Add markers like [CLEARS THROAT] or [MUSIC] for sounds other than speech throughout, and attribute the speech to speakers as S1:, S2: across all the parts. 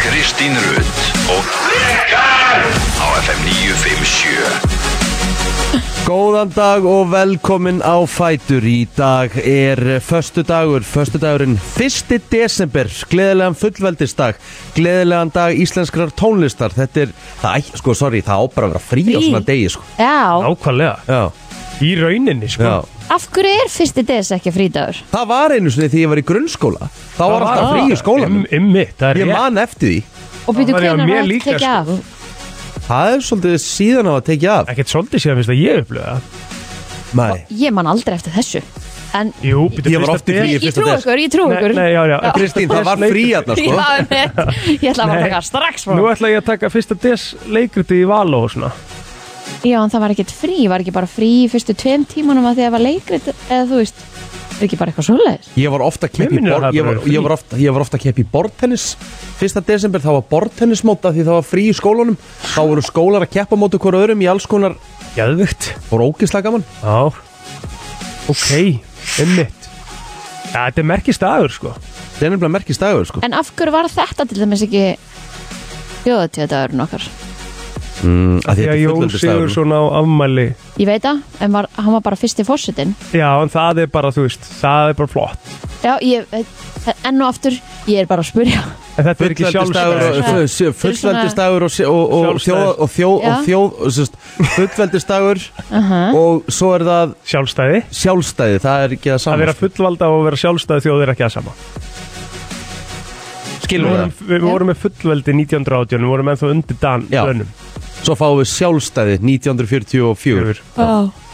S1: Kristín Rutt og Rikar á FM 957
S2: Góðan dag og velkomin á Fætur Í dag er förstu dagur, förstu dagurinn 1. desember, gleðilegan fullveldisdag Gleðilegan dag íslenskrar tónlistar Þetta er, það, æ- sko, sorry, það ábæra að vera frí á
S3: Frí?
S2: svona degi, sko
S3: Já,
S4: Nákvæmlega,
S2: Já,
S4: í rauninni sko
S2: já
S3: af hverju er fyrsti des ekki frídagur?
S2: Það var einu sinni því ég var í grunnskóla Þá var alltaf frí í skólanum
S4: Um, um mitt, það er
S2: Ég
S4: rétt
S2: man eftir því
S3: Og byrju
S4: var ég á
S3: hvernig var
S4: mér
S3: allt
S4: líka, sko.
S3: tekið af?
S2: Það er svolítið síðan á að tekja af
S4: Ekkert svolítið síðan finnst að ég upplöða
S2: Nei,
S3: Ég man aldrei eftir þessu En
S4: Jú, býttu
S2: Ég var oft í fríi
S3: ég, ég
S2: fyrsta
S3: trú
S2: des.
S3: ykkur, ég trú
S4: Nei,
S3: ykkur
S4: nei, já, já,
S3: Já.
S2: Kristín, það var frí hérna,
S3: [LAUGHS] Ég
S2: sko
S3: hafa mitt Ég ætla að fara að taka strax sko. frá
S4: Nú ætla ég að taka fyrsta des leikriti í Való og svona
S3: Já, en það var ekkert frí, var ekki bara frí í fyrstu tveim tímunum að því að það var leikrit eða þú veist, er ekki bara eitthvað svoleiðis
S2: Ég var ofta að keppa í,
S4: Mér minnir
S2: bor
S4: að það
S2: ég var,
S4: bara verið
S2: ég var oft, ég var oft að keppa í bortennis Fyrsta desember þá var bortennismóta því það var frí í skólanum Þá voru skólar að keppa móti hver öðrum í alls konar
S4: Jæðvögt
S2: Rókislega gaman
S4: Já Ok, um mitt Já, þetta er merkist dagur sko
S2: Það er nefnilega merkist dagur sko
S3: En af hverju var þetta til dæmis ekki þjóðatíðadagurinn okkar?
S2: mm, að Þetta er
S4: Því að
S2: sko.
S4: Jón
S2: fullöldisdagur
S4: Sigurðsson á afmæli
S3: Ég veit það, en var, hann var bara fyrst í fórsetin
S4: Já, en það er bara, þú veist, það er bara flott
S3: Já, ég, enn og aftur, ég er bara að spurja
S4: En þetta er ekki sjálfstæður
S3: sjálfstæðis.
S2: Fullveldisdagur Fullveldisdagur og, og, og, og, þjóð,
S4: Sjálfstæðis.
S2: og, þjóð, og,
S3: Já.
S2: þjóð, og sérst, Fullveldisdagur
S3: uh
S2: og svo er það
S4: Sjálfstæði
S2: sjálfstæði Það er ekki það sko.
S4: Að
S2: saman
S4: vera fullvalda og vera sjálfstæði þjóð er ekki að sama Við
S2: Skilum við
S4: vorum, við vorum með fullveldi 1980 Við vorum ennþá undir dan
S2: Já.
S4: dönum
S2: það Svo fáum við sjálfstæði 1944
S4: Yfir. Og mm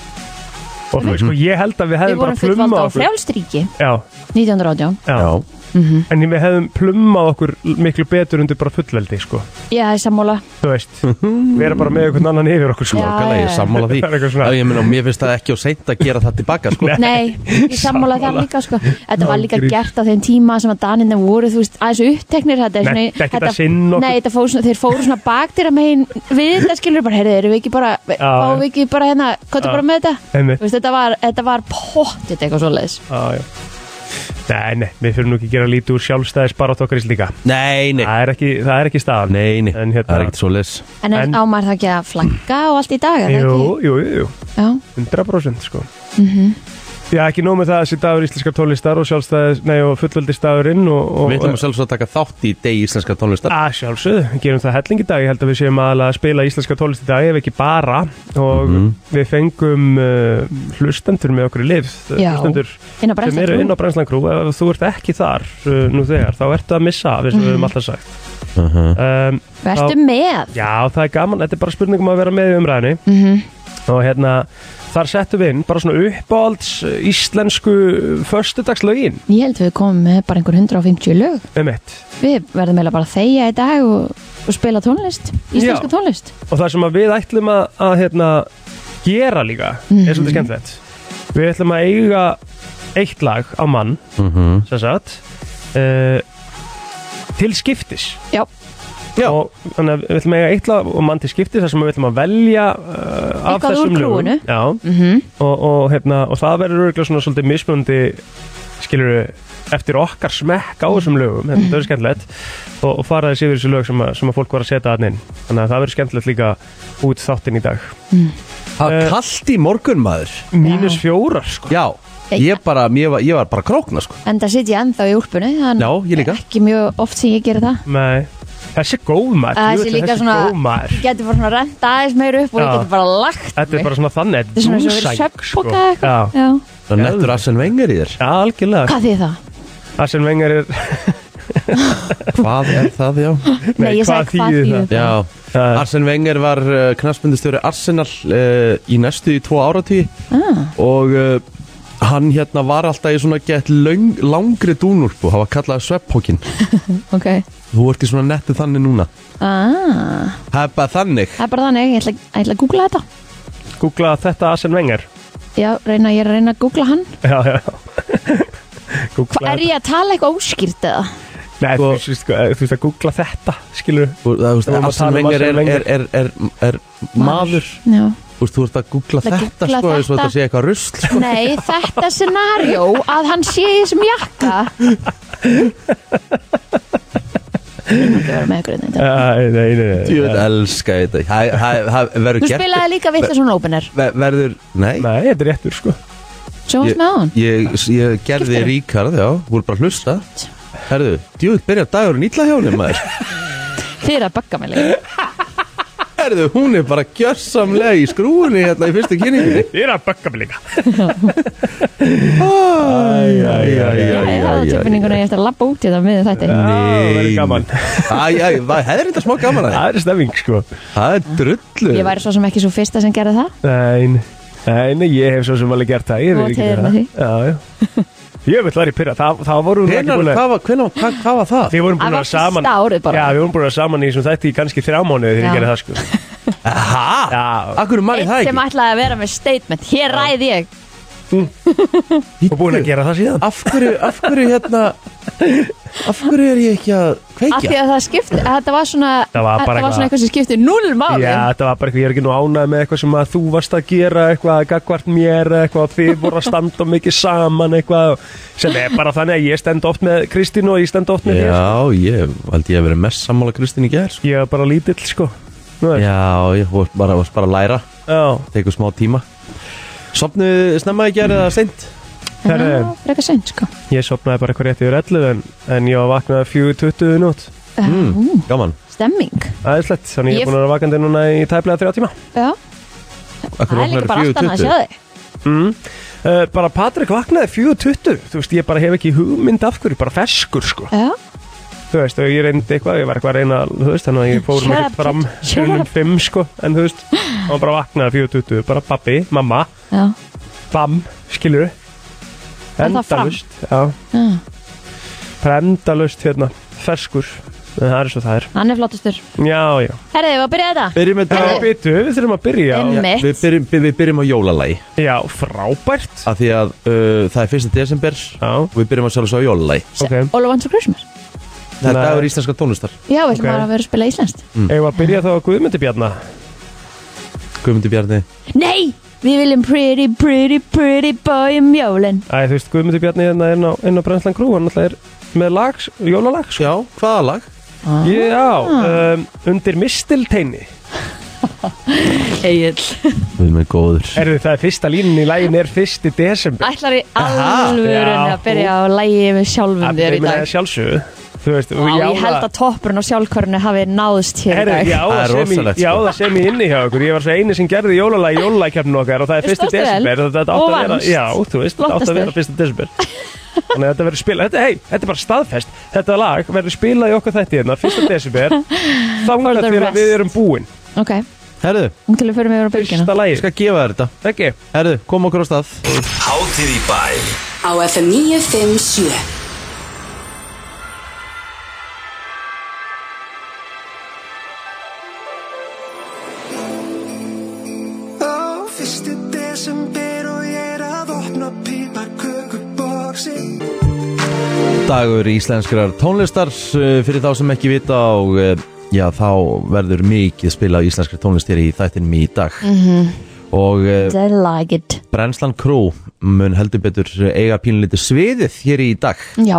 S2: Mhm.
S4: sko, ég held að við
S3: Við
S4: hefðum bara
S3: vorum fullvalda
S4: plummað
S3: á
S4: okkur
S3: frjálstríki
S4: já,
S3: 1918
S4: já.
S2: Já
S3: Mhm.
S4: En við hefðum plummað okkur miklu betur undir bara fullveldi sko.
S3: Já, það er
S4: [LAUGHS]
S3: sammála
S4: Þú veist, við erum bara með einhvern annan yfir okkur sko.
S3: Já.
S2: Nákvæmlega, ég er sammála því
S4: [LAUGHS] Það er eitthvað svona.
S2: Já, ég meina, mér finnst það ekki á seint að gera það tilbaka sko.
S3: Nei, ég sammála það líka sko. Þetta var líka
S4: Ángríns.
S3: gert á þeim tíma sem að daninni voru, þú veist, aðeins uppteknir þetta, er
S4: Nei,
S3: svona-
S4: þetta er ekki að sinna okkur.
S3: Nei, þetta fór svona, þeir fóru svona baktir að megin við þetta skilur bara, heyrðu, erum við ekki bara fáum við ekki bara hérna, hvað er bara með þetta?
S4: Einmitt.
S3: Þú veist, þetta var, þetta var pottit eitthvað svoleiðis
S4: Já, já. Nei, nei, við fyrir nú ekki að gera lítið úr sjálfstæðis bara okkar í slíka
S2: Nei, nei,
S4: það er, ekki, það er ekki staðan
S2: nei, nei.
S4: En hérna-
S2: það er ekkert svo les
S3: En, en
S4: En-
S3: á maður það ekki að flagga og allt í dag, er það
S4: Jú,
S3: ekki?
S4: jú, jú, jú,
S3: Já,
S4: 100% sko
S3: Mhm.
S4: Já, ekki nóg með það að þessi dagur íslenskar tónlistar og sjálfstæðis, nei, og fullveldistagurinn og, og,
S2: Við ætlum að sjálfsög að taka þátt í degi íslenska tónlistar
S4: Að sjálfsögðu, við gerum það helling í dag Ég held að við séum aðalega að spila íslenska tólest í dag ef ekki bara og við fengum uh, hlustendur með okkur í lið eh,
S3: Já.
S4: hlustendur
S3: inn á
S4: sem eru inn á Brensland Crew ef þú ert ekki þar uh, nú þegar þá ertu að missa af eins og við höfum alltaf sagt um,
S3: Vertu
S4: á-
S3: Mhm. með
S4: Já, það er gaman, þetta er bara spurningum að vera með í umræðinni
S3: mm
S4: og hérna, þar settum við inn bara svona uppáhalds uh, íslensku föstudagslögin
S3: Ég held við komum með bara einhver 150 lög
S4: um eitt
S3: Við verðum eiginlega bara að þegja í dag og, og spila tónlist, íslenska
S4: Já.
S3: tónlist.
S4: og það sem að við ætlum að, að hérna, gera líka er svolítið skemmtilegt við ætlum að eiga eitt lag á mann sem sagt uh, til skiptis
S3: Já.
S4: Já. og þannig að við ætlum að eiga eitt lag og mann til skiptis þar sem við ætlum að velja uh, af
S3: Eitthvað úr
S4: þessum lögum
S3: krúinu.
S4: Já,
S3: Mm -hmm.
S4: og, og, hérna, og það verður örgulega svona svolítið mismunandi skilur eftir okkar smekk á þessum lögum hérna, þetta verður skemmtilegt og, og fara þessi yfir þessu lög sem að, sem að fólk var að setja hann inn þannig að það verður skemmtilegt líka út þáttinn í dag
S3: Mm.
S2: Það var
S4: Eh.
S2: kallt í morgun maður
S4: Mínus fjórar sko
S2: Já, ég, bara, ég, var, ég var bara að krókna sko.
S3: En það sitt ég ennþá í úlpunni, þannig
S2: Já, ég líka
S3: ekki mjög oft sem ég gera það.
S4: Nei. Þessi er góð maður
S3: Þessi
S4: djöfull er
S3: líka svona-
S4: góð maður
S3: Ég geti bara svona renta aðeins meir upp og ég
S4: Já.
S3: geti bara lagt
S4: Þetta er bara svona þannig
S3: Þetta er svona sem verið
S4: dúnsæng, sko.
S3: söpboka eitthvað.
S4: Já,
S3: Já.
S2: Það er nettur Arsene Wenger í þér
S4: Já, algjörlega
S3: Hvað þið
S4: [LAUGHS]
S3: það?
S4: Arsene Wenger er
S2: Hvað er það, já?
S3: Nei, ég sagði
S4: hvað
S3: hvað
S4: þýðir
S3: þýðir
S4: það?
S3: það?
S2: Já,
S4: Það er-
S2: Arsene Wenger var uh, knarsmyndistjóri Arsenal uh, í næstu í tvo áratí
S3: Ah,
S2: og uh, hann hérna var alltaf í svona gett löng, langri dúnúlpu, hann var kallað svepphókin
S3: ok.
S2: Þú ert í svona nettu þannig núna
S3: Ah,
S2: Það er bara þannig
S3: það er bara þannig, ég ætla, ég ætla að googla þetta.
S4: Googla þetta Arsene Wenger
S3: Já, reyna, ég er að reyna að googla hann.
S4: Já, já [LAUGHS]
S3: Hvað
S4: Googla
S3: er ég að tala eitthvað óskýrt eða?
S4: Nei,
S2: Sko-
S4: þú veist, sko, eh, þú veist að googla þetta, skilur
S2: Þú- Það, þú veist,
S4: Við vorum að tala
S2: Arsene
S4: um
S2: Wenger er,
S4: Arsene
S2: er, er, er, er maður
S3: Já.
S2: Þú veist, þú ert að googla
S3: Að
S2: þetta
S3: googla
S2: sko, eins og
S3: þetta.
S2: þetta sé eitthvað rusl sko.
S3: [LAUGHS] Nei, þetta scenarjó að hann sé í þessum jakka Ég myndi vera með ykkur þetta
S4: Æ, Nei, nei, nei
S2: Ég veit elska þetta Það- það- það
S3: Þú
S2: Verður
S3: spilaði líka vitlega svona opener
S2: ver- Verður, nei
S4: Nei, þetta er réttur, sko
S3: Sjóðast
S2: Ég-
S3: með á hann
S2: Ég, ég gerði
S3: Skiptirðu?
S2: Ríkard, já, voru bara að hlusta Herðu, djúið, byrja dagurinn ítla hjá henni
S4: [LAUGHS]
S2: maður
S3: Þið er að bagga mig leik
S2: Herðu, hún er bara gjörsamlega í skrúinni hérna í fyrstu kynningunni
S4: Ég er að bögga mig líka
S3: Já, já, tilfinninguna ég eftir að labba út í þetta með þetta
S4: Já, það verður gaman.
S2: Æ, æ, það er þetta smá gaman að því.
S4: Það er stefning, sko
S2: Það er drullu
S3: Ég væri svo sem ekki svo fyrsta sem gerði það
S4: Nei, nei, nei, ég hef svo sem alveg gert það Ég
S3: Þú
S4: veit ekki
S3: átt heiður
S4: það
S3: með því.
S4: Já, já Ég veit það er í pyrra Það, það vorum við ekki
S2: Hvenar,
S4: búin að
S2: hvað var, hvenar, hvað, hvað var það?
S4: Við vorum búin
S3: Það
S4: að vera
S3: var
S4: saman
S3: fyrsta árið bara.
S4: Já, við vorum búin að vera saman í þessum þætti í kannski þrjá mánuði þegar ég
S3: Já.
S4: gerði það, sko
S2: Hæ?
S4: Já,
S2: Akkur mann ég
S3: Eitt
S2: það
S3: sem
S2: ekki?
S3: ætlaði að vera með statement Hér ræði ég
S4: og búin að gera það síðan
S2: Af hverju, af hverju hérna Af hverju er ég ekki að
S3: Af því
S2: kveikja?
S3: að það skipti að Þetta var svona
S4: Það var bara
S3: Þetta var
S4: eitthvað-
S3: svona eitthvað sem skipti null máli
S4: Já, þetta var bara eitthvað, ég er ekki nú ánað með eitthvað sem að þú varst að gera eitthvað, gagvart mér eitthvað, og þið voru að standa mikið saman eitthvað, sem er bara þannig að ég stend oft með Kristín og ég stend oft með þér.
S2: Já, ég held ég að vera mest sammála Kristín í gerð
S4: sko. Ég var bara lítill, sko. Nú veist,
S2: Já, ég vorst bara, vorst bara að læra
S4: já.
S2: Tekur smá tíma Sopnuðu snemma í gerð eða seint?
S3: Það
S4: Herri,
S3: var frekar seint sko
S4: ég sopnaði bara eitthvað rétt yfir 11 en, en ég var vaknað 4.20 í nótt.
S3: Ah. Ú,
S2: Gaman
S3: Stemming
S4: Æðislegt, þannig ég
S3: Ég-
S4: er búin að vera vakandi núna í tæplega þrjá tíma.
S3: Já
S2: Akkur
S3: Það er líka bara allt annað að sjá þig
S4: Uh, bara Patrik vaknaði 4.20, þú veist, ég bara hef ekki hugmynd af hverju, bara ferskur, sko.
S3: Já
S4: þú veist, og ég reyndi eitthvað, ég var eitthvað að reyna, þú veist, þannig að ég fór
S3: Shut
S4: mér
S3: up,
S4: fram
S3: kid. Shut
S4: fyrir minn
S3: up.
S4: fimm, sko, en þú veist, hann var bara vaknaði 4.20, bara pabbi, mamma,
S3: Já
S4: bam, skilur
S3: Er það fram?
S4: endalust, já,
S3: Já.
S4: bara endalust hérna, ferskur, en það er svo það er,
S3: Hann er flottastur
S4: já, já,
S3: Herðið, við varum að byrja þetta
S2: Byrjum með
S4: það
S2: þetta
S4: er bitu, við þurfum að byrja,
S3: Einmitt.
S2: Já, Við byrjum, við, við byrjum á jólalagi
S4: já, frábært,
S2: Af því að uh, það er 1. desember
S4: já,
S2: Og við byrjum að sjálfsög á jólalagi
S4: ok,
S3: All of Once for Christmas
S2: Það er
S4: Nei.
S2: dagur íslenska tónlistar
S3: Já, við ætlum
S4: Ok.
S3: bara að vera að spila íslenskt
S2: Mm.
S4: eigum við að byrja þá að Guðmundi Bjarna,
S2: Guðmundi Bjarni
S3: Nei, við viljum pretty, pretty, pretty boy um jólin
S4: æ, þú veist, Guðmundi Bjarni hérna inn á, inn á Brenslan Grú, hann alltaf er með lag, jólalag, sko,
S2: Já, hvaða lag?
S4: já, um, undir mistilteini,
S3: Egil
S2: Við erum með góður
S4: Erðu það er fyrsta línin í lægin er fyrsti desember
S3: Ætlar í
S2: Aha,
S3: alvörun
S4: já.
S3: að byrja á lægi með sjálfum þér í
S4: meina,
S3: dag
S4: sjálfsögðu Þú veist,
S3: Vá, ég held að toppurinn og sjálfkörnu hafi náðst hér í
S4: Herru,
S3: dag
S4: já,
S2: Það er
S4: það sem
S2: rosalegt,
S4: ég, já,
S2: sko.
S4: það sem ég inni hjá okkur Ég var svo eini sem gerði jólalagi í jólalagkeppninu okkar og það er fyrsti
S3: Stóðstu vel.
S4: desember þetta- þetta
S3: Og
S4: átti að vera,
S3: vannst.
S4: Já, þú veist, þetta átti
S3: Flottastur.
S4: að vera fyrsti desember Þannig að þetta verður spilað Þetta, hei, þetta er bara staðfest Þetta lag verður spilað í okkar þetta hérna Fyrsta
S3: [LAUGHS]
S4: desember
S3: For the
S4: Þangar til að
S3: rest.
S4: við erum búin
S3: Ok,
S2: Herðu,
S3: nú til við fyrir mig yfir á bylgina
S4: Fyrsta
S2: ég
S4: lagi,
S2: skal gefa þér þetta
S4: ekki
S2: Herðu, koma okkur á stað
S1: Hátíð í bæ
S5: á FM 957
S6: Á fyrsti desember og ég er að opna píparkökuboksi
S2: Dagur íslenskrar tónlistar uh, Fyrir þá sem ekki vita og uh, já, þá verður mikið spila á íslenskri tónlist hér í þættinum í dag -hmm. Og uh,
S3: Mhm. They like it
S2: Brennslan Crew mun heldur betur eiga pínlítið sviðið hér í dag
S3: Já,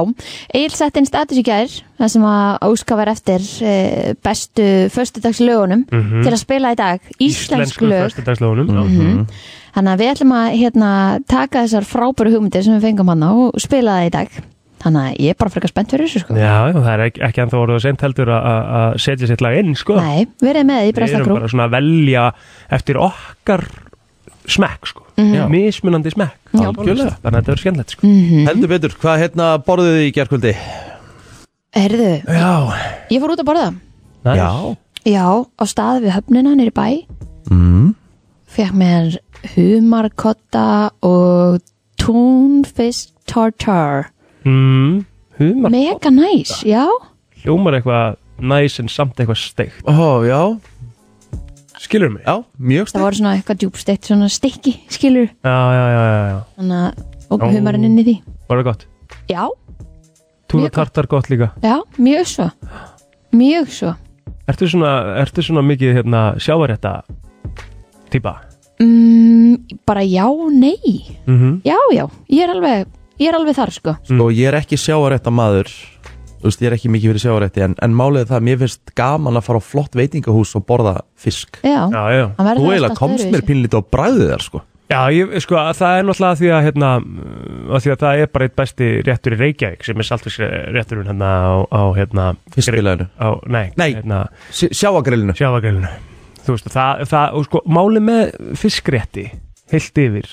S3: Egil sett inn status í gær það sem að Óska var eftir eh, bestu föstudagslögunum
S4: Mhm.
S3: til að spila í dag íslensk lög Mhm.
S4: föstudagslögunum mm -hmm.
S3: Þannig að við ætlum að hérna, taka þessar frábæru hugmyndir sem við fengum hann á og spila það í dag Þannig að ég er bara frekar spennt fyrir þessu sko
S4: Já, já, það er ekki, ekki ennþá orðið sent heldur að- að að setja sitt lag inn, sko
S3: Nei, verið með í
S4: við erum
S3: Brestakrú
S4: bara svona að velja eftir okkar smekk sko,
S2: Já.
S4: mismunandi smekk
S3: Mhm. Já.
S2: Algjörlega.
S4: þannig að þetta verður skemmtilegt sko.
S2: Heldur betur, hvað hérna borðuðu þið í gerkvöldi?
S3: Herðu,
S4: Já,
S3: ég fór út að borða
S4: nice.
S3: Já, á stað við höfnina nýri bæ mm. Fekk mér humarkotta og túnfisk tartar
S4: Mm, humar,
S3: Mega næs, já
S4: hljómar eitthvað næs en samt eitthvað steikt
S2: Ó, já,
S4: skilur mig?
S2: já, mjög
S3: Það
S2: stið
S3: voru svona eitthvað djúbsteikt, svona stikki, skilur
S4: Já, já, já, já, já.
S3: Þannig að, og
S4: Ó.
S3: humarinn inn í því
S4: var það gott?
S3: Já,
S4: Túna
S3: Mjög gott.
S4: tartar gott líka
S3: já, mjög svo Mjög svo
S4: Ertu svona, ertu svona mikið hérna, sjávarétta típa?
S3: mm, Bara já, nei
S4: Mm -hmm. Mm.
S3: Já, já, ég er alveg, ég er alveg þar sko
S2: Og ég er ekki sjáarétta maður þú veist, ég er ekki mikið fyrir sjáarætti en, en málið er það, að mér finnst gaman að fara á flott veitingahús og borða fisk
S3: já,
S4: já, já.
S3: hann verður
S2: Þú
S3: alltaf
S2: eiginlega komst
S3: öðruvísi.
S2: mér pínlítið á bræðið þar sko
S4: Já, ég, sko, að það er náttúrulega að því að, hérna, að því að það er bara eitt besti réttur í Reykjavík sem er saltfisksrétturinn hérna á, á hérna,
S2: Fiskilæðinu.
S4: á, nei,
S2: Nei.
S4: hérna,
S2: Sj- Sjáagrillinu
S4: sjáfagrælinu þú veist, það, það, og sko, máli með fiskrétti, heilt yfir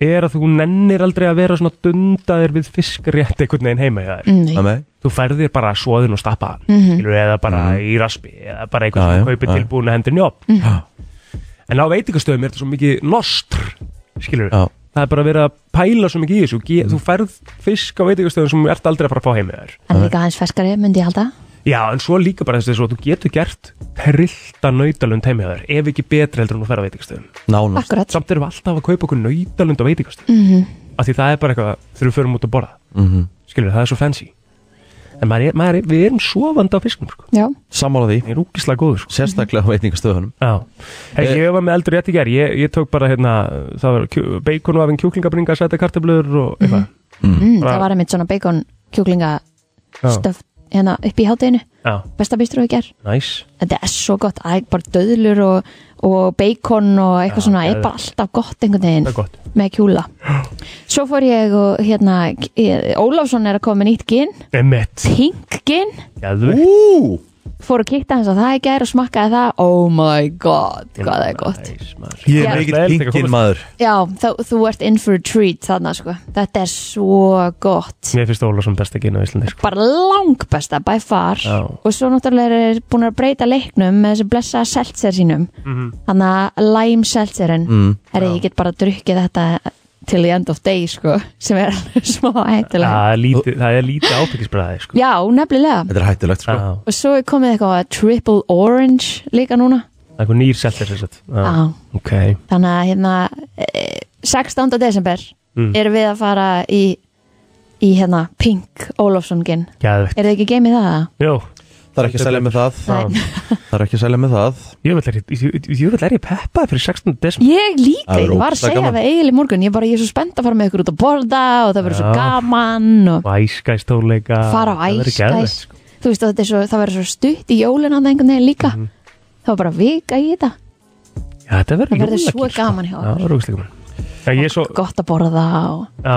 S4: er að þú nennir aldrei að vera svona dundaðir við fiskrétti einhvern veginn heima hjá þér
S3: Nei.
S2: Það með
S4: þú færðir bara svoðin og stappa mm eða bara í raspi eða bara
S2: Mhm. Já, já,
S4: eitthvað sem kaupir
S2: já.
S4: tilbúin að hendur njóp en á veitingastöðum er þetta svo mikið nostr skilur
S2: Já.
S4: það er bara verið að pæla svo mikið í þessu Ge þú færð fisk á veitingastöðum sem þú ert aldrei að fara að fá heimið þær
S3: hann er líka hans ferskari, myndi ég halda
S4: já en svo líka bara þess að þú getur gert trillta nautalund heimið þær ef ekki betra heldur en þú færð á veitingastöðum
S2: Nánast
S3: akkurat,
S4: samt erum við alltaf að kaupa okkur nautalund á veitingastöðum af því það er bara eitthvað þegar við förum út að borða
S2: Mhm.
S4: skilur það er svo fancy en maður er, maður er, við erum sofandi á fisknum sko.
S3: já,
S2: Sammála því,
S4: Ég er úkislega góður sko.
S2: sérstaklega á veitingastöðunum
S4: Já, hey, ég var með eldur rétt í gerð ég, ég tók bara hérna, það var kjú, bacon og afinn kjúklingabringa, sæta kartablur og eitthvað
S3: Mhm. mm,
S4: Bara-
S3: það var einmitt svona bacon kjúklinga
S4: Já.
S3: stöf hérna upp í hátteginu
S4: Já,
S3: besta bistrói ger,
S4: næs
S3: þetta er svo gott Æ, bara döðlur og, og bacon og eitthvað svona, er bara alltaf gott einhvern veginn
S4: Það er gott.
S3: með kjúla svo fór ég og hérna eh, Ólafsson er að koma með nýtt gin
S4: Emmett,
S3: pink gin,
S4: gæðvig
S2: Ú,
S3: fór og kikta hans á það í gær og smakkaði það, oh my god hvað það er gott
S2: ég
S3: Já.
S2: er mikill pinkin maður
S3: Já, þá, þú ert in for a treat þarna sko. Þetta er svo gott.
S4: Mér finnst Óla sem besta gynna á Íslandi sko.
S3: Bara langbesta by far.
S4: Já.
S3: Og svo náttúrulega er búin að breyta leiknum með þessi blessa seltzer sínum.
S4: Mhm.
S3: Þannig að lime seltzerinn. Mm. Herri, ég get bara drukkið þetta til the end of day sko. [LAUGHS] Sem er alveg smá hættulega.
S4: það, er lítið- það er lítið ábyggisbræði sko.
S3: Já, nefnilega.
S2: Þetta er hættulegt sko
S4: Já,
S3: Og svo er komið eitthvað triple orange líka núna.
S4: Það er eitthvað nýr seltir þess að
S3: Já.
S4: Ok,
S3: Þannig að hérna eh, 16. desember erum við að fara í, í hérna Pink Ólofssongin.
S4: gæðvig
S3: Er þið ekki geimið það? eða?
S4: Jó,
S2: Það er ekki að selja með það
S3: Nei.
S2: Það er ekki að selja með það
S4: jöfull er ég- jöfull er ég peppaði fyrir 16. desember
S3: Ég líka,
S2: Það
S3: ég
S2: verður
S3: var að
S2: ógeðslega
S3: segja
S2: gaman.
S3: það eiginlega í morgun, ég bara ég er svo spennt að fara með ykkur út að borða og það verður svo
S4: Já.
S3: gaman og
S4: Æskæs tóleika
S3: fara á
S4: Það verður
S3: æskæs.
S4: geðveikt, sko.
S3: Þú veist, og þetta er svo, það verður svo stutt í jólina það einhvern veginn líka. Það var bara vika í þetta,
S4: Já, þetta verður
S3: Það verður
S4: jólagjöf,
S3: svo
S4: sko.
S3: gaman hjá
S4: Já,
S3: okkur.
S4: það verður ógeðslega gaman. Já, ég er svo,
S3: gott að borða og
S4: Já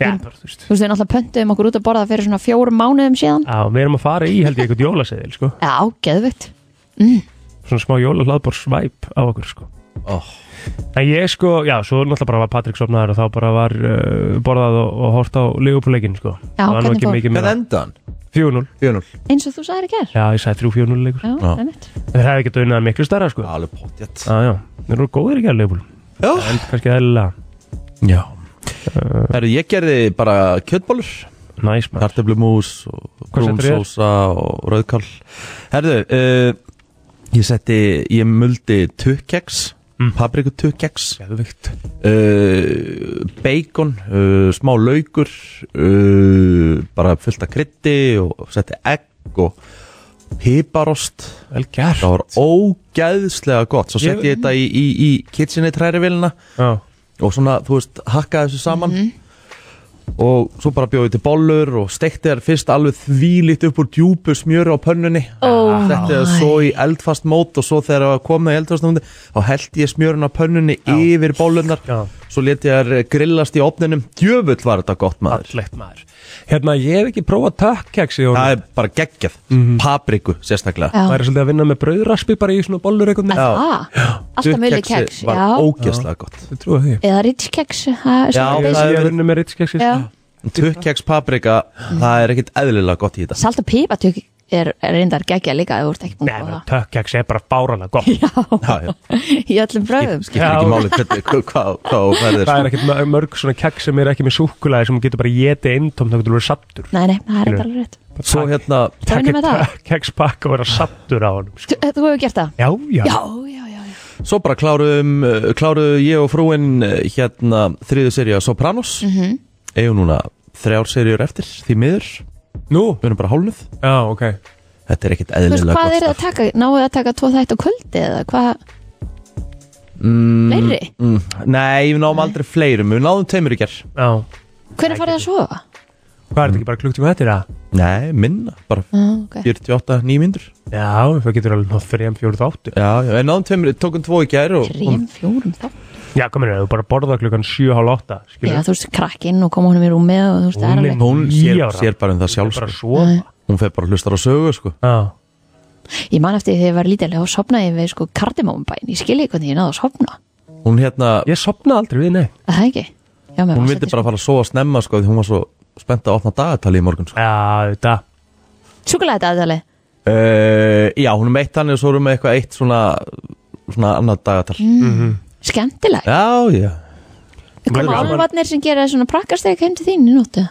S4: Já, bara, þú veist
S3: þú veist, við náttúrulega pöntuðum okkur út að borða fyrir svona fjórum mánuðum síðan.
S4: Já, við erum að fara í held ég eitthvað jólaseðil sko.
S3: Já, geðvikt.
S4: Svona smá jólahlaðbór svæp á okkur sko.
S2: oh.
S4: En ég sko, já, svo náttúrulega bara var Patrik sopnaður og þá bara var uh, borðað og, og hort á leigupúleikin sko.
S3: Já,
S4: Það var
S3: hvernig
S4: nú ekki
S3: fór?
S4: mikið
S2: Með
S4: meira.
S2: endan
S4: 4-0
S2: 4-0
S3: Eins og þú sagðir í gerð.
S4: Já, ég sagði 3-4-0 leikur
S3: Já,
S2: Já.
S3: einmitt.
S4: Þeir hefði ekki dögnað miklu starra sko. Já,
S2: Alveg potjett
S4: já, þeir eru góðir ekki að leigupúl
S2: Já,
S4: En kannski eðlilega
S2: Já. Herru, ég gerði bara kjötbólur
S4: Næs maður
S2: Kartöflumús og
S4: Hvað settir þér?
S2: brúnsósa og rauðkál Herru, uh, ég setti ég muldi tukkeks mm. papriku tukkeks
S4: Geðvikt
S2: uh, bacon uh, smá laukur uh, bara fullt af krytti og setti egg og piparost
S4: Vel gert
S2: það var ógæðslega gott svo
S4: Ég-
S2: setti ég þetta í, í, í kitchenið trærivélina
S4: Já,
S2: og svona, þú veist, hakkaði þessu saman
S3: Mhm.
S2: og svo bara bjóði til bollur og steikti þær fyrst alveg þvílitt upp úr djúpu smjöru á pönnunni
S3: Oh
S2: setti þær
S3: my.
S2: svo í eldfast mót og svo þegar það var komið í eldfast móti þá held ég smjörun á pönnunni yfir bollunar
S4: Já.
S2: svo leti þær grillast í opninum djöfull var þetta gott maður
S4: allegt maður Hérna, ég hef ekki prófað tökkjaksi og
S2: það er bara geggjað, papriku sérstaklega
S3: Já.
S4: Mhm. Það er svolítið að vinna með brauðraspi bara í svona bollur eitthvað
S3: Já. Ah, Alltaf mulli
S2: Dukkexið
S3: keks,
S2: var
S3: já.
S2: ógeðslega gott
S4: Ég trúi því
S3: Eða rítkeks, það er
S2: Já,
S3: svona
S2: það
S3: basic.
S4: Ég
S2: er-
S4: er unni með ritskeksis
S3: Já.
S2: tukkeks paprika,
S3: Mm.
S2: það er ekkit eðlilega gott í þetta
S3: Salt og pipatök er, er reyndar geggja líka ef þú ert ekki búin
S4: Nei,
S3: að
S4: menn,
S3: bóða
S4: tökkjaks er bara báranlega gott
S2: Já, já.
S3: í öllum bröðum
S2: skiptir ekki máli
S3: [LAUGHS]
S2: hvernig- hvað hvað- hvað þú færðir
S4: Það
S2: sko.
S4: er ekkert ma- mörg svona kjaks sem er ekki með súkulaði sem getur bara getið eintóm þá getur þú verið sattur
S3: Nei, nei, það er reyndar alveg rétt
S2: svo hérna
S3: Það vinnum með það.
S4: Kjakspakk og vera sattur á honum sko.
S3: Þú, þú hefur gert það?
S4: Já, já,
S3: Já, já, já, já.
S2: svo bara kláruðum uh, kláruðu ég og frúin uh, hérna þriðu seríu Sopranos mm
S3: Mhm.
S2: -hmm. eigum núna þrjár seríur eftir því miður,
S4: Nú,
S2: við erum bara hálnuð
S4: já, ok
S2: þetta er ekkit
S3: Þú veist,
S2: eðlilega
S3: hvað
S2: gott
S3: er það að
S2: starf
S3: taka? Náðu það að taka tvo þætt á kvöldi eða hvað? Mm, Fleiri?
S2: mm, nei, við náum aldrei fleirum, við náðum tveimur í ger
S4: já.
S3: Hvernig farið það að sofa?
S4: Hvað er þetta ekki bara klukkt um þetta?
S2: Nei, minna, bara
S3: Ah, ok.
S2: 48, 9 myndur
S4: Já, það getur alveg nátt 3, 4, 8
S2: Já, já, við náðum tveimur, tókum tvo í gær og
S3: Trím, fjórum þá
S4: Já, kominu, þú bara borða klukkan 7, hálf 8 skilur
S3: Já, þú veist, krakkinn og koma honum í rúmið og þú veist, það er
S4: Rúmið.
S3: alveg
S2: hún
S4: Níu
S2: sér,
S4: ára.
S2: sér bara um það sjálf
S4: bara
S2: sko.
S4: svo
S2: Hún fer bara að hlustar á sögu sko.
S4: Já,
S3: Ég man eftir því þegar ég var lítilega og sopnaði ég við sko kardimámbæn, ég skilji hvernig ég náði að sopna
S2: Hún hérna,
S4: ég sopna aldrei við, nei
S3: Er Það ekki? Já, mér
S2: hún
S3: fannst
S2: vildi
S3: þetta
S2: bara fara að sofa snemma sko, því hún var svo spennt að opna dagatali í morgun sko.
S4: Já, þetta
S3: Súkulega þetta aðdali
S2: uh, Já, hún er meitt hann og svo erum við eitthvað eitt svona, svona annað dagatal
S3: Skemmtileg
S2: Já, já,
S3: Mm, Við komum
S4: Mhm. Verður
S3: álfarnir sem gera svona prakkasteg heim til þín í nóttu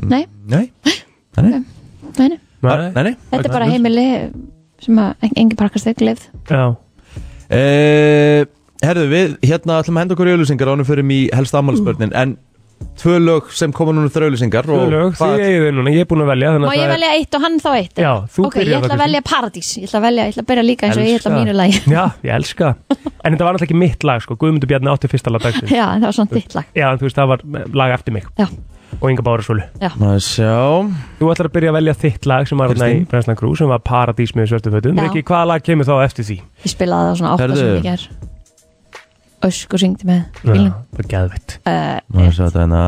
S4: Mm.
S3: Nei,
S2: nei Nei,
S3: nei, nei
S2: nei, nei, nei.
S3: Þetta er bara heimili sem að engin prakkasteg lifð
S4: Já,
S2: Uh, herðu, við hérna ætlum að henda okkur í auðlýsingar ánum fyrir mig í helst ammálspörnin en tvö lög sem koma núna eftir auðlýsingar og
S4: lög, því
S2: hvað-
S4: ég er núna, ég er búin að velja þannig
S3: Má
S4: að
S3: ég
S4: það er-
S3: velja eitt og hann þá eitt?
S4: Já, þú
S3: Ok, ég
S4: byrjar
S3: ætla að
S4: þá,
S3: velja paradís Ég ætla að velja, ég ætla að byrja líka eins og ég ætla
S4: Elska.
S3: mínu lagi
S4: [LAUGHS] Já, ég elska En þetta var náttúrulega ekki mitt lag, sko, Guðmundur Bjarni átti fyrsta lag
S3: [LAUGHS] [LAUGHS]
S4: dagsins
S3: Já, en það var svona ditt lag
S4: Já, en þú veist, það var lag eftir mig
S3: Já,
S4: og Inga Bárasvölu
S2: Maður sjá
S4: Þú ætlar að byrja að velja þitt lag sem var þarna í
S2: Kristín.
S4: Brenslan Krú sem var Paradís með svörtu fötum
S3: Já.
S4: Rikki, hvaða lag kemur þá eftir því?
S3: ég spilaði það svona átta
S2: Herðu.
S3: sem ég ger Ösk og syngdi með
S4: Já,
S3: bílum
S4: það er geðveitt
S3: uh,
S2: Maður sjá þetta hérna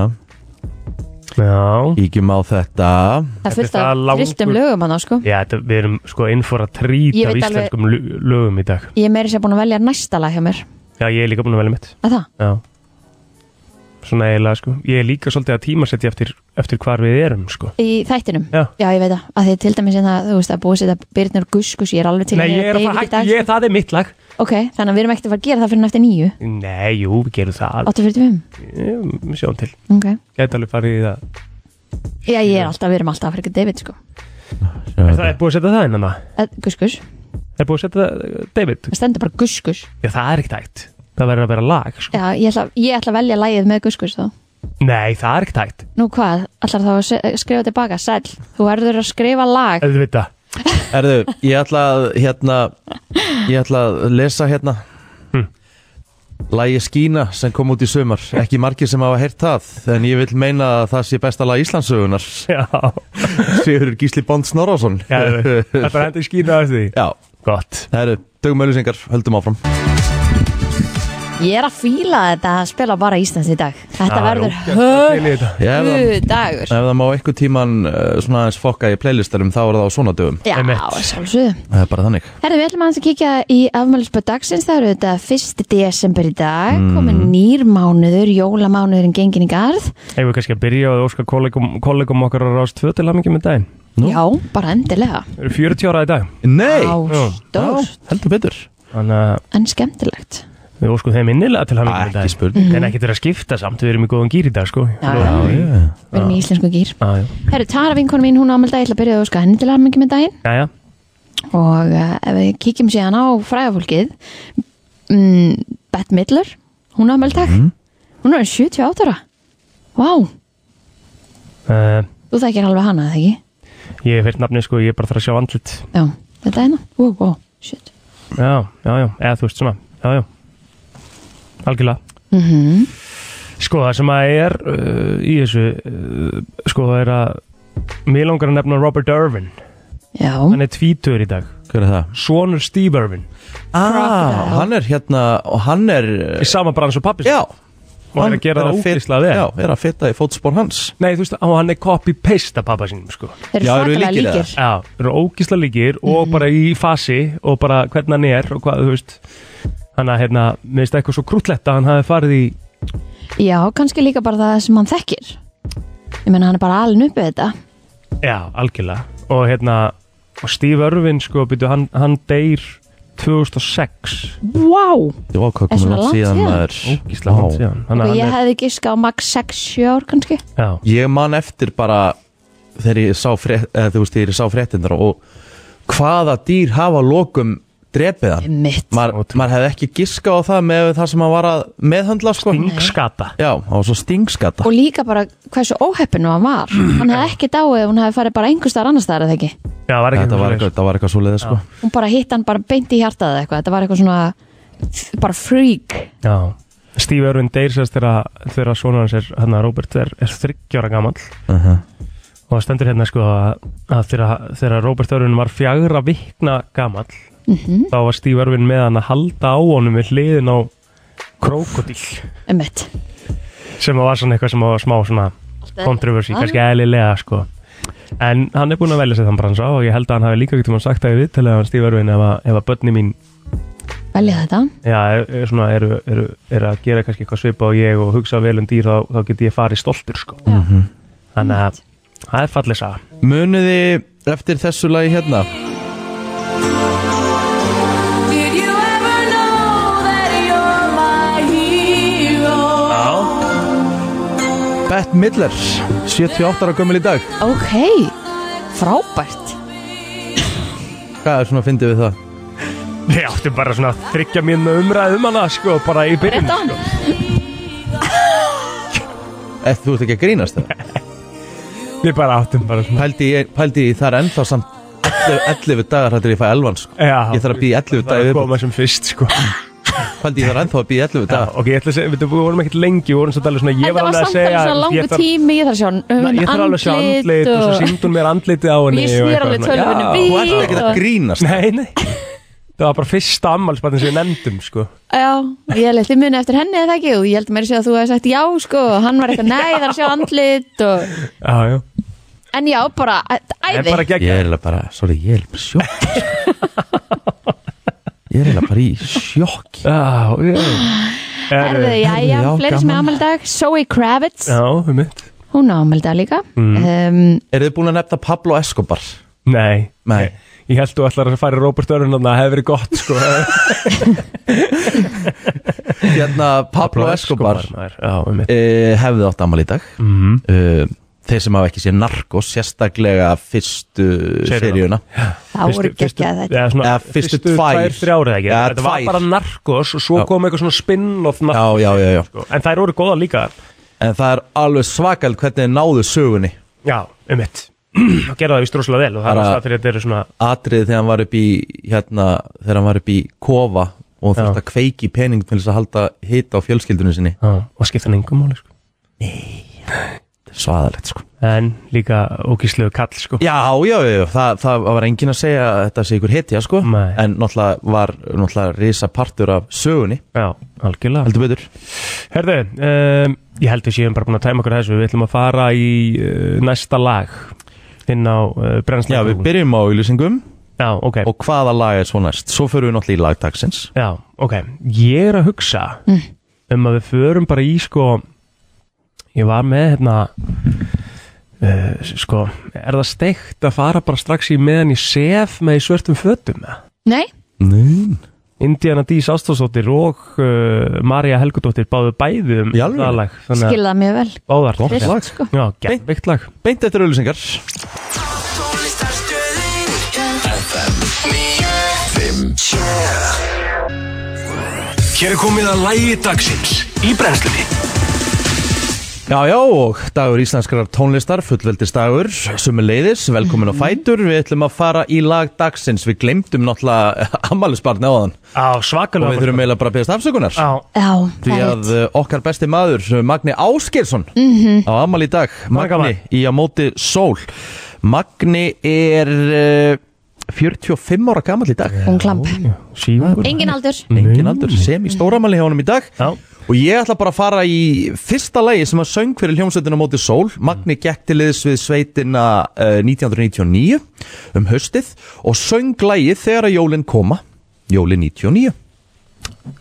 S4: Já,
S2: Ígjum á þetta
S3: Það er fullt
S4: Þetta er
S3: af
S4: langur-
S3: tristum lögum hann sko
S4: Já þetta, við erum sko inn fór að trýta
S3: Ég
S4: af
S3: veit
S4: íslenskum alveg... lögum í dag
S3: Ég er meiri sér búin að velja næsta lag hjá mér
S4: Já, ég er líka búin að velja mitt
S3: að það,
S4: Já Svona eiginlega sko Ég er líka svolítið að tímasetja eftir, eftir hvar við erum sko
S3: í þættinum
S4: Já.
S3: ég veit það, að því til dæmis en það, þú veist, að búið sér að Birnur Guskus, ég er alveg til
S4: Nei,
S3: að
S4: ég er að
S3: David
S4: fara
S3: í dag, sko.
S4: hægt, ég, það er mitt lag
S3: ok, þannig að við erum ekkert að fara að gera það fyrir eftir nýju,
S4: Nei, jú, við gerum það
S3: 8.45
S4: Við sjáum til
S3: ok,
S4: Gæti alveg farið í það
S3: já ég er alltaf, við erum alltaf að fara ekki David, sko,
S2: Sjá
S4: Það
S2: þetta
S4: er búið að setja það inn hana
S3: að, Guskus
S4: Er búið að setja það, David
S3: það stendur bara Guskus,
S4: Já, það er ekkert hægt Það verður að vera lag sko
S3: já, ég ætla, ég ætla að velja lagið með Guskus þá,
S4: Nei, það er ekkert hægt
S3: nú hvað, allar þá að se- skrifa tilbaka, sæl, þú verður að skrifa lag,
S4: Auðvitað
S2: Herðu, ég ætla að hérna Ég ætla að lesa hérna
S4: Hm.
S2: Lægi Skína sem kom út í sumar Ekki margir sem hafa heyrt það En ég vil meina að það sé besta lag Íslandsögunar
S4: Já,
S2: Sigurður Gísli Bond Snorrásson
S4: já þú veist. Það er bara hendur skýna af því
S2: Já,
S4: Gott
S2: herru, tökum auðlýsingar, höldum áfram
S3: ég er að fíla þetta að spila bara Íslands í dag, þetta
S4: Það er
S3: verður
S4: ógeðslega til í þetta.
S2: Ég hef það
S3: höfu dagur
S2: Ef það má einhvern tíman uh, svona aðeins fokka í playlistanum þá er það á svona dögum
S3: Já,
S4: Einmitt.
S3: sjálfsögðu.
S2: Það er bara þannig
S3: Herðu, við ætlum aðeins að kíkja í afmælisböð dagsins. Það eru þetta 1. desember í dag, mm. komin nýr mánuður, jólamánuðurinn gengin í garð.
S4: Eigum við kannski að byrja að óska kollegum, kollegum okkar að rást tvö til hamingi með daginn
S2: Nú?
S3: Já, bara endilega.
S4: Þau eru 40 ára í dag
S2: Nei,
S3: Á, stórt
S2: Já, heldur betur
S4: Þannig að
S3: en skemmtilegt.
S4: við óskum þeim innilega til hamingi
S2: Ah,
S4: með
S2: ekki
S4: daginn
S2: spurning.
S4: En ekki til að skipta samt, við erum í góðan gýr í dag sko
S3: Já,
S4: Lofum
S3: já.
S4: því.
S3: Við erum í íslensku gýr.
S4: Já, já.
S3: Herru, Tara vinkonu mín, hún ámælda, ég ætla að byrja að óska henni til afmælingi með daginn.
S4: já, já.
S3: Og uh, ef við kíkjum síðan á fræðafólkið, mm, Bette Midler, hún ámælda, mm. hún er orðin 78 ára. Vá,
S4: Uh,
S3: þú þekkir alveg hana, eða ekki?
S4: Ég hef heyrt nafni sko, ég er bara þarf að sjá andlit
S3: Já, þetta er hérna. hennar. Wow, wow, shit.
S4: Já, já, já, eða þú veist svona Já, já, algjörlega
S3: Mhm.
S4: Sko það sem að er uh, í þessu uh, Sko það er að Mér langar að nefna Robert Irvin
S3: Já,
S4: Hann er tvítur í dag
S2: Hver er það?
S4: Svonur Steve Irvin
S2: Ah,
S3: Crocodile.
S2: hann er hérna og hann er uh,
S4: Í sama brans og pappi
S2: Já,
S4: Og hann er að gera það
S2: fit-
S4: útíslega vel
S2: Já, er að fitta í fótspór hans
S4: Nei, þú veist, og hann er copy-paste af pappa sínum sko
S3: þeir eru
S2: Já, eru
S3: svakalega
S2: líkir eða?
S3: líkir. Mhm.
S4: Já, eru ógísla líkir og bara í fasi og bara hvernig hann er og hvað, þú veist Þannig að, hérna, mér finnst eitthvað svo krútlegt að hann hafi farið í
S3: Já, kannski líka bara það sem hann þekkir. Ég meina, hann er bara alin uppið þetta.
S4: Já, algjörlega Og hérna, og Steve Irvin sko, byrju, hann, hann deyr 2006
S3: Vá! Wow.
S2: Já, hvað
S3: Er
S2: komið langt
S3: svona langt
S2: síðan
S3: síðan?
S2: maður
S4: Ógísla hann síðan Þannig að
S3: ég
S4: hann er,
S3: hefði giska á max 6-7 ár kannski.
S4: já,
S2: Ég man eftir bara þegar ég sá, frétt, eða, þú veist, þegar ég sá fréttindar og hvaða dýr hafa lokum drepið hann
S3: Mitt.
S2: Maður maður hefði ekki giska á það með það sem hann var að meðhöndla sko.
S4: Ingskata
S2: Já, það var svo stingskata
S3: Og líka bara hversu óheppinu hann var. Hann hefði ekki dáið, ef hún hefði farið bara einhver staðar annars staðar eða ekki.
S4: Já, var ekki
S2: Þetta var
S4: eitthvað
S2: eitthvað, það var eitthvað svo leiðið sko
S3: Hún bara hitt hann bara beint í hjartað eða eitthvað. Þetta var eitthvað svona, bara freak.
S4: svoleiðis. Já Steve Irvin deyr sérst þegar þegar sonur hans er, hérna, Robert er, er 30 ára gamall
S2: uh -huh.
S4: og það stendur hérna sko að, að þegar, þegar Robert Örvin var fjagra vikna gamall þá var Steve Örvin með hann að halda á honum við hliðin á krokodil
S3: um mitt
S4: sem var svona eitthvað sem var smá svona kontroversi, kannski eðlilega sko en hann er búin að velja sér þann bransa og ég held að hann hafi líka getur mann sagt það í viðtalið að hann Steve Örvin ef að, ef að börni mín
S3: velja þetta
S4: já, er, er svona, eru, eru, eru að gera kannski eitthvað svipa og ég og hugsa vel um dýr þá, þá get ég farið stoltur sko
S2: Mhm.
S4: þannig að það er fallið sá
S2: Muniði eftir þessu lagi hérna
S7: Did you ever know that you're my hero?
S2: Bett Midler, 78 ára gömul í dag
S3: ok, frábært
S2: Hvað er svona að fyndi við það?
S4: Við áttum bara svona að þryggja mér með umræðum hana sko, bara í byrjun
S3: Rétt á hann.
S2: Ef þú ert ekki að grínast það
S4: [LAUGHS] Við bara áttum bara svona
S2: Pældi ég, pældi ég þar ennþá samt 11, 11 dagar hættir ég fæ elvan sko.
S4: Já,
S2: Ég þarf að býja 11
S4: Það er
S2: dagar
S4: að koma sem fyrst sko
S2: Pældi ég þar ennþá að býja 11
S4: Já,
S2: dagar
S4: Ok, ég ætla að segja, við við vorum ekkert lengi Við vorum svolítið alveg svona, ég
S3: en
S4: var
S3: það var
S4: alveg að
S3: samt
S4: segja
S3: alveg svo
S4: ég
S3: langur
S4: þarf-
S3: tími ég þarf að sjá um
S4: Na, Ég þarf alveg að sjá andlit og svo síndi hún mér andlitið á henni
S3: Ég
S4: og
S3: snýr
S4: eitthvað
S3: alveg
S4: svona.
S3: tölvunni
S4: Já.
S3: við.
S2: Þú ert ekki að grínast
S4: Nei, nei Það var bara fyrsta ammálsbarnin sem við nefndum sko
S3: já, ég leti muni eftir henni eða ekki og ég held meira að segja að þú hefði sagt já sko og hann var eitthvað, nei, ég þarf að sjá andlit og...
S4: Já, já
S3: en já, bara, æ-
S4: En
S3: æði
S4: bara
S2: Ég
S4: gegn
S2: er eiginlega bara, sorry, ég er bara sjokk Ég er eiginlega bara í sjokk
S4: Já, já
S3: Erðu, já, já,
S2: já,
S3: fleiri sem er
S2: gaman.
S3: ámæli dag Zoe Kravitz,
S4: Já, um mitt
S3: hún ámæli dag líka
S2: Mm.
S3: um,
S2: Er þið búin að nefna Pablo Escobar?
S4: Nei
S2: Nei.
S4: Ég held þú ætlar að færa Robert Örn og það hefði verið gott sko
S2: [LAUGHS] Hérna, Pablo Escobar
S4: maður. Já, Mhm. um mitt
S2: uh, hefði átt amal í dag mm þeir sem hafa ekki séð narkos sérstaklega fyrstu seríuna
S4: Seríuna.
S3: það voru geggjað þetta
S4: eða svona,
S2: Eða fyrstu tvær.
S4: þrjár eða ekki
S2: Eða
S4: Þetta var
S2: tvær.
S4: bara narkos og svo
S2: Já.
S4: kom eitthvað svona spin-off
S2: já,
S4: narkos
S2: já, já, já.
S4: sko. En þær voru góða líka
S2: en það er alveg svakald hvernig þeir náðu sögunni
S4: Já, um mitt [CLEARS THROAT] Og gerða það vist rosalega vel og það er
S2: Bara-
S4: alltaf fyrir að þetta eru svona
S2: atriðið þegar hann var upp í hérna, þegar hann var upp í kofa og
S4: Já.
S2: þurfti að kveiki pening til þess að halda hita á fjölskyldunni sinni
S4: Já, og skipta hann engum máli sko.
S2: svaðalegt sko
S4: En líka ógíslegu kall sko.
S2: já, já, já, já. Þa, það var engin að segja að þetta sé ykkur hitja sko
S4: Nei.
S2: en náttúrulega var náttúrulega risa partur af sögunni
S4: Já, algjörlega
S2: heldur betur
S4: Herðu, um, ég held við séum bara búin að tæma okkur þessu Við ætlum að fara í uh, næsta lag inn á uh, brennslega
S2: já, við byrjum á auðlýsingum
S4: Já, ok
S2: og hvaða lag er svo næst svo förum við náttúrulega í lagdagsins
S4: Já, ok eh, Ég er að hugsa um að við förum bara í sko Ég var með hérna uh, sko, er það steikt að fara bara strax í meðan ég sef með í svörtum fötum eða?
S3: nei,
S2: Nei.
S4: Indiana Dís Ástofsdóttir og uh, Marja Helgudóttir báðu bæði um
S2: Í alvöru?
S4: það lag þannig að
S3: skilða mjög vel
S4: báðar
S2: Gott lag.
S3: sko.
S4: Já, gegnvikt lag
S2: beint eftir auðlýsingar
S1: Hér er komið að lægi dagsins í brennslunni
S2: já já og dagur íslenskrar tónlistar fullveldisdagur sumuleiðis
S4: Mhm.
S2: velkomin á fætur við ætlum að fara í lagdagsins við glemdum náttúrulega ammælisbarni áðan
S4: Á,
S2: og við
S4: svakalega
S2: þurfum eiginlega bara að beðast afsökunar
S4: Á,
S3: já,
S2: því
S3: það er
S2: að uh, okkar besti maður Magni Áskilsson á ammæli í dag Magni
S4: gaman.
S2: í að móti sól Magni er uh, 45 ára gamall í dag
S3: hún klamp
S4: síðan
S3: engin aldur
S2: engin aldur sem í stóramæli hjá honum í dag
S4: Já,
S2: Og ég ætla bara að fara í fyrsta lagi sem að söng fyrir hljómsveitina móti sól. Magni gekk til liðs við sveitina uh, 1999 um haustið og söng lagi þegar að jólinn koma, jólinn 99.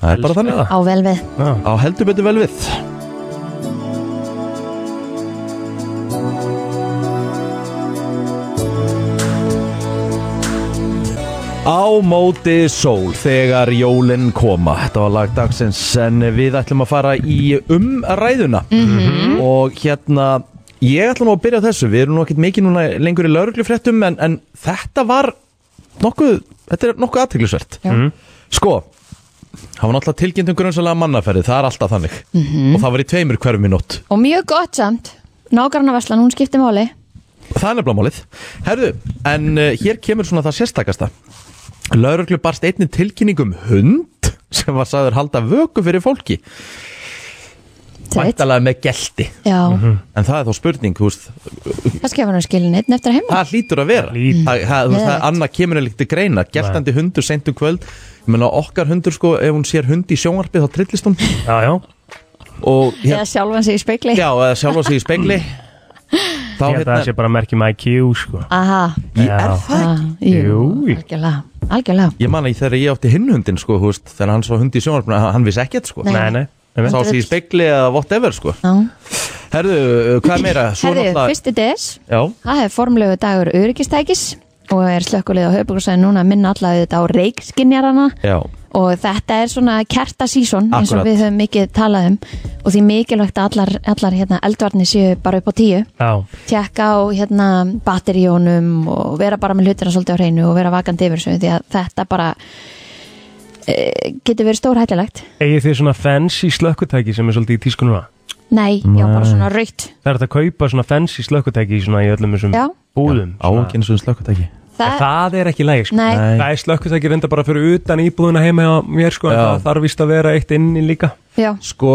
S2: Það er bara þannig.
S3: á vel við
S2: Á heldur betur vel við. Á móti sól þegar jólinn koma Þetta var lag dagsins en við ætlum að fara í umræðuna og hérna ég ætla nú að byrja á þessu við erum nú ekkert mikið núna lengur í lauruglufréttum en, en þetta var nokkuð, þetta er nokkuð aðteglisvert
S3: Já.
S2: Sko það var náttúrulega tilgjöndum grunnsalega mannaferði það er alltaf þannig
S4: Mhm.
S2: og það var í tveimur hverfum í nótt
S3: og mjög gott samt nágrannaveslan, hún skipti máli
S2: Það er nefnilega málið. Herðu, en uh, hér kemur svona það sérstakasta. Lauruglu barst einni tilkynning um hund sem var sagður halda vöku fyrir fólki.
S3: Tveit.
S2: Væntalega með gelti
S3: Já,
S4: Mhm.
S2: En það er þá spurning, þú veist
S3: kannski hefur hann skilin einn eftir heima
S2: Það hlýtur að vera
S4: Hlýtur.
S2: Það, það, þú veist, það
S3: Geðveikt.
S2: annað kemur eða til greina Geltandi hundur seint um kvöld Ég meina okkar hundur sko Ef hún sér hund í sjónvarpi þá trillist hún
S4: já, já,
S2: Og hérna,
S3: Eða sjálfan sig í speikli
S2: Já, eða sjálfa sig í spegli Þá
S4: ég held að
S2: hérna
S4: það sé bara merkjum IQ sko.
S3: Aha,
S2: Ég er
S4: Já.
S2: það ekki
S3: ah, jú,
S4: Jú.
S3: algjörlega Algjörlega
S2: Ég man að þegar ég átti hinn hundin sko, þú veist, Þegar hann svo hundi í sjónvarpinu Hann hann vissi ekkert sko
S3: Nei.
S4: Nei, nei, nei,
S2: Sá
S4: nei.
S2: sig í spegli eða whatever sko
S3: Já.
S2: Herðu, uh, hvað meira? Svo
S3: Herðu,
S2: náttúrulega-
S3: fyrsti des
S2: Já,
S3: Það er formlegu dagur öryggistækis og er slökkulið á höfbúrkursæðin núna að minna allavega þetta á reikskinjarana
S2: já
S3: og þetta er svona kertasíson eins og
S2: Akkurat.
S3: við höfum mikið talað um og því mikilvægt að allar, allar hérna, eldvarnir séu bara upp á tíu
S4: Já,
S3: tjekka á hérna, batteríunum og vera bara með hlutina svolítið á hreinu og vera vakandi yfir þessu því að þetta bara e, getur verið stórhættilegt
S4: eigið þið svona fancy slökkutæki sem er svolítið í tísku núna?
S3: Nei, já, bara svona raut
S4: Það er hægt að kaupa svona fancy slökkutæki í svona í öllum þessum
S3: Já.
S4: búðum
S2: Á
S4: svona.
S2: ekki eins og eins slökkutæki
S4: En það er ekki lægi sko.
S3: Nei. Nei.
S4: Það er slökkutæki reynda bara fyrir utan íbúðuna heima hjá mér sko, en
S2: Já.
S4: það þarf vist að vera eitt inni líka
S3: Já,
S2: Sko,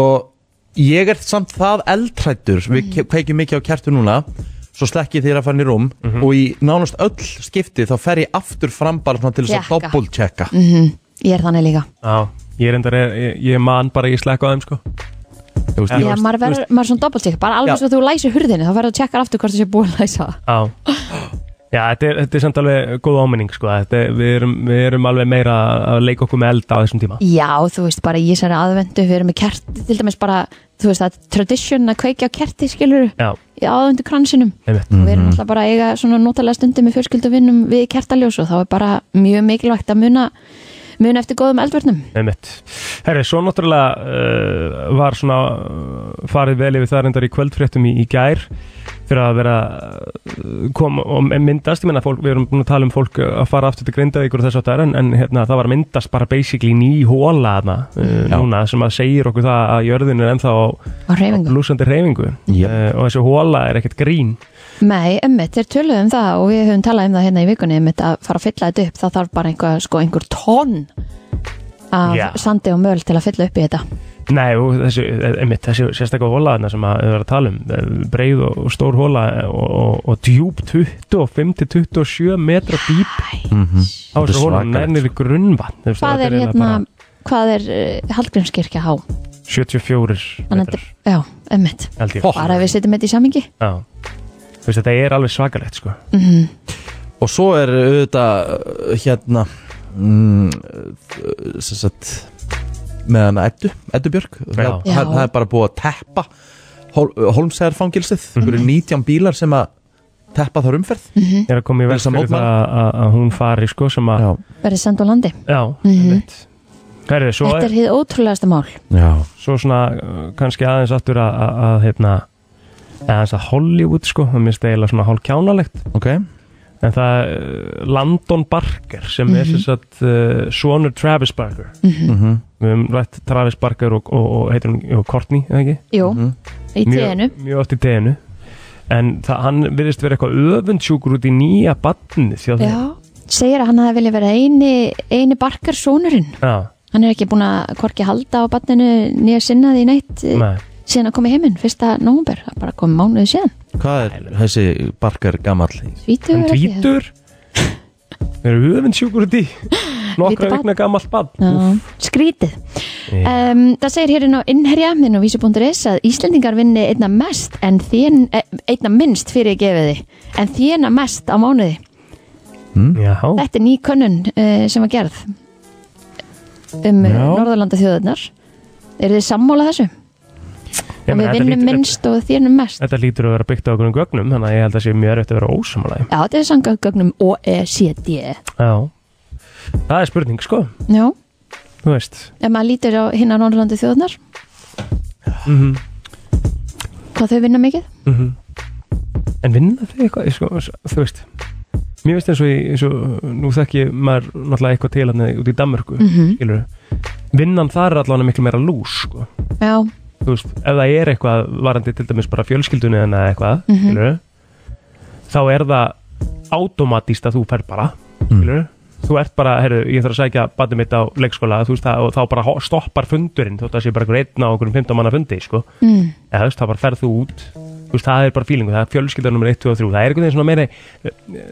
S2: ég er samt það eldrættur Við ke- kveikjum mikið á kertu núna Svo slekki þér að fara í rúm
S4: Mhm.
S2: Og í nánast öll skipti þá fer ég aftur fram bara svona til þess að
S3: Tékka. Mhm.
S2: double checka
S3: ég er þannig líka
S4: Já, ég reyndar, ég, ég man bara ég slekka á þeim sko
S2: Þú veist,
S3: Já,
S2: ég-
S3: maður verður, maður er svona doppeltík, bara alveg
S2: Já.
S3: svo þú læsir hurðinni, þá verður þú tjekkar aftur hvort þú sé búin að læsa það.
S4: Já Já, þetta er, þetta er samt alveg góð áminning sko þetta, er- við, erum, við erum alveg meira að leika okkur með eld á þessum tíma
S3: Já, þú veist, bara í þessari aðvendu, við erum með kert, til dæmis bara, þú veist, það er tradition að kveikja á kerti, skilur,
S4: Já,
S3: í aðvendu kransinum.
S4: einmitt
S3: Við
S2: Mhm.
S3: erum alltaf bara að eiga svona notalega stundum með fjölskyldu og vinnum við kertaljós og þá er bara mjög mikilvægt að muna, muna eftir góðum eldvörnum.
S4: Einmitt. Herri, svo náttúrulega uh, var svona uh, farið vel yfir það reyndar í kvöldfréttum í, í gær fyrir að vera uh, kom og myndast, ég menna fólk, við erum búin að tala um fólk að fara aftur til Grindavíkur og þess að það er en, en hérna, það var að myndast bara basically ný hóla þarna uh,
S2: Já.
S4: núna sem að segir okkur það að jörðin er ennþá á
S3: Á hreyfingu.
S4: blúsandi hreyfingu
S2: Jep.
S4: uh, og þessi hóla er ekkert grín
S3: Nei, emmitt, þeir töluðum það og við höfum talað um það hérna í vikunni, emmitt, að fara að fylla þetta upp, þá þarf bara einhver, sko, einhver tonn af
S4: Já.
S3: sandi og möl til að fylla upp í þetta.
S4: Nei, og þessi, e, einmitt, þessi sérstaklega hólaðina sem að við verðum að tala um, eh, breið og, og stór hóla og, og, og djúb 25-27 metra dýp á
S2: Mhm. Þetta er
S4: þessu hóla
S2: svakalegt, sko.
S4: nærnir við grunnvann. þú veist,
S3: hvað
S4: þetta
S3: er
S4: eiginlega
S3: hérna hvað er uh, Hallgrímskirkja há
S4: 74
S3: þannig að
S4: metrar,
S3: þetta- já, emmitt
S4: held ég.
S3: bara ef við setjum þetta í samingi
S4: Já. Þú veist, þetta er alveg svakalegt, sko.
S3: Mhm.
S2: Og svo er auðvitað uh, hérna mm, uh, sem sagt með hana Eddu, Eddu Björk það,
S3: Já.
S2: það, það er bara búið að teppa Hol, Holmsæðarfangilsið
S4: Mhm.
S2: mm -hmm. 19 bílar sem að teppa þar umferð
S4: Ég er að koma í
S2: Til
S4: verð
S2: þess að
S4: fyrir það
S2: mótmæla.
S4: að- að hún fari, sko, sem að, já,
S3: verið send á landi
S4: einmitt. Herri, svo
S3: Mhm. þetta er hið ótrúlegasta mál
S2: Já,
S4: svo svona uh, kannski aðeins aftur að, að, að hérna, aðeins að Hollywood sko, það minnst eiginlega svona hálfkjánalegt
S2: ok
S4: en það er uh, Landon Barker sem er
S3: Mhm.
S4: sem sagt uh, sonur Travis Barker
S2: Mhm.
S4: við höfum rætt Travis Barker og, og, og heitir hún og Courtney, eða ekki?
S3: jú,
S2: Mhm.
S3: í tíðinu
S4: Mjög, mjög oft í teginu en það, hann virðist verið eitthvað öfundsjúkur út í nýja badnið þjá þeim.
S3: já, segir að hann hafi vilja vera eini eini barkar sonurinn
S4: Já,
S3: hann er ekki búin að korki halda á barninu nýja sinna því neitt eh,
S4: nei,
S3: síðan að koma í heiminn, fyrsta nómber bara komið mánuðu síðan,
S2: Hvað er þessi barkar gamall?
S3: tvítur
S4: en tvítur verið öfundsjúkur út í nokkra
S3: Lítið barn.
S4: vikna gamalt badn
S3: skrítið
S4: Já.
S3: um, það segir hér inn á innherja minn og vísu.is að Íslendingar vinni einna mest en þén, eh, einna minnst fyrir gefiði en þéna mest á mánuði
S4: Já,
S3: þetta er ný könnun uh, sem var gerð um
S4: Já.
S3: Norðurlanda þjóðunar eru þið sammála þessu?
S4: Ég
S3: að
S4: meina,
S3: við
S4: þetta
S3: vinnum
S4: lítur-
S3: minnst og þénum mest
S4: Þetta lítur að vera byggt á okkur um gögnum þannig að ég held að sé mjög erfitt að vera
S3: já,
S4: ósamalæg
S3: þetta er E sangað gögnum OECD já,
S4: Já Það er spurning sko,
S3: ef
S4: þú veist
S3: maður lítur á hinn á Norðurlanda þjóðunar
S4: Mhm.
S3: hvað þau vinna mikið?
S4: Mhm. En vinna þau eitthvað, sko, þú veist Mér veist eins og, ég- eins og nú þekki ég maður náttúrulega eitthvað til hann út í Danmörku mm Vinnan þar er allavega miklu meira lús sko.
S3: já,
S4: Þú veist, ef það er eitthvað varandi til dæmis bara fjölskyldunni en eitthvað mm þá er það automatíst að þú fer bara mm. þú ert bara, heyrðu, ég þarf að sækja badið mitt á leikskóla, þú veist það, og þá bara ho- stoppar fundurinn, þótt að sé bara einhver einn á okkur 15 manna fundi, sko
S3: mm.
S4: eða þú veist, þá bara ferð þú út þú veist, það er bara fílingu, það er fjölskyldan nummer 1, 2 og 3 það er einhvern veginn svona meira eh,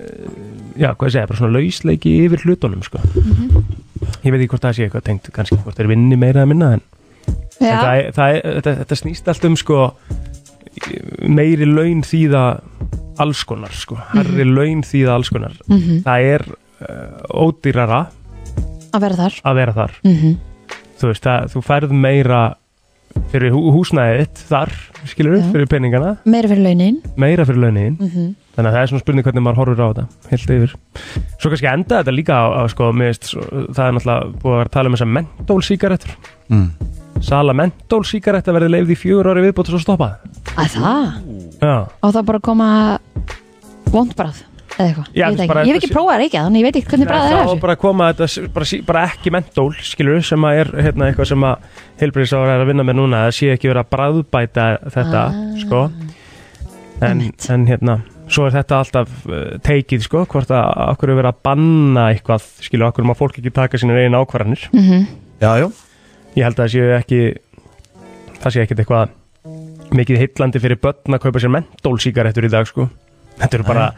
S4: já, hvað ég segja, bara svona lausleiki yfir hlutunum, sko
S3: Mhm.
S4: ég veit ekki hvort það sé eitthvað tengt, kannski hvort þeir vinni meira að minna en
S3: Já,
S4: þetta, er- það, er- þetta, þetta snýst allt um sko meiri laun þýða alls konar sko, herri
S3: Mhm.
S4: laun þýða alls konar það er uh, ódýrara
S3: að vera þar
S4: að vera þar
S3: mm -hmm.
S4: þú veist, það, þú færð meira fyrir hú, húsnæðið þitt þar skilur
S3: Já.
S4: fyrir peningana
S3: Meira fyrir launin
S4: meira fyrir launin
S3: mm -hmm.
S4: þannig að það er svona spurning hvernig maður horfir á þetta heilt yfir svo kannski enda þetta líka á, á sko, mér veist, svo, það er náttúrulega búið að vera að tala um þessar mentólsíkarettur
S2: Mm.
S4: sala mentólsíkaretta verði leifð í fjögur ári viðbútt og svo stoppað
S3: Að það?
S4: já,
S3: Á það bara að koma vondbræð eða eitthvað,
S4: Já,
S3: ég veit
S4: þú veist
S3: ekki,
S4: bara-
S3: ég hef ekki prófað að reykja þannig ég veit ekki hvernig bræðið
S4: Nei,
S3: er
S4: þá
S3: þessu
S4: bara koma þetta s- bara, sí- bara ekki mentól skilur sem að er hérna, eitthvað sem að heilbriðsára er að vinna með núna það sé ekki verið að bræðbæta þetta
S3: Ah.
S4: sko en,
S3: Einmitt.
S4: en hérna svo er þetta alltaf uh, teikið sko hvort að okkur er verið að banna eitthvað skilur okkur má fólk ekki taka sínir einu ákvarðanir
S3: mm -hmm.
S2: Já, já
S4: ég held að það séu ekki það séu ekkit eitthvað mikið heitlandi fyrir börn að kaupa sér mentólsíkarettur í dag sko þetta eru bara,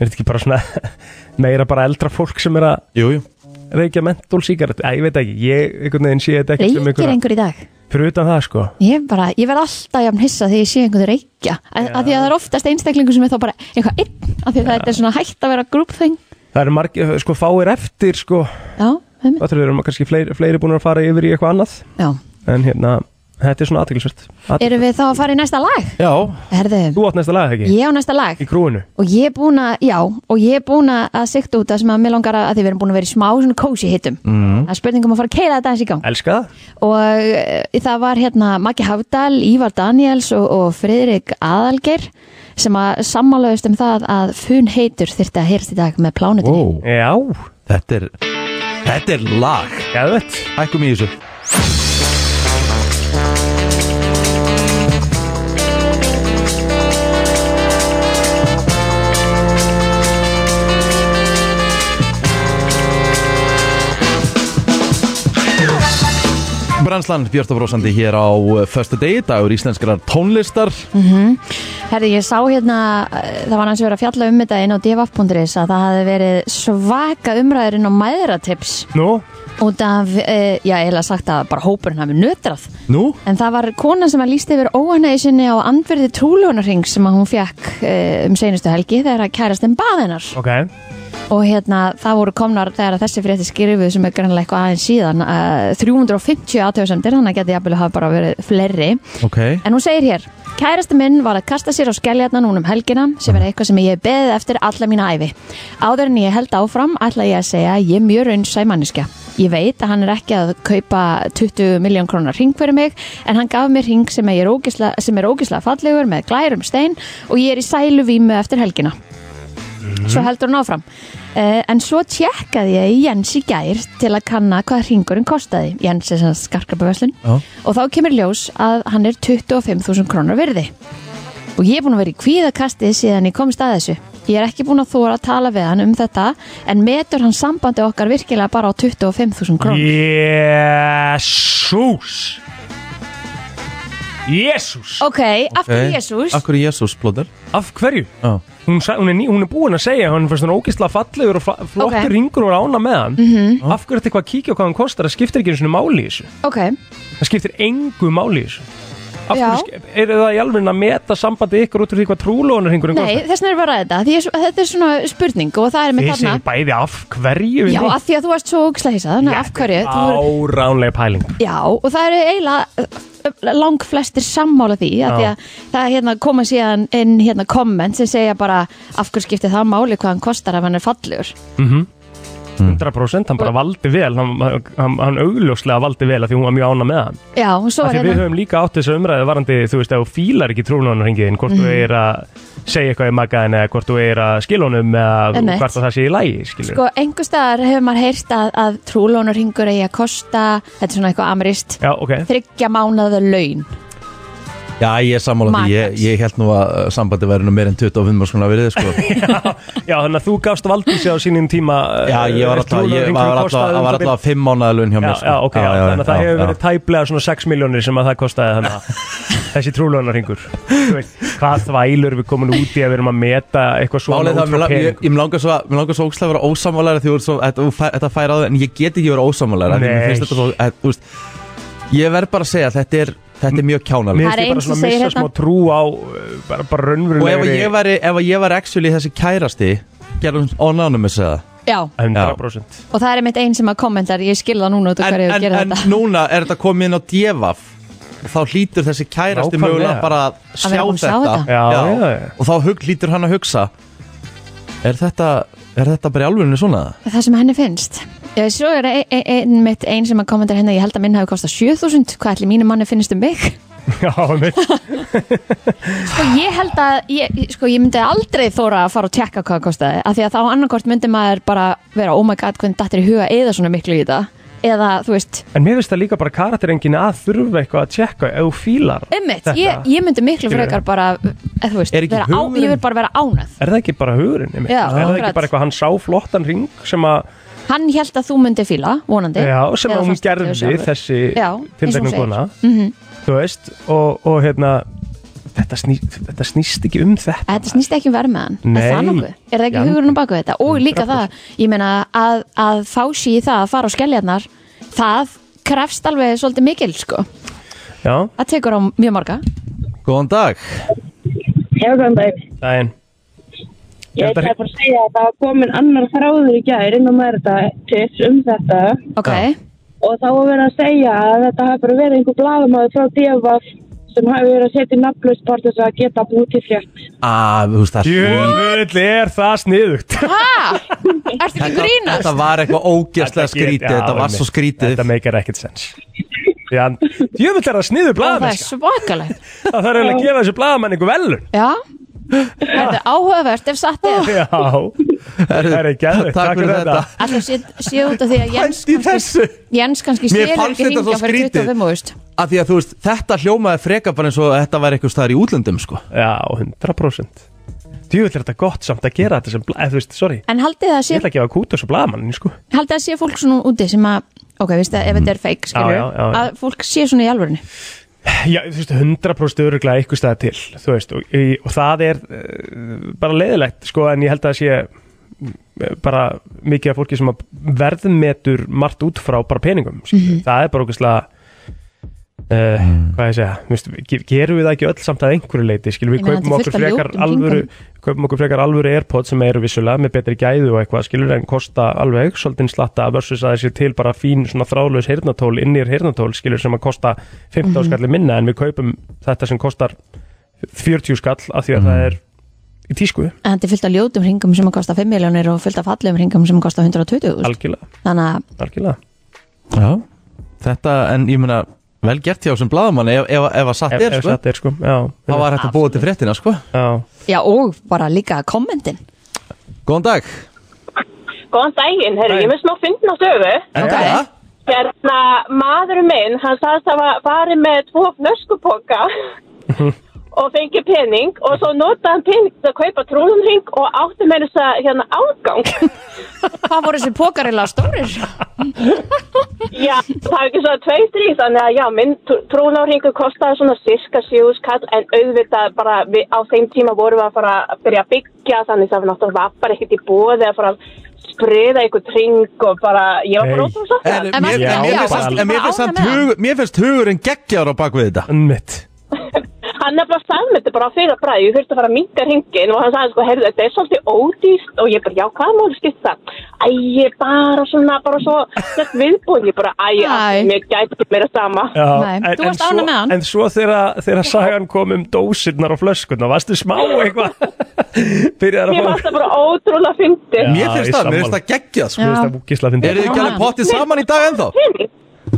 S4: er þetta ekki bara svona [LAUGHS] meira bara eldra fólk sem er að
S2: Jú, jú
S4: reykja mentólsíkarettu, ég veit ekki, ég einhvern veginn sé þetta ekki sem
S3: reykir
S4: einhverja,
S3: einhver í dag
S4: fyrir utan það sko
S3: ég, bara, ég verð alltaf jafn hissa þegar ég sé einhvern reykja að, að því að það er oftast einstaklingu sem er þá bara eitthvað einn, að því að þetta er svona hægt að vera group thing
S4: það eru margir, sko fáir eftir sko,
S3: já, um,
S4: það eru kannski fleiri, fleiri búin að fara yfir í eitthvað annað,
S3: já.
S4: en hérna þetta er svona aðtilsvert,
S3: erum við þá að fara í næsta lag?
S2: Já,
S3: Herðu,
S4: þú átt næsta lag ekki,
S3: ég á næsta lag
S4: í krúinu
S3: og ég er búin að, já, og ég er búin að að sikta út það sem að mér langar að að því við erum búin að vera í smá svona cozy hittum mm.
S4: Mhm.
S3: að spurningum að fara að keira þetta eins í gang
S4: elska það,
S3: og e, það var hérna Maggi Hafdal, Ívar Daniels og, og Friðrik Aðalger sem að sammálaðist um það að fun heitur þyrfti að heyrast í dag með plánutinni
S2: wow
S4: já,
S2: Þetta er, þetta er lag
S4: gæðvett
S2: Hækkum í þessu Branslan Björn Brósandi hér á Fösta degi, dagur íslenskrar tónlistar
S3: Mhm. Herði, ég sá hérna, eh, það var hans verið að fjalla um þetta inn á divaf.is að það hafði verið svaka umræðurinn á mæðratips
S4: nú,
S3: út af, e, já, eiginlega sagt að bara hópurinn hafi nötrað
S2: Nú?
S3: En það var kona sem að líst yfir óanæði sinni á andverði trúljónarring sem að hún fjakk uh, um seinustu helgi þegar að kærast um baðinar.
S4: ok,
S3: Og hérna, það voru komnar þegar að þessi frétti skrifuð sem er grannlega eitthvað aðeins síðan uh, 350 aðtöðsendir, þannig að geti jafnvel hafa bara verið fleiri.
S2: Ok
S3: [LAUGHS] En hún segir hér, kærasti minn var að kasta sér á skelljarna núna um helgina sem er eitthvað sem ég hef beðið eftir alla mína æfi. Áður en ég held áfram ætla ég að segja að ég er mjög raunnsæ manniska. Ég veit að hann er ekki að kaupa 20 miljón krónar ring fyrir mig en hann gaf mér ring sem er ógislega, sem er ógislega fallegur með glærum stein og ég er í sælu vímu eftir helgina svo heldur hún áfram uh, en svo tjekkaði ég í Jens í gær til að kanna hvað ringurinn kostaði Jens er sem skarkabaverslun
S2: Já.
S3: og þá kemur ljós að hann er 25.000 krónur virði og ég er búin að vera í kvíðakasti síðan ég komst að þessu ég er ekki búin að þóra að tala við hann um þetta en metur hann sambandi okkar virkilega bara á 25.000 krónur
S4: jésús jésús
S3: ok, af hverju Jésús
S2: Eh, Akkur Jésús, blóður
S4: af hverju?
S2: Já
S4: hún, sa- hún, er ný, hún er búin að segja hann fannst hann ógeðslega fallegur og fa- flottur
S3: Ok. Mhm.
S4: ringur og rána með hann mm -hmm. af hverju er þetta eitthvað að kíkja á hvað hann kostar það skiptir ekki einu sinni máli í þessu
S3: ok,
S4: það skiptir engu máli í þessu af
S3: Já.
S4: hverju skip- eru það í alveg að meta sambandi ykkur út úr því hvað trúlónar ringurinn
S3: nei,
S4: kostar
S3: þess vegna er bara þetta því ég, er svo- þetta er svona spurning og það er með
S4: ég
S3: þarna
S4: segi bæði af hverju
S3: já, af því að þú varst svo ógislega hissað þannig að af hverju, þú voru-
S4: áránlega pæling
S3: Já, og það eru eiginlega lang flestir sammála því að því
S4: Já.
S3: að það hérna, koma síðan inn hérna, komment sem segja bara af hverju skiptir það máli hvað hann kostar ef hann er fallur
S4: 100% hann bara valdi vel hann, hann, hann augljóslega valdi vel af því hún var mjög ána með hann
S3: Já, og svo
S4: Af
S3: var
S4: því við
S3: hérna
S4: höfum líka átt þessu umræðu varandi, þú veist, ef þú fílar ekki trúlunarringiðin, hvort
S3: Mhm.
S4: þú er að segja eitthvað í magaðin eða hvort þú er að skilunum eða
S3: Einmitt.
S4: hvort að það sé í lægi, skilur.
S3: Sko, einhver staðar hefur maður heyrt að, að trúlónur hingur eigi að kosta, þetta er svona eitthvað amirist,
S4: Já, ok.
S3: þryggja mánaða laun.
S2: Já, ég er sammála því, ég,
S3: Magnað.
S2: ég held nú að uh, sambandi væri nú meir en 25 marskona verið sko.
S4: Já, þannig að [LAUGHS] þú gafst Valdísi á sínum tíma eh,
S2: Já, ég var alltaf,
S4: trúnaðarhring
S2: ég
S4: sem
S2: var alltaf, það
S4: kostaði um
S2: var
S4: það bil-
S2: alltaf 5 mánuða laun hjá
S4: Já,
S2: mér sko.
S4: já, ok, já, þannig að það hefur verið
S2: já.
S4: tæplega svona 6 miljónir sem að það kostaði
S2: [LAUGHS]
S4: þannig að þessi trúlunarringur Hvað þvælur við komin út í að við erum að meta eitthvað svona
S2: Málið það,
S4: út
S2: mér
S4: frá
S2: lang- ég,
S4: peningum
S2: ég langar svo, mér langar svo ókslega að vera ósamálæri því þú ert svo, þetta, þú fæ- þetta fær á þig, en ég get ekki verið ósamálæri því mér
S4: Nei.
S2: finnst þetta svo, að, þú veist, ég verð bara að segja að þetta er, þetta er mjög kjánalegt
S3: Það
S4: Mér
S3: er
S4: finnst ég
S3: einn
S4: bara svona
S3: sem segir
S4: missa
S3: hérna.
S4: smá trú á eh, bara, bara
S2: Og ef
S4: raunverulegri
S2: ég væri, ef ég væri actually þessi kærasti, gerðum anonymous eða
S3: Já, og
S4: 100%
S3: það er mitt einn sem að kommentar Ég skil það núna út og
S2: en,
S3: hverju
S2: en,
S3: að gera
S2: en
S3: þetta
S2: núna er þetta komið inn á divaf þá hlýtur þessi kærasti
S4: Nákvæmlega.
S2: mögulega bara að sjá
S3: vera búin að sjá
S2: þetta,
S3: þetta.
S4: Já, já, já.
S2: og þá hug, hlýtur hann að hugsa er þetta, er þetta bara í alvörinu svona
S3: Það sem henni finnst Ég svo er ein, ein, ein, mitt einn sem að kommentar hérna Ég held að minn hafi kostað 7000 Hvað ætli mínu manni finnst um mig?
S4: já, einmitt.
S3: [LAUGHS] Sko ég held að ég, sko, ég myndi aldrei þóra að fara og tjekka hvað það kostaði af því að þá annarkort myndi maður bara vera oh my god hvernig dattir í huga eða svona miklu í þetta eða þú veist,
S4: En mér finnst það líka bara karakterengin að þurfa eitthvað að tjekka ef þú fílar [LAUGHS]
S3: ummitt
S4: þetta.
S3: um ég, ég myndi miklu
S4: Skilurðu?
S3: frekar bara eða, þú veist,
S2: Er ekki
S3: vera á,
S2: hugurinn-
S3: ég vil bara vera ánað
S4: Er það ekki bara hugurinn? einmitt?
S3: Já,
S4: er það ekki
S3: akkurat.
S4: bara eitthvað hann sá flottan ring sem að
S3: hann held að þú myndi fíla, vonandi
S4: Já, sem
S3: Eða
S4: að hún
S3: fannst þetta
S4: gerði
S3: sjálfur.
S4: þessi
S3: Já, eins og hún
S4: tilteknum
S3: segir. Mhm.
S4: kona Þú veist, og, og hérna þetta, sný, þetta snýst ekki um þetta
S3: Þetta snýst ekki um vermaðan, er það
S4: Nei.
S3: nokkuð? Er það ekki
S4: Já.
S3: hugurinn á baku þetta? Og líka það, ég meina að, að fá sér í það að fara á skelljarnar það krefst alveg svolítið mikil sko,
S4: Já,
S3: það tekur á mjög marga
S2: góðan dag
S8: Hefðan dag,
S4: daginn
S8: ég
S4: Þetta-
S8: ætla bara að segja að það var komin annar þráður í gær inn á mærta til um þetta
S3: ok,
S8: og þá var verið að segja að þetta hafi bara verið einhver blaðamaður frá DFF sem hafi verið að setja nafnlaust bara til þess að geta búið til frétt.
S2: að, Ah, þú veist það
S4: Jöfull er það
S8: [LAUGHS]
S4: sniðugt
S3: ertu ekki að
S2: þetta,
S3: grínast?
S2: þetta var eitthvað ógeðslega skrítið þetta var svo skrítið
S4: Þetta meikar ekkert sens Jöfull er það sniður
S3: Og það er
S4: blaðamenn sko.
S3: svakalegt
S4: Það þarf eiginlega að gefa þessu blaðamenn einhver velun [LAUGHS]
S3: Já Það er áhugavert ef satt er
S4: Já, það er ekki aðeins
S2: takk fyrir þetta
S3: Alltaf sé, sé út af því að Jens
S2: Pældu í þessu.
S3: Jens kannski
S2: Mér
S3: sér
S2: fannst
S3: ekki
S2: þetta svo
S3: hringja fyrir
S2: skrítið.
S3: 25 úrst
S2: af því að þú veist, þetta hljómaði freka bara eins og þetta væri eitthvað staðar í útlöndum sko.
S4: Já, 100% Jöfull er þetta gott samt að gera þetta sem blaðamenn Þú veist, sorry,
S3: En haldið það
S4: ég
S3: sé,
S4: ætla að gefa kút þessu blaðamenn sko.
S3: haldið það sé fólk svona úti sem að Ok, veistu að ef þetta er fake, skilur
S4: Já, já, já, já.
S3: Að fólk sé svona í alvörinu
S4: Já, þú veist, 100% öruglega eitthvað stæða til, þú veist, og, í- og það er uh, bara leiðilegt, sko, en ég held að það sé eh, bara mikið af fólki sem að verðmetur margt út frá bara peningum, mm
S3: Mhm.
S4: það er bara okkurslega, uh, hvað ég segja, þú veist, ge- gerum við það ekki öll samt að einhverju leiti, skilum
S3: Ég
S4: við
S3: meina,
S4: kaupum
S3: þetta er fullt af
S4: okkur frekar
S3: ljótum
S4: alvöru,
S3: hringum.
S4: kaupum okkur frekar alvöru airpods sem eru vissulega með betri gæðu og eitthvað, skilur en kosta alveg svolítið slatta versus að þessi til bara fín svona þrálaus heyrnatól, innir heyrnatól, skilur sem að kosta 15 skalli minna en við kaupum þetta sem kostar 40 skall af því að það er í tísku,
S3: En þetta er fullt af ljótum hringum sem að kosta 5 miljónir og fullt af fallegum hringum sem að kosta 120 úrst
S4: algjörlega,
S3: Þannig að
S4: algjörlega.
S2: já, þetta, en ég meina vel gert hjá sem blaðamann ef, ef, ef að satt
S4: Ef-
S2: er
S4: ef
S2: sko.
S4: satt er sko, já,
S2: þá var hægt að búa til fréttina sko.
S4: já.
S3: Já, og bara líka kommentin
S2: góðan dag
S8: Góðan daginn, herru, ég er með smá fyndin á sögu.
S2: En
S3: Ok.
S2: það?
S8: Hérna, maðurinn minn, hann sagðist að hafa farið með tvo flöskupoka og fengið pening og svo notaði hann pening til að kaupa trúlumring og átti með þess að hérna afgang.
S3: Hvað voru þessi pókarilega stórir?
S8: Já, það er ekki svona tveir, þrý, þannig að já, minn trúláringur kostaði svona sirka sjús kall en auðvitað bara við, á þeim tíma vorum við að fara að byrja að byggja þannig það var náttúrulega var bara ekkert í bóði að fara að spriða einhvern tring og bara, ég var bara
S4: Nei.
S8: ótrúlega sátt
S2: En
S3: En
S2: mér-
S3: varstu-
S2: en mér
S4: já,
S2: finnst samt-
S4: varstu
S2: en mér
S3: bara
S2: finnst
S3: ánægð
S2: samt
S3: með hann?
S2: hugur- mér finnst hugurinn geggjar á bakvið þetta
S4: Mitt.
S8: hann er bara staðmyndi bara á fyrir bræði, ég þurfti að fara að minga ringin og hann sagði sko, heyrðu, þetta er svolítið ódýst og ég bara, já, hvað mál skipt það? Æ, ég er bara svona, bara svo snögg viðbúin, ég bara, æ,
S3: Æ.
S8: æ, mér gæti ekki meira sama.
S4: Já,
S3: Nei, þú varst
S4: svo-
S3: ánægð með hann.
S4: En svo þegar, þegar sagan kom um dósirnar og flöskunna, varstu smá eitthvað Byrjaði að
S8: Mér fannst það bara ótrúlega fyndið.
S2: mér
S4: Já,
S2: finnst
S4: ég
S2: það, mér
S4: sammála.
S2: finnst það geggjað sko.
S4: Mér finnst það búkislega að finna
S2: eru þið ekki alveg pottið saman í dag ennþá?
S8: pening.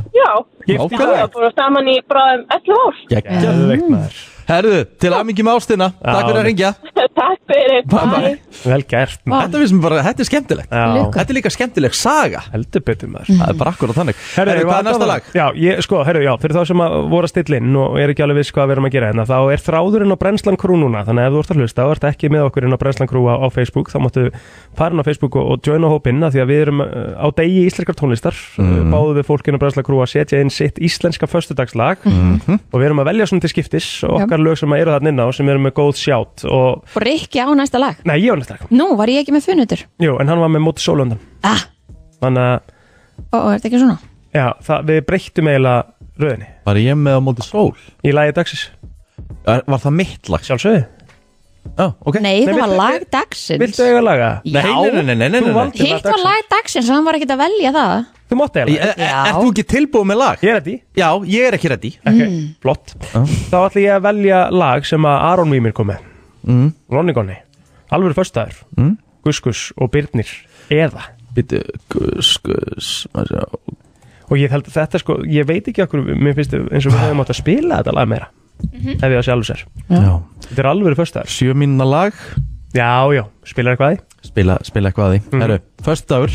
S8: Já,
S2: Nákvæmlega.
S8: það var bara saman í bráðum 11 ár.
S2: geggjað
S3: Mm.
S4: Geðveik maður
S2: Herðu, til aðmingi með ástina Takk fyrir að ringja
S8: [LAUGHS] Takk fyrir
S2: Bye, bye.
S4: Vel gert maður.
S2: Þetta finnst mér bara, þetta er skemmtilegt
S4: Já,
S3: Lukku.
S2: Þetta er líka skemmtileg saga
S4: heldur betur maður
S2: Það er bara akkurat þannig
S4: Herru,
S2: Herðu, hvað
S4: var
S2: er næsta
S4: það-
S2: lag?
S4: Já, ég, sko, herru, já, fyrir þá sem að voru að stilla inn og er ekki alveg viss hvað við erum að gera hérna þá er þráðurinn á Brennslan Crew núna þannig að ef þú ert að hlusta og ert ekki með okkur inn á Brennslan Crew á, á Facebook þá máttu farin á Facebook og, og joina hópinn af því að við erum uh, á degi íslenskar tónlistar
S2: Mhm.
S4: mm. báðu við fólkinu á Brennslan Crew að setja inn sitt íslenska föstudagslag
S2: Mhm.
S4: og við erum að velja svona til skiptis og okkar lög sem eru þarna inn á sem eru með góð sjátt og
S3: Og Rikki á næsta lag
S4: Nei, ég var næsta lag.
S3: Nú, var ég ekki með funutur?
S4: Jú, en hann var með móti sólundan.
S3: Ah,
S4: Þannig að,
S3: ó, ó, er þetta ekki svona?
S4: já, það, við breyttum eiginlega röðinni
S2: Var ég með á móti sól?
S4: í lagi dagsins.
S2: Er- Var það mitt lag?
S4: Sjálfsögðu.
S2: Já, ok
S3: Nei, það
S4: Nei,
S3: var
S4: viltu-
S3: lag dagsins
S4: Viltu eiga laga?
S3: Já.
S2: nei, nei, nei, nei, nei,
S4: Þú
S2: nei.
S4: valdir
S3: Hitt var
S4: dagsins.
S3: lag dagsins, hann var ekkert að velja það
S4: Þú mátt eiga
S2: Ég-
S4: laga
S2: er- er- Ert þú ekki tilbúið með lag?
S4: Ég er þetta í
S2: Já, ég er ekki ready
S4: okay.
S3: Mm.
S4: Flott Þá ætla ég að velja lag sem að Aron Mímir kom með mm. Ronny Gonni Alvöru föstaður mm. Gus Gus og Byrnir Eða
S2: Bittu, gus, gus að sjá.
S4: Og ég held að þetta sko Ég veit ekki okkur Mér finnst eins og við hefum átt að spila þetta lag meira
S3: Mhm.
S4: Ef ég að sé alveg sér
S2: Já,
S4: Þetta er alvöru föstaður
S2: sjö mínuna lag
S4: Já, já Spilar eitthvað að því
S2: Spila, spila eitthvað að því mm. Herru, först dagur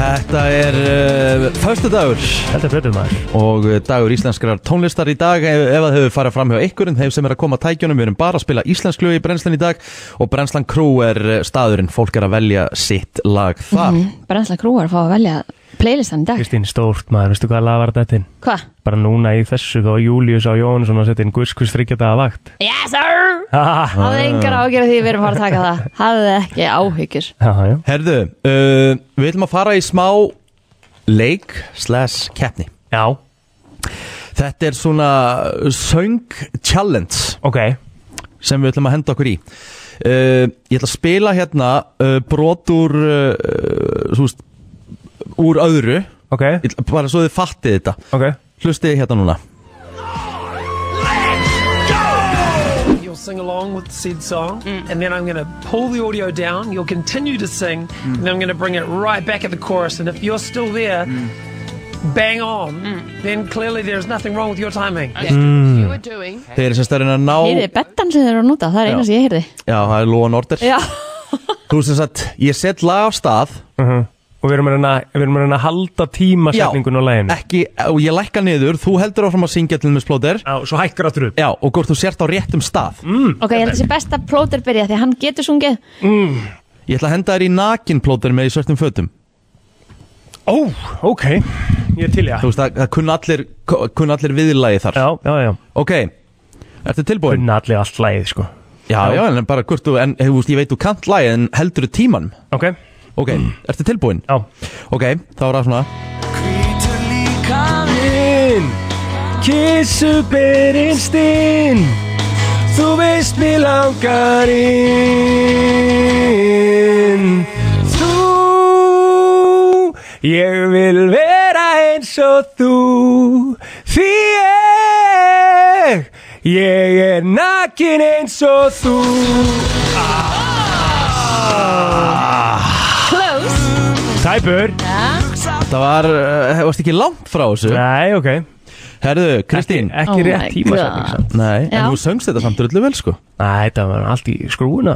S2: Þetta er uh, förstu dagur
S4: Þetta er breytið maður
S2: og uh, dagur íslenskrar tónlistar í dag ef, ef það hefur farið fram hjá einhverjum þeim sem er að koma að tækjunum, við erum bara að spila íslensk lög í brennslan í dag og brennslan crew er uh, staðurinn, fólk er að velja sitt lag þar
S3: Brennsla Mhm, Krúar fá að velja playlistan í dag
S4: Kristín Stórt maður Veistu hvað lag var þetta þinn?
S3: Hva?
S4: Bara núna í þessu Þá Július á Jónsson að setja inn Gus Gus þryggjadaða vakt
S3: Yes sir!
S4: Ha, ha,
S3: Hafði engar ágjörð því við erum að fara að taka það Hafði ekki áhyggjur
S4: ha, já.
S2: Herðu, uh, við viljum að fara í smá leik slash keppni
S4: já,
S2: Þetta er svona söng challenge
S4: ok
S2: sem við ætlum að henda okkur í uh, Ég ætla að spila hérna uh, brot úr uh, uh, svo veist, úr öðru Ég
S4: Ok,
S2: ætla, bara svo þið fattið þetta
S4: ok
S2: Hlustið hérna núna
S9: You'll sing along with said song, and then I'm going to pull the audio down. You'll continue to sing, and then I'm going to bring it right back at the chorus. And if you're still there, bang on, then clearly there's nothing wrong with your timing.
S4: Mm.
S2: Þeir eru sem stærinn að ná
S3: Heyrði, bettan sem þeir eru að nota, það er eina sem ég heyrði
S2: Já, það er Lóan Order
S3: Já,
S2: Þú sem sagt, ég set lag af stað
S4: Uh-huh. Og við erum að reyna, við erum að, reyna að halda tímasetningun á læginu
S2: ekki, og ég lækka niður Þú heldur áfram að syngja til með splóter
S4: Já, svo hækkar aftur upp Mm.
S2: Já, og hvort þú sért á réttum stað
S4: Hmm.
S3: ok, ég held þessi best að plóter byrja því að hann getur sungið
S4: Hmm.
S2: Ég ætla að henda þér í nakin plóter með í svörtum fötum
S4: Ó, ok, ég er til í það
S2: Þú veist, það, það kunna allir, kunna allir viðlagi þar
S4: Já, já, já,
S2: Ok, ertu tilbúin?
S4: unna allir allt lægið sko
S2: já, já, en bara hvort þú, en þú veist, ég veit þú kant lagi en heldur þú tíman
S4: Ok,
S2: Ok, ertu tilbúin?
S4: já
S2: Ok, þá er það svona
S4: Karin, kissu berinn stinn Þú veist mér langar inn Þú, ég vil vera eins og þú Því ég, ég er nakin eins og þú
S2: Ah.
S3: Close
S4: Tæpur
S2: Það var, uh, varst ekki langt frá þessu
S4: Nei, ok
S2: Herðu, Kristín
S4: Ekki, ekki
S3: Oh my
S4: rétt tímasetning
S3: God.
S4: samt.
S2: Nei,
S3: Já.
S2: en þú söngst þetta samt öllu vel, sko
S4: Nei, þetta var allt í skrúuna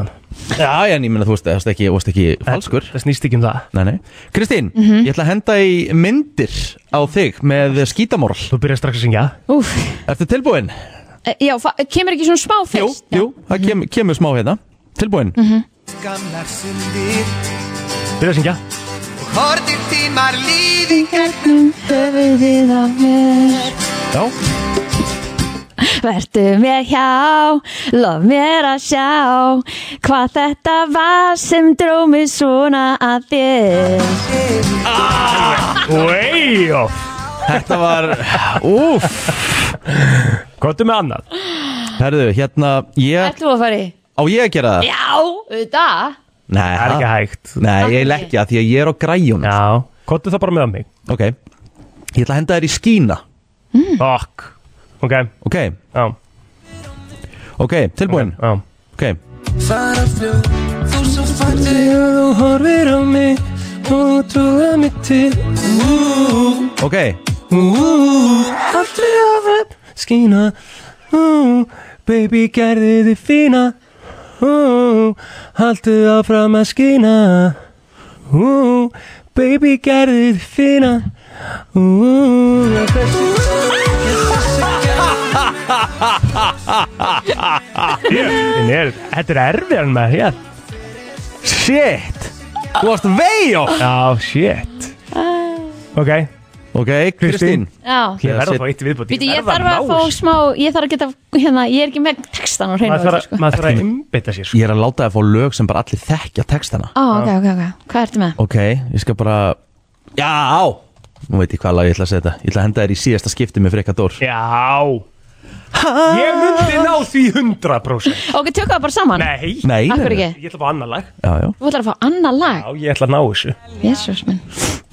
S2: Já, en ég meina, þú veist, það varst ekki, varst ekki falskur
S4: Það snýst ekki um það
S2: Nei, nei Kristín,
S3: Mhm.
S2: ég ætla að henda í myndir á þig með skítamorl
S4: Þú byrjar strax að syngja
S3: Úf,
S2: Ertu tilbúin?
S3: e, já, fa- kemur ekki svona smá
S2: Jú,
S3: fyrst?
S2: jú, það kem, kemur smá hérna Tilbúin?
S3: Mhm.
S6: Gamlar sundir
S4: Byrjar að syngja
S6: Hortir tímar líði
S3: Höfuðið á mér
S2: Já
S3: Vertu mér hjá, lof mér að sjá Hvað þetta var sem dró mig svona að þér
S4: Weyjó
S2: Þetta var, úf
S4: Kvotu með annað
S2: Herðu, hérna, ég,
S3: Ert þú að fara í?
S2: á ég að gera það?
S3: Já, auðvitað
S2: Nei,
S4: Það er ekki hægt
S2: Nei, ég er ekki að því að ég er á græjunum
S4: Já Kvotu það bara með mig
S2: Ok, ég ætla að henda þér í skína
S3: Mm.
S4: Fuck Ok Já
S2: Ok, ok, tilbúin
S4: Já
S2: Ok,
S6: Fara flug Þú svo fættu
S4: Þegar þú horfir á mig Þú trúða mig til
S2: Ok,
S4: Aftur að rep skína Ú, Baby gerði þið fína Ú, Haltu áfram að skína Ú, Baby gerði þið fína Ú, Þetta er, þetta er erfiðan með hér
S2: shit Þú varst vei á
S4: Já, shit Ok,
S2: Ok, Kristín
S3: Ah. Já,
S4: ég verða
S2: Shit.
S4: að fá eitt viðbútt
S3: býtu, ég þarf að fá smá Ég þarf að geta, hérna, ég er ekki með textan og hreinu á
S4: Maður þarf
S3: þessu,
S4: að-
S3: sko.
S4: maður þarf að einbytta sér sko.
S2: Ég er að láta þið að fá lög sem bara allir þekkja textana
S3: Ó, Ah, ok, ok, ok, hvað ertu með?
S2: Ok, ég skal bara Já, á Nú veit ég hvað lag ég ætla að setja Ég ætla að henda þér í síðasta skipti með frekka dór
S4: Já Ég myndi ná því 100%
S3: Ok, tökum það bara saman
S4: Nei,
S2: Nei,
S3: Akkur ekki,
S4: Ég ætla að fá annar lag
S2: Já, já
S3: þú ætlar að fá annað
S4: Já,
S3: lag
S4: ég ætla að ná þessu
S3: Jésús minn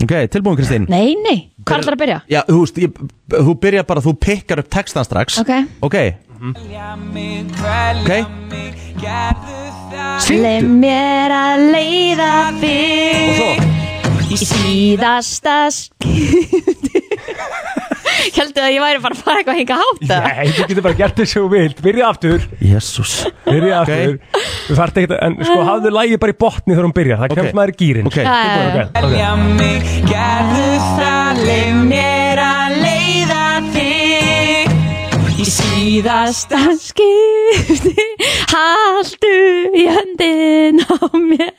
S2: Ok, tilbúin Kristín
S3: Nei, nei, hvað ætlar að byrja?
S2: Já, þú veist, ég- þú byrjar bara, þú pikkar upp textan strax
S3: Ok.
S2: Ok Ok
S3: Leif
S2: Syngdu
S3: mér að
S2: Og
S3: leiða þig
S2: svo
S3: Í síðasta skipti [LAUGHS] Heldur að ég væri bara að fara eitthvað hinga háta
S4: Nei, þú getur bara gert þessu og vilt Byrja aftur,
S2: Jésús
S4: byrja
S2: Ok.
S4: aftur Þú þarft ekki að, en sko hafðu lagið bara í botni þegar hún byrjar Það
S2: Ok.
S4: kemst maður í gýrin
S2: Ok,
S3: Já, já, já.
S4: okay.
S3: Leif mér að leiða þig Í síðasta skipti Haldu í höndin á mér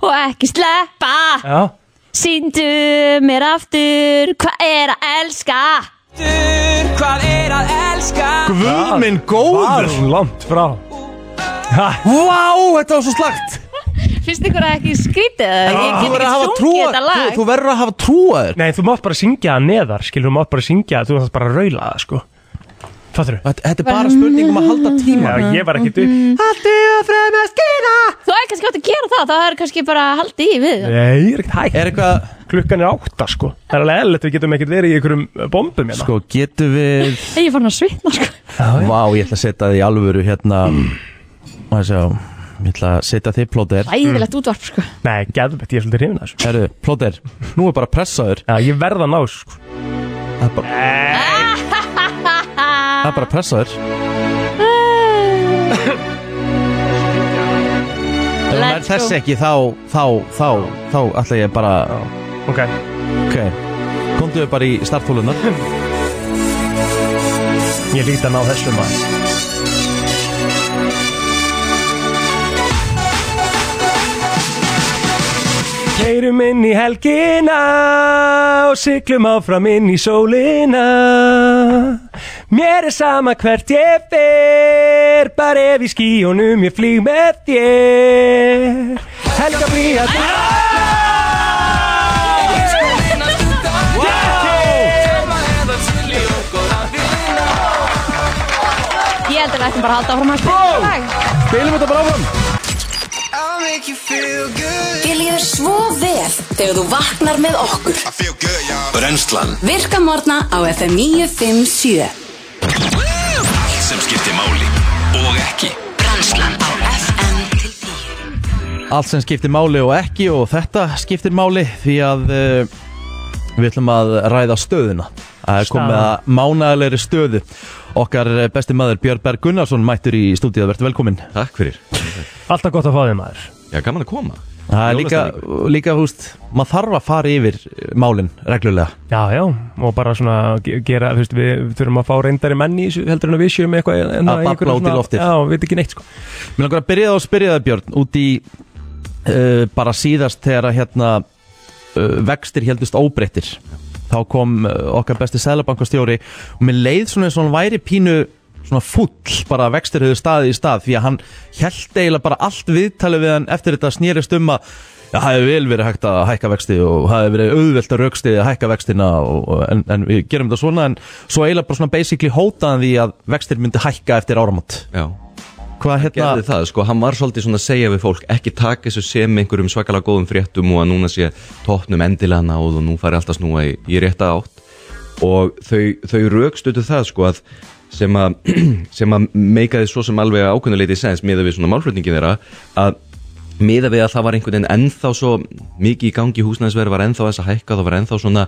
S3: Og ekki sleppa
S4: Já,
S3: Sýndu mér aftur Hvað er að elska?
S2: Guð minn
S4: það
S2: góður
S4: er hún langt frá
S2: Vá, þetta var svo slagt
S3: Finnst ykkur að ekki skrítið? Ég
S2: Þú
S3: get
S2: verður að hafa
S3: ekki
S2: trú
S3: sungið
S2: að-
S3: þetta
S2: þú-
S3: lag
S2: Þú verður að hafa trú að þér
S4: Ah. Nei, þú mátt bara syngja það neðar Skilur, þú mátt bara syngja það, þú þarft bara að raula það, sko Fattur
S2: Þetta þetta er bara spurning um
S3: [LAUGHS]
S2: að halda tíma
S4: Já, ég var ekkit upp Haltu að fremja skýra
S3: Þú er kannski átt að gera það, það er kannski bara að halda í við
S4: Nei, ég er ekkit hægt
S2: Er eitthvað,
S4: Klukkan er átta, sko Það er alveg eðlilegt, við getum ekkert verið í einhverjum bombum hérna
S2: sko, getum við
S3: Ég er farin að svitna sko
S2: Mm. Vá, ég ætla að setja þið í alvöru hérna Maður sjá Ég ætla að setja þið plóter
S3: Æðilegt útvarp sko
S4: Nei, geðvægt, ég er svolítið hrifin að þessu
S2: Herru, plóter, nú er bara pressaður
S4: Já, ég verða að ná þessu, sko
S2: Það er bara, það er bara pressaður Ef hún er
S3: Let's
S2: þess
S3: go.
S2: ekki, þá, þá, þá, þá ætla ég bara
S4: Ok
S2: Ok, komdu bara í starthólunar
S4: Ég líti að ná þessu maður Keirum inn í helgina og syklum áfram inn í sólina Mér er sama hvert ég fer bara ef í skíunum ég flýg með þér Helga blíja
S3: Ég held að við ættum bara að halda áfram að spila þetta lag
S2: Spilum þetta bara áfram
S6: I'll make you feel good
S5: Þér líður svo vel þegar þú vaknar með okkur.
S1: Brennslan
S5: Virka morgna á FM 957.
S1: Allt sem skiptir máli og ekki
S5: Brennslan á FM til 10.
S2: Allt sem skiptir máli og ekki og þetta skiptir máli því að uh, við ætlum að ræða stöðuna að komið að mánagalegri stöðu okkar eh, besti maður Björn Berg Gunnarsson mættur í stúdíu að verður velkominn
S10: Takk fyrir
S4: Alltaf gott að fá þig maður
S10: Já, gaman að koma
S2: það er líka, líka húst, maður þarf að fara yfir eh, málin reglulega
S4: Já, já, og bara svona ge- gera, þú veist, við við þurfum að fá reyndari menn í þessu heldur en að við séum eitthvað en
S2: Að babla
S4: einhverju
S2: út í
S4: svona-
S2: loftið.
S4: Já, við veit ekki neitt sko
S2: Mér langar að byrja á að spyrja það Björn út í uh, bara síðast þegar að hérna uh, vextir heldust óbreyttir þá kom uh, okkar besti sælabankastjóri og mér leið svona eins og hann væri pínu svona full bara að vextir hefur staðið í stað því að hann held eiginlega bara allt viðtalið við hann eftir þetta snýrist um að Já, það hefur vel verið hægt að hækka vexti og það hefur verið auðvelt að rauksti að hækka vextina og, og- en, en við gerum þetta svona en svo eiginlega bara svona basically hótaðan því að vextir myndi hækka eftir áramót.
S10: Já
S2: Hvað hérna...
S10: Gerði það, sko, hann var svolítið svona að segja við fólk ekki taka þessu sem einhverjum svakalega góðum fréttum og að núna sé tóknum endilega náð og nú fari alltaf snúa í, í rétta átt og þau, þau raukstutu það sko að sem að, [CLEARS THROAT] sem að meikaði svo sem alveg ákveðnuleiti sens miða við svona málflutningi þeirra að miða við að það var einhvern veginn ennþá svo mikið í gangi húsnæðisverð var ennþá þess að hækka það var ennþá svona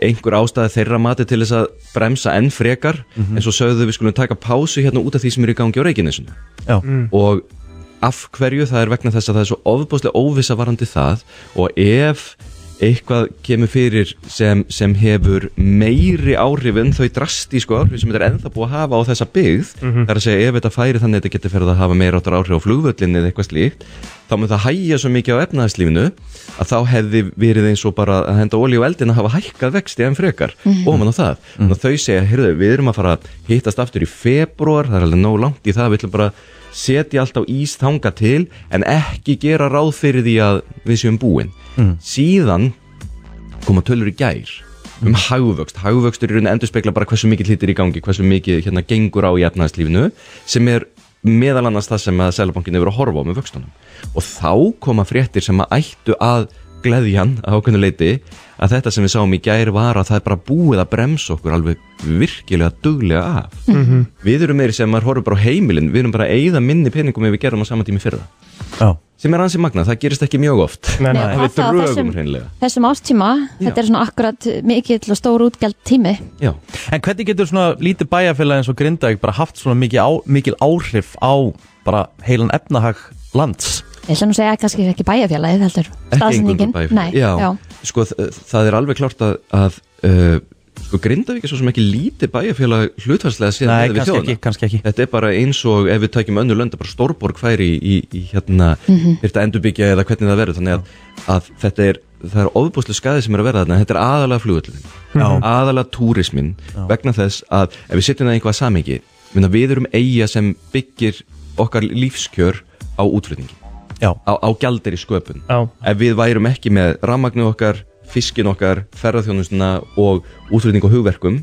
S10: einhver ástæði þeirra mati til þess að bremsa enn frekar en svo sögðu þau við skulum taka pásu hérna út af því sem er í gangi á reikinnesinu
S2: Já.
S10: Mm. og af hverju það er vegna þess að það er svo ofbúslega óvissa varandi það og ef eitthvað kemur fyrir sem, sem hefur meiri áhrif en þau drastísku áhrif sem þetta er ennþá búið að hafa á þessa byggð
S4: Mhm.
S10: þar að segja ef þetta færi þannig að þetta getur ferið að hafa meira áttur áhrif á flugvöllin eða eitthvað slíkt þá mun það hægja svo mikið á efnaðarslífinu að þá hefði verið eins og bara að henda olíu á eldin að hafa hækkað vexti en frekar
S2: Mhm.
S10: ofan á það mm. þau segja, heyrðu, við erum að fara að hittast aftur í februar, það er alveg nóg langt í það við ætlum bara að setja allt á ís þanga til en ekki gera ráð fyrir því að við séum búin
S2: Mm.
S10: síðan koma tölur í gær um hagvöxt, hagvöxtur í rauninni endur spekla bara hversu mikið hlutir í gangi, hversu mikið hérna gengur á í efnaðslífinu sem er meðal annars það sem að Sælabankin hefur að horfa á með vöxtunum og þá koma fréttir sem að ættu að gleðjan á okkurnu leiti að þetta sem við sáum í gær var að það er bara búið að bremsa okkur alveg virkilega duglega af
S7: Mhm.
S10: við erum meiri sem maður horfum bara á heimilin við erum bara að eyða minni peningum ef við gerum á sama tími fyrir
S2: það
S10: sem er ansið magna, það gerist ekki mjög oft
S4: nei,
S3: nei.
S10: við
S3: Hvað þá á
S10: drögum
S3: þessum-
S10: hreinlega
S3: Þessum ástíma, þetta er svona akkurat mikill og stór útgjald tími
S10: Já.
S2: En hvernig getur svona lítið bæjarfélag eins og Grindavík bara haft svona mikil, á, mikil áhrif á bara heilan efnahag lands?
S3: Ég ætla nú að segja kannski ekki bæjarfélagið heldur staðsendingin.
S10: eingöngu
S3: Nei,
S10: bæjarfélagið. já. Sko, þ- það er alveg klart að, að uh, sko, Grindavík er svo sem ekki lítið bæjarfélag hlutvarslega síðan
S2: Nei,
S10: miðað við
S2: kannski
S10: þjóðina.
S2: ekki, kannski ekki.
S10: Þetta er bara eins og ef við tækjum önnur lönd, bara stórborg færi í, í, í hérna,
S2: Mhm.
S10: þyrfti að endurbyggja eða hvernig það verður, þannig að, að þetta er, það er ofbúslega skaði sem er að verða þarna, þetta er aðalega flugullin,
S2: Já.
S10: aðalega túrismin, vegna þess að ef við setjum það í einhvað samingi, við erum eiga sem byggir okkar lífskjör á útflutningi
S2: Já.
S10: á, á gjaldir í sköpun
S4: Já.
S10: ef við værum ekki með rammagnu okkar fiskin okkar, ferðarþjónustuna og útrýning og hugverkum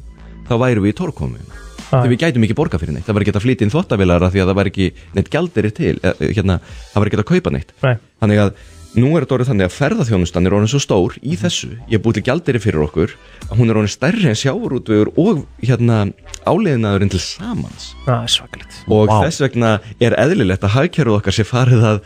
S10: þá værum við í torkomi þegar við gætum ekki borga fyrir neitt, það væri ekki að flytja inn þvottavilara því að það væri ekki neitt gjaldir til eh, hérna, það væri ekki að kaupa neitt
S4: Nei.
S10: þannig að nú er þetta orðið þannig að ferðarþjónustan er orðin svo stór í
S4: Mhm.
S10: þessu, ég er búið til gjaldiri fyrir okkur að hún er orðin stærri en sjávarútvegur og hérna áleiðinaðurinn til samans
S4: Það er svakalegt
S10: og þess vegna er eðlilegt að hagkerfið okkar sé farið að,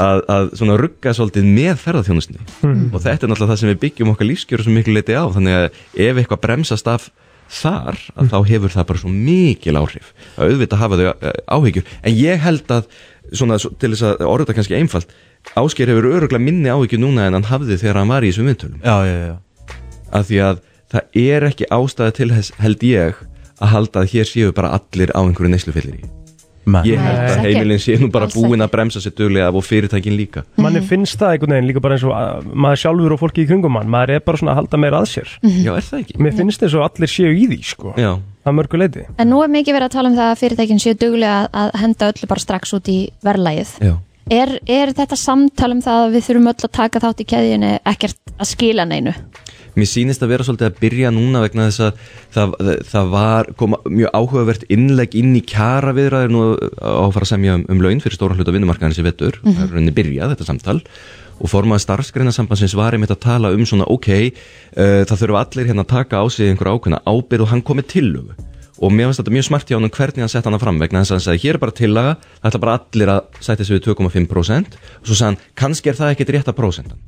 S10: að, að svona rugga svolítið með ferðarþjónustinni
S4: Mhm.
S10: og þetta er náttúrulega það sem við byggjum okkar lífskjöru svo miklu leiti á þannig að ef eitthvað bremsast af þar að
S2: Mhm.
S10: þá hefur það bara svo mikil áhrif að auðvitað hafa þau eh, áhyggjur en ég held að svona, svo- til þess að orða þetta kannski einfalt Ásker hefur öruglega minni áhyggjur núna en hann hafði þegar hann var í þessum viðtölum
S2: já, já, já.
S10: að því að það er ekki ástæða til þess held ég að halda að hér séu bara allir á einhverju neyslufyllir
S2: Nei.
S10: Ég held að
S4: Nei. Alls ekki.
S10: heimilin sé nú bara
S4: Alls
S10: búin að bremsa sér duglega af og fyrirtækin líka
S4: Manni finnst það einhvern veginn líka bara eins og að, maður sjálfur og fólki í kringum mann maður er bara svona að halda meira að sér
S3: Mhm.
S10: Já, er það ekki?
S4: Mér finnst þess að allir séu í því sko
S10: Já
S4: að mörgu leiti
S3: En nú er mikið verið að tala um það að fyrirtækin séu duglega að- að henda öllu bara strax út í verðlægið.
S10: Já.
S3: Er, er þetta samtal um það að við þurfum öll að taka þátt í keðjunni ekkert að skila neinu?
S10: Mér sýnist að vera svolítið að byrja núna vegna þess að það, það var koma mjög áhugavert innlegg inn í kjara viðræður nú á að fara að semja um, um laun fyrir stóran hluta vinnumarkaðan sem vettur
S2: Mhm.
S10: það er rauninni byrjað þetta samtal og formaði starfsgreinasambandsins var einmitt að tala um svona ok, uh, það þurfa allir hérna að taka á sig einhver ákveðna ábyrð og hann komið tillögu og mér finnst þetta mjög smart hjá hann hvernig hann sett hana fram vegna þess að hann sagði hér er bara tillaga það ætla bara allir að sætti sig við 2,5% og svo sagði hann kannski er það ekkit rétta prósentan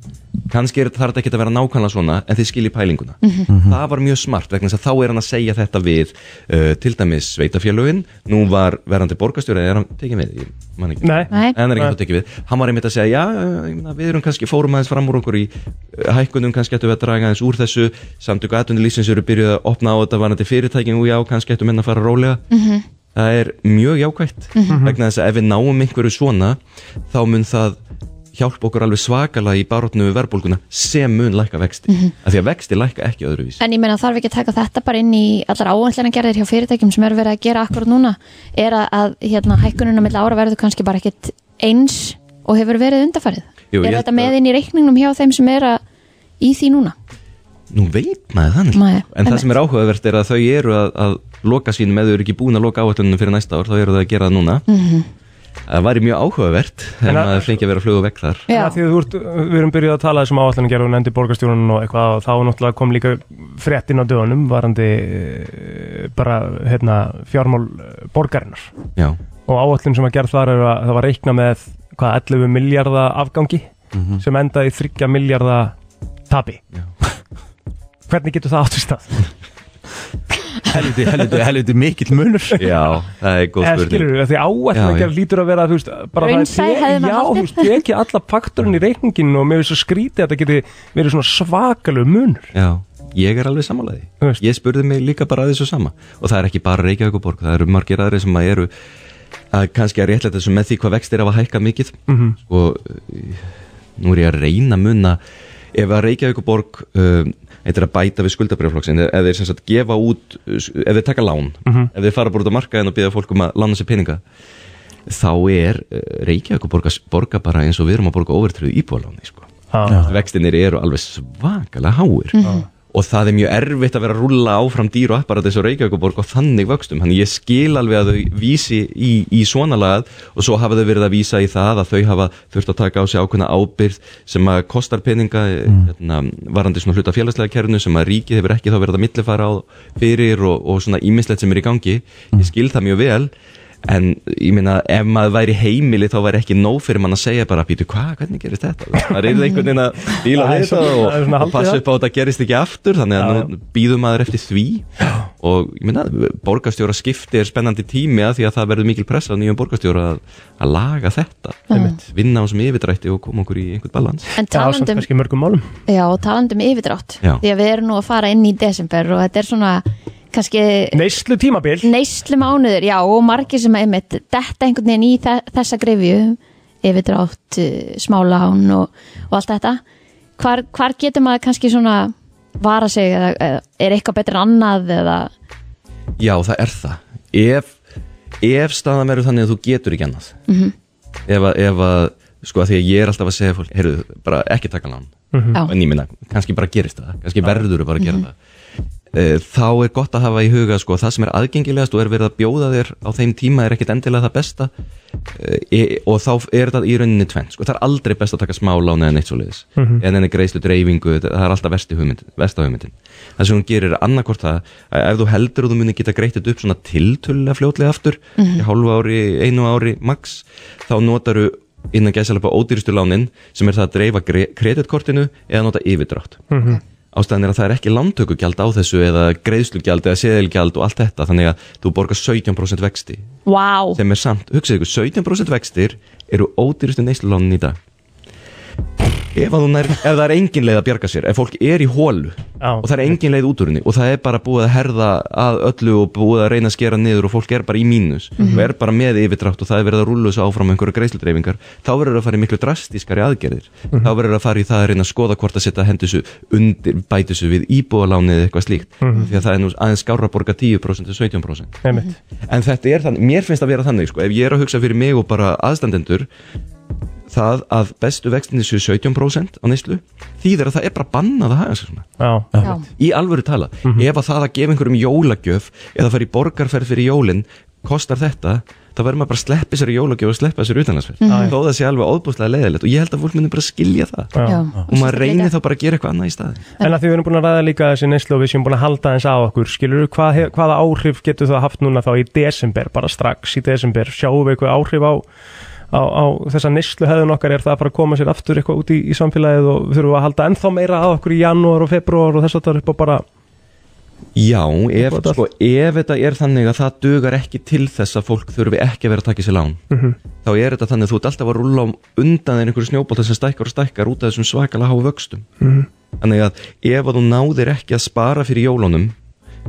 S10: kannski er þarf þetta ekkit að vera nákvæmlega svona en þið skilji pælinguna
S6: Mhm.
S10: það var mjög smart vegna þess að þá er hann að segja þetta við uh, til dæmis sveitafjörlögin nú var verandi borgarstjóri eða er hann tekið við, ég man ekki
S4: Nei. Nei.
S10: hann er ekki
S4: Nei.
S10: þá tekið við, hann var einmitt að segja já, uh, ég meina, við erum kannski fórum aðeins fram úr okkur í uh, hækkunum, kannski ættum við að draga aðeins úr þessu samtöku aðtunulísins eru byrjuð að opna á þetta varandi fyrirtækin og já, kannski ættum við að fara rólega
S7: Mhm.
S10: það er mjög jákvætt
S7: Mhm.
S10: vegna þess að ef við náum einhverju svona þá mun það hjálpa okkur alveg svakalega í barotnu við verðbólguna sem mun lækka vexti
S3: Mhm.
S10: af því að vexti lækka ekki öðruvís
S3: En ég meina þarf ekki að taka þetta bara inn í allar áætlana gerðir hjá fyrirtækjum sem eru verið að gera akkurat núna er að, að hérna, hækkununa mill ára verður kannski bara ekkert eins og hefur verið undarfærið.
S10: Jú, ég
S3: er
S10: held
S3: þetta með inn í reikningnum hjá þeim sem er að í því núna?
S10: Nú veit maður þannig
S3: Nei,
S10: En það
S3: einmitt.
S10: sem er áhugavert er að þau eru að, að loka sín með þau eru ekki búin að loka áætlunum fyrir næsta ár þá eru þau að gera það núna
S3: Mhm.
S10: Það væri mjög áhugavert en
S4: En að-
S10: maður fengi að vera að fluga vekk þar
S4: Já. Því að þú ert, við erum byrjuð að tala þessum áallan gerð og nefndi borgarstjórun og eitthvað og þá náttúrulega kom líka fréttin á dögunum varandi eh, bara hérna, fjármál eh, borgarinnar
S10: Já.
S4: og áallin sem að gerð þar er að það var reikna með hvað, 11 miljardar afgangi
S10: Mhm.
S4: sem endaði í 3 miljardar tapi [LAUGHS] hvernig getur það átt í stað
S10: Helviti,
S11: helviti, helviti mikill munur
S10: Já, það er góð
S4: eða
S10: spurning
S4: skilur við, því
S10: Já, já.
S4: áætlingar lítur að vera þú veist, bara
S3: Raunsæ
S4: það
S3: hefði
S4: er
S3: maður
S4: já, þú
S3: haldið.
S4: veist, ekki alla faktorinn í reikningin og mér finnst svo skrítið að þetta geti verið svona svakalegu munur
S10: Já, ég er alveg samanlegaði Ég spurði mig líka bara að þessu sama og það er ekki bara Reykjavík og Borg, það eru margir aðri sem að eru að kannski að réttlega þessu með því hvað vextir hafa hækkað mikið
S4: Mhm.
S10: og nú er ég að reyna að munna ef að Reykjavík og Borg um, eitthvað að bæta við skuldabrjöflokksinn ef þeir sem sagt gefa út uh, s- ef þeir taka lán,
S4: Mhm.
S10: ef þeir fara bara út á markaðin og býða fólk um að lána sér peninga þá er uh, Reykjavík og Borg að s- borga bara eins og við erum að borga overtröðu íbúðaláni sko.
S4: Já.
S10: vextinir eru alveg svakalega háir
S4: Mhm.
S10: og það er mjög erfitt að vera að rúlla áfram dýr og apparatis og reykjaukuborg og þannig vöxtum þannig ég skil alveg að þau vísi í, í svona lagað og svo hafa þau verið að vísa í það að þau hafa þurft að taka á sig ákveðna ábyrð sem að kostar peninga mm. hérna, varandi svona hluta félagslega kerfinu sem að ríkið hefur ekki þá verið að millifara á fyrir og, og svona ímislegt sem er í gangi
S4: Mm.
S10: ég skil það mjög vel en ég meina ef maður væri heimili þá væri ekki nóg fyrir mann að segja bara býtu hvað, hvernig gerist þetta það er einhvern veginn að díla
S4: Það er
S10: við þetta
S4: svona-
S10: og,
S4: það er svona
S10: og
S4: haldið
S10: passa
S4: það.
S10: upp á að þetta gerist ekki aftur þannig að nú býðum maður eftir því og ég meina borgarstjóra skipti er spennandi tími að því að það verður mikil pressa á nýjum borgarstjóra að, að laga þetta
S3: Einmitt.
S10: vinna á sem yfirdrætti og koma okkur í einhvern balans
S3: En Já, samt talandi um- kannski
S4: mörgum málum
S3: Já, og talandi um yfirdrátt
S10: Já.
S3: Því að við erum nú að fara inn í desember og þetta er svona kannski
S4: Neyslu tímabil
S3: Neyslu mánuður, já, og margir sem einmitt detta einhvern veginn í þe- þessa grefju yfirdrátt, eh, smálán og, og allt þetta hvar, hvar getur maður kannski svona vara sig eða, eða er eitthvað betra en annað eða
S10: já það er það ef, ef staðan verður þannig að þú getur ekki annað
S3: Mhm.
S10: ef að, ef að sko að því að ég er alltaf að segja fólk heyrðu, bara ekki taka lán
S3: Mhm. Já.
S10: en ég minna, kannski bara gerist það kannski verður þú bara að gera
S3: Mhm.
S10: það Eh, þá er gott að hafa í huga sko, það sem er aðgengilegast og er verið að bjóða þér á þeim tíma er ekkit endilega það besta e, og þá er það í rauninni tvenn sko. það er aldrei best að taka smá lán eða neitt svoleiðis
S4: Mhm.
S10: en enni greiðslu dreifingu það það er alltaf versti hugmynd, versta hugmyndin það sem hún gerir er annarkort það að ef þú heldur og þú munir geta greitt þetta upp svona tiltölulega fljótlega aftur
S11: Mhm.
S10: í hálfu ári, einu ári max þá notaru innan gæsalega ódýrstu lánin sem er það að dreifa gre- kreditkortinu eða nota yfirdrátt
S4: Mhm.
S10: ástæðan er að það er ekki lántökugjald á þessu eða greiðslugjald eða seðilgjald og allt þetta þannig að þú borgar 17% vexti
S3: Vá, wow.
S10: sem er samt, hugsið ykkur, 17% vextir eru ódýrustu neyslulánin í dag ef, að þú nær, ef það er engin leið að bjarga sér ef fólk er í hólu og það er engin leið út úr henni og það er bara búið að herða að öllu og búið að reyna að skera niður og fólk er bara í mínus
S11: Mhm.
S10: og er bara með yfirdrátt og það er verið að rúlu þessu áfram með einhverju greiðsludreifingar þá verður að fara í miklu drastískari aðgerðir
S11: Mhm.
S10: þá verður að fara í það að reyna að skoða hvort að setja hendur þessu undir, bæti þessu við íbúalánið eða eitthvað slíkt
S4: Mhm.
S10: því að það er nú aðeins skárra að borga 10% til 17%
S4: Einmitt.
S10: en þetta er þannig, mér finnst að vera þannig sko, ef ég er að hugsa fyrir mig og bara aðstandendur það að bestu vextinni séu 17% á neyslu þýðir að það er bara bannað að haga sér svona
S4: Já. Mhm. Já.
S10: í alvöru tala, ef að það að gefa einhverjum jólagjöf eða fara í borgarferð fyrir jólin kostar þetta þá verður maður bara að sleppa sér í jólagjöf og sleppa sér utanlandsferð
S11: Mhm.
S10: þó það sé alveg óbúslega leiðilegt og ég held að fólk myndir bara skilja það
S4: Já.
S10: og maður reynir þá bara að gera eitthvað annað í staði
S3: Mm.
S4: En að því við erum búin að ræða líka þessi neyslu og við séum búin að halda eins á okkur, skilur hvað, hef- hvaða áhrif getur það haft núna þá í desember, bara strax í desember, sjáum við eitthvað áhrif á, á, á þessa neyslu hefðun okkar, er það bara að koma sér aftur eitthvað út í, í samfélagið og við þurfum að halda ennþá meira á okkur í janúar og februar og þess að það er upp á bara,
S10: Já, ef, sko, ef þetta er þannig að það dugar ekki til þess að fólk þurfi ekki að vera að taka sér lán
S2: Ah.
S4: Mhm.
S10: þá er þetta þannig að þú ert alltaf að rúlla á undan þeir einhverju snjóbólta sem stækkar og stækkar út af þessum svakalega háu vöxtum
S4: Mhm.
S10: þannig að ef að þú náðir ekki að spara fyrir jólunum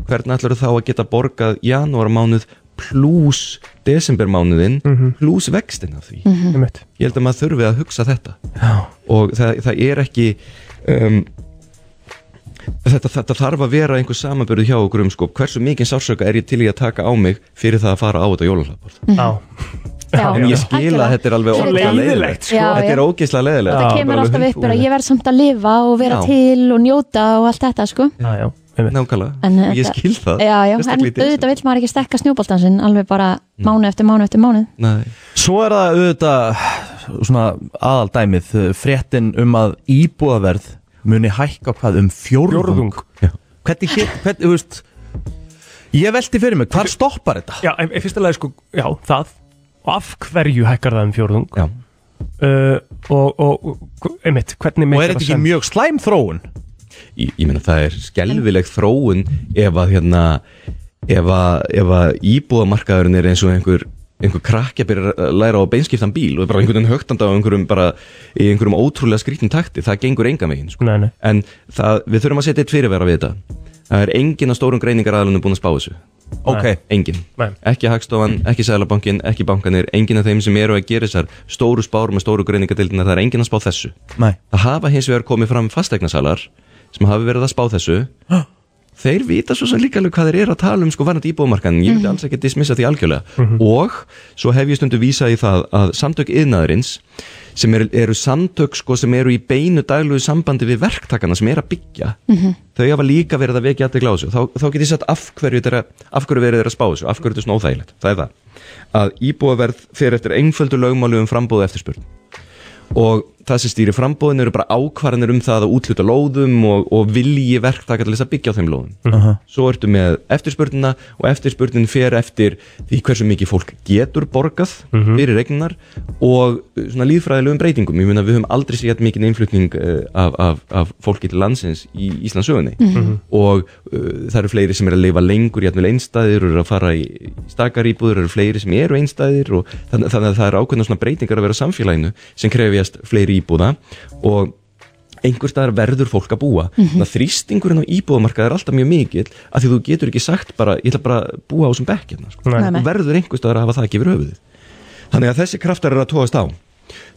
S10: hvernig ætlar þá að geta borgað janúarmánuð pluss desembermánuðin
S4: Mhm.
S10: pluss vextin af því
S4: Mhm. Einmitt.
S10: ég held að maður þurfi að hugsa þetta Já. og það, það er ekki um, þetta, þetta þarf að vera einhver samanbyrðu hjá okkur um sko, hversu mikið sársöka er ég til í að taka á mig fyrir það að fara á þetta jólalaport
S3: Mm.
S4: Já.
S10: en ég skil að þetta er alveg
S3: Svo
S10: ógeðslega
S3: leiðilegt, sko. Já,
S10: þetta er
S3: já.
S10: ógeðslega leiðilegt
S3: það kemur alltaf upp bara ég verð samt að lifa og vera
S10: Já.
S3: til og njóta og allt þetta sko
S4: já,
S10: nákvæmlega,
S3: En, eh,
S10: ég
S3: þetta-
S10: skil það sko.
S3: Já, já, en
S10: Sérstaklega í desember.
S3: auðvitað vill maður ekki stekka snjóboltansinn alveg bara
S10: Mm.
S3: mánu eftir mánu eftir mánu
S10: Nei.
S11: Svo er það auðvitað svona aðaldæmið fréttin um að íbúðaverð muni hækka hvað um fjórðung,
S4: Fjórðung.
S11: Hvernig get, hvernig, þú veist Ég velti fyrir mig, hvar stoppar þetta?
S4: já, en, en fyrst að leið sko, já, það, og af hverju hækkar það um fjórðung?
S10: Já.
S4: uh, og, og, og einmitt, hvernig
S10: Og
S4: meikar
S10: er þetta
S4: það
S10: ekki
S4: sens?
S10: mjög
S2: slæm þróun?
S10: ég, ég meina það er skelvileg þróun ef að hérna ef að, ef að íbúðamarkaðurinn er eins og einhver einhver krakki að byrja að læra á beinskiptan bíl og bara einhvern veginn högtanda á einhverjum bara í einhverjum ótrúlega skrítin takti, það gengur enga megin sko.
S4: Nei, nei.
S10: en það, við þurfum að setja eitt fyrirvera við þetta það er enginn af stórum greiningaraðlunum búin að spá þessu
S4: Ok.
S10: Nei. enginn,
S4: Nei.
S10: ekki hagstofan, ekki sælabankin ekki bankanir, enginn af þeim sem eru að gera þessar stóru spár með stóru greiningadeildinar það er enginn að spá þessu
S11: Nei.
S10: það hafa hins vegar komið fram fastegnasalar sem hafi verið að spá þessu þeir vita svo sem líka alveg hvað þeir eru að tala um sko varnat íbúðumarkan, ég myndi alls ekki að dismissa því algjörlega og svo hef ég stundu vísað í það að samtök yðnaðurins sem eru, eru samtök sko sem eru í beinu daglugu sambandi við verktakana sem eru að byggja
S7: Mhm.
S10: þau hafa líka verið að vekja aðtegla á þessu þá, þá get ég sagt af hverju, þeirra, af hverju verið þeirra að spá þessu af hverju þetta er svona óþægilegt, það er það að íbúðaverð fer eftir einföldu lögmálu um frambóðu eftirspurn og það sem stýri frambóðin eru bara ákvarðanir um það að útluta lóðum og, og vilji verktaka til þess að byggja á þeim lóðum
S11: Aha.
S10: svo ertu með eftirspurnina og eftirspurnin fer eftir því hversu mikið fólk getur borgað
S11: Mhm.
S10: fyrir regninar og uh, svona líðfræðilegum breytingum ég mun að við höfum aldrei séð jafn mikið einflutning uh, af, af, af fólki til landsins í Íslandsögunni
S11: Mhm.
S10: og uh, það eru fleiri sem eru að lifa lengur jafnvel einstæðir og eru að fara í stakarýbúður eru fleiri sem eru einstæðir og þannig, þannig að það eru ákveðna svona breytingar að vera á samfélaginu sem krefjast fleiri íbúða og einhver staðar verður fólk að búa
S11: Mhm.
S10: þannig að þrýstingurinn á íbúðamarkað er alltaf mjög mikill að því þú getur ekki sagt bara ég ætla bara að búa á þessum bekkjarna sko.
S11: Nei. Nei, nei.
S10: þú verður einhver staðar að hafa það ekki yfir höfuðið þannig að þessi kraftar eru að tóast á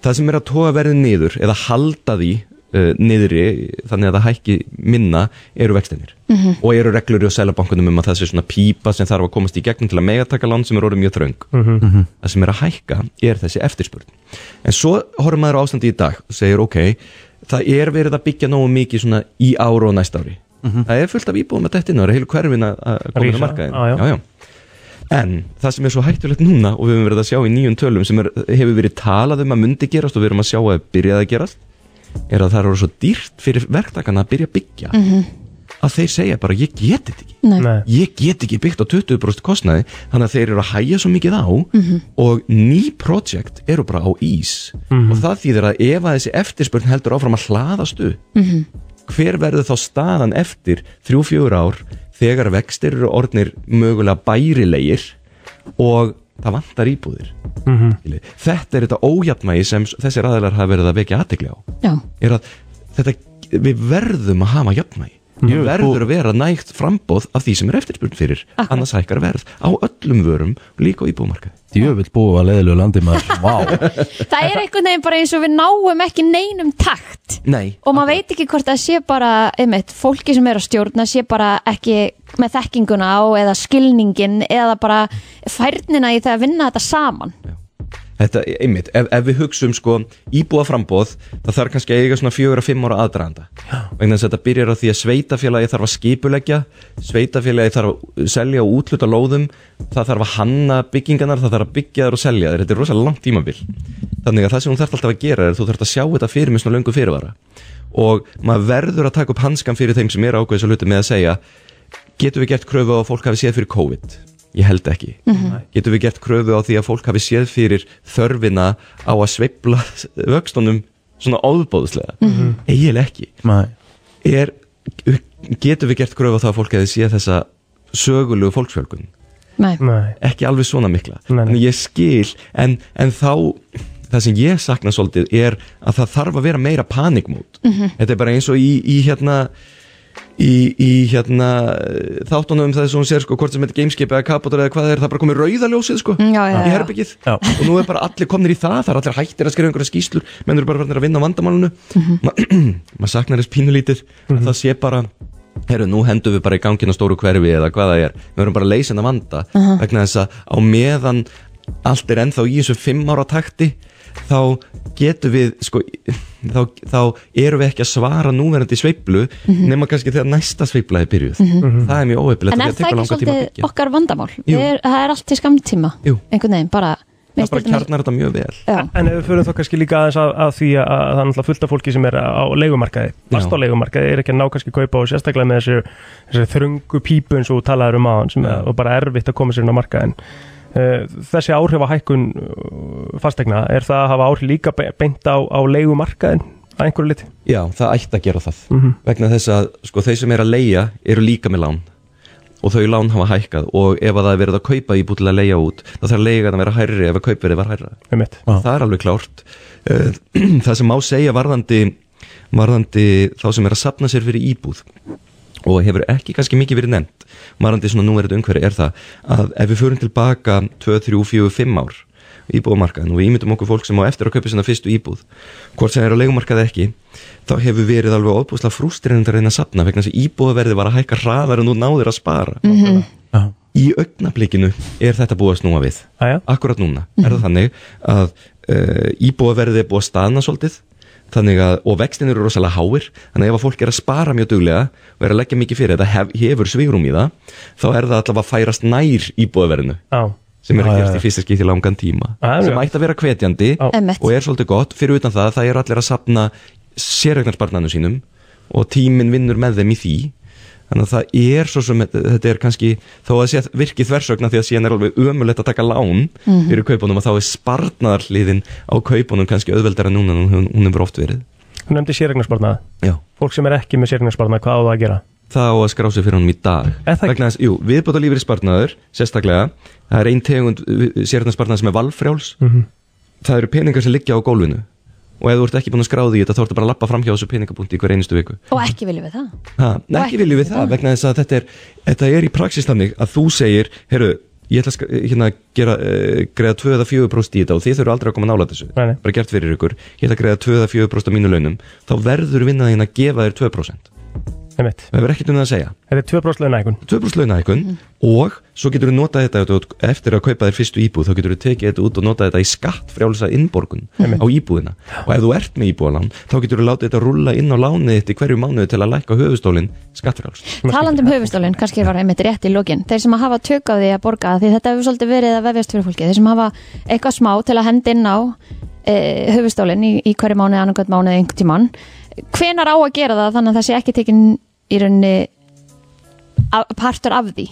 S10: það sem er að tóa verðið niður eða halda því uh, niðri þannig að það hækki minna eru vextinir
S11: Mhm.
S10: og eru reglur í selabankunum um að þessi svona pípa sem þarf að komast í gegnum til að megataka lán sem er orðið mjög þröng
S11: Mhm.
S10: -hmm. það sem er að hækka er þessi eftirspurn en svo horfum maður á ástandi í dag og segir ok, það er verið að byggja nógu mikið svona í ára og næsta ári það er fullt af íbúðum að þetta inn og það er heilu hverfin að að koma inn á
S4: Mhm. Rísa,
S10: markaðin
S4: á, já.
S10: en það sem er svo hættulegt núna og við höfum verið að sjá í nýjum tölum sem er, hefur verið talað um að myndi gerast og við erum að sjá að byrjaði að gerast er að það eru svo dýrt fyrir verktakana að byrja að byggja
S3: Mhm.
S10: að þeir segja bara ég get þetta ekki
S3: Nei.
S10: ég get ekki byggt á 20% kostnaði þannig að þeir eru að hæja svo mikið á
S3: Mhm.
S10: og ný projekt eru bara á ís
S4: Mhm.
S10: og það þýðir að ef að þessi eftirspurn heldur áfram að hlaðast upp
S3: Mhm.
S10: hver verður þá staðan eftir 3-4 ár þegar vextir eru orðnir mögulega bærilegir og það vantar íbúðir
S4: Mhm.
S10: Skiljiði. þetta er þetta ójafnmægi sem s- þessir aðilar hafa verið að vekja aðtegli á
S3: Já.
S10: er að þetta, við verðum að hafa jafnmægi við
S11: Jú,
S10: verður að vera nægt frambóð af því sem er eftirspurn fyrir annars hækkar verð á öllum vörum líka á íbúmarka
S11: Djöfull búið að leiðilegu landi
S10: [LAUGHS]
S11: maður Vá
S3: Það er einhvern veginn bara eins og við náum ekki neinum takt
S10: Nei
S3: og maður veit ekki hvort það sé bara einmitt, fólki sem er að stjórna sé bara ekki með þekkinguna á eða skilningin eða bara færnina í það að vinna þetta saman
S10: Þetta, einmitt, ef, ef við hugsaum sko íbúa frambóð, það þarf kannski að eiga svona fjögur að fimm ára aðdraganda vegna þess að þetta byrjar á því að sveitafélagi þarf að skipuleggja sveitafélagi þarf að selja og útluta lóðum það þarf að hanna byggingarnar, það þarf að byggja þar og selja þær, þetta er rosalega langt tímabil þannig að það sem hún þarf alltaf að gera er að þú þarf að sjá þetta fyrir með svona löngu fyrirvara og maður verður að taka upp hanskan fyrir þeim sem er ákveðis að hluti með að segja getum við gert kröfu á að fólk hafi séð fyrir COVID ég held ekki
S11: Mhm.
S10: getum við gert kröfu á því að fólk hafi séð fyrir þörfina á að sveifla [LAUGHS] vöxtunum svona óðbóðslega
S11: Mhm.
S10: eiginlega ekki
S11: Nei.
S10: er, getum við gert kröfu á það að fólk hafi séð þessa sögulegu fólksfjölgun
S3: Nei.
S4: Nei.
S10: ekki alveg svona mikla
S4: Nei, nei.
S10: en ég skil en, en þá það sem ég sakna svolítið er að það þarf að vera meira panikmót
S11: Mhm.
S10: þetta er bara eins og í, í hérna í, í hérna eh, þáttunum það sem hún sér sko hvort sem þetta gameskip eða kapotur eða hvað það er það bara komið rauðaljósið sko
S3: Já, já,
S10: í
S3: já.
S10: herbyggið og nú er bara allir komnir í það það er allir hættir að skrifa einhverja skýslur menn eru bara verður að vinna á vandamálunu
S3: Mhm.
S10: [CLEARS THROAT] maður saknar þess pínulítið að það sé bara herru, nú hendum við bara í gangin á stóru hverfi eða hvað það er, við verum bara að leysa en að vanda
S11: Aha.
S10: vegna þess að á meðan allt er ennþá í þessu fimm ára takti þá getum við sko, þá, þá erum við ekki að svara núverandi sveiflu nema kannski þegar næsta sveifla er byrjuð
S3: Mhm.
S10: það er mjög óheppilegt
S3: en
S10: og
S3: er það
S10: það tekur
S3: ekki
S10: langan tíma að byggja.
S3: svolítið okkar vandamál
S10: Jú.
S3: er, það er allt til skamtíma
S10: Jú.
S3: einhvern veginn bara
S10: það bara kjarnar þetta mjög vel
S4: En ef við förum þá kannski líka aðeins að, að því að, að það er náttúrulega fullt af fólki sem er á leigumarkaði, fast á leigumarkaði, er ekki að ná kannski kaupa og sérstaklega með þessu, þessu þröngu pípu eins og þú talaður um aðan sem er og bara erfitt að koma sér inn á markaðin. Eh, þessi áhrif að hækkun eh, fastegna, er það að hafa áhrif líka be- beint á, á leigumarkaðin að einhverju liti?
S10: Já, það ætti að gera það
S4: Mhm.
S10: vegna þess að sko, þeir sem er að leia eru líka með lán og þau lán hafa hækkað og ef að það er verið að kaupa íbúð til að leia út þá þarf leigan að vera hærri ef að kaupverið var hærra
S4: Einmitt.
S10: það er alveg klárt Eh, [CLEARS THROAT] það sem má segja varðandi, varðandi þá sem er að sapna sér fyrir íbúð og hefur ekki kannski mikið verið nefnt varðandi svona núverið umhverfi er það að ef við förum tilbaka 2, 3, 4, 5 ár í íbúðumarkaðin og við ímyndum okkur fólk sem á eftir að kaupa sinna fyrstu íbúð hvort sem er á leigumarkaði ekki þá hefur verið alveg óbúslega frústrinandi að reyna að sapna vegna þess að íbúðaverði var að hækka hraðar en þú náðir að spara
S7: Mhm.
S10: í augnablikinu er þetta búið að snúa við
S4: Aja.
S10: akkurat núna er
S4: Mhm.
S10: það þannig að uh, íbúaverðið er búið að staðna svolítið þannig að, og vextin eru rosalega háir þannig að ef að fólk er að spara mjög duglega og er að leggja mikið fyrir þetta, hef, hefur svigrum í það þá er það allavega að færast nær íbúaverðinu
S4: Já.
S10: sem er
S4: Já,
S10: að
S4: já,
S10: gerast
S4: já.
S10: í fyrsta skipti í langan tíma
S4: Já,
S10: sem
S4: já.
S10: ætti að vera hvetjandi
S3: Einmitt.
S10: og er svolítið gott, fyrir utan það það er allir að sapna sérregnarsparnanum sínum og tíminn vinnur með þeim í því þannig að það er svo sem þetta er kannski þó að sé virkið þversögna því að síðan er alveg ömulegt að taka lán
S12: Mhm.
S10: fyrir kaupunum að þá er sparnarliðin á kaupunum kannski auðveldara núna en hún, hún hefur oft verið
S4: Þú nefndi séregnarsparnaði.
S10: Já.
S4: Fólk sem er ekki með séregnarsparnaði, hvað á það að gera?
S10: það á að skrá sig fyrir honum í dag vegna þess, jú, viðbóta lífri sparnaður sérstaklega, það er ein tegund sérna sparnaður sem er valfrjáls
S4: Mhm.
S10: það eru peningar sem liggja á gólfinu og ef þú ert ekki búin að skráði í þetta þá ertu bara að lappa framhjá þessu peningapunkti í hver einustu viku
S3: og ekki viljum við það
S10: ha,
S3: Og
S10: ekki viljum við það vegna þess að þetta er, þetta er í praxis þannig að þú segir, heyrðu ég ætla að sk- hérna, gera, uh, greiða 2 eða 4 í þetta og þið þurfum aldrei að koma nála þessu
S4: Nei, nei.
S10: bara gert fyrir ykkur, ég ætla að greiða 2 eða 4 af mínu launum, þá verður vinnan þín að gefa þér 2
S4: Einmitt.
S10: það hefur ekkert um það að segja
S4: Þetta er 2% launækun
S10: 2% launahækun og svo getur þú notað þetta ef þú- eftir að kaupa þér fyrstu íbúð þá getur þú tekið þetta út og notað þetta í skatt frjálsa innborgun á íbúðina og ef þú ert með íbúðalán þá getur þú látið þetta rúlla inn á lánið þitt í hverju mánuði til að lækka höfustólinn skattfrjáls
S3: Talandi um höfustólun, kannski var einmitt rétt í lokin Þeir sem hafa tök á því að borga því þetta hefur svolítið verið að vefjast fyrir fólki Þeir sem hafa eitthvað smá til að henda inn á e, höfustólun í, í hverju mánuði, annarkvæmt mánuði, einhvern tímann Hvenar á að gera það þannig að það sé ekki tekin í rauninni af- partur af því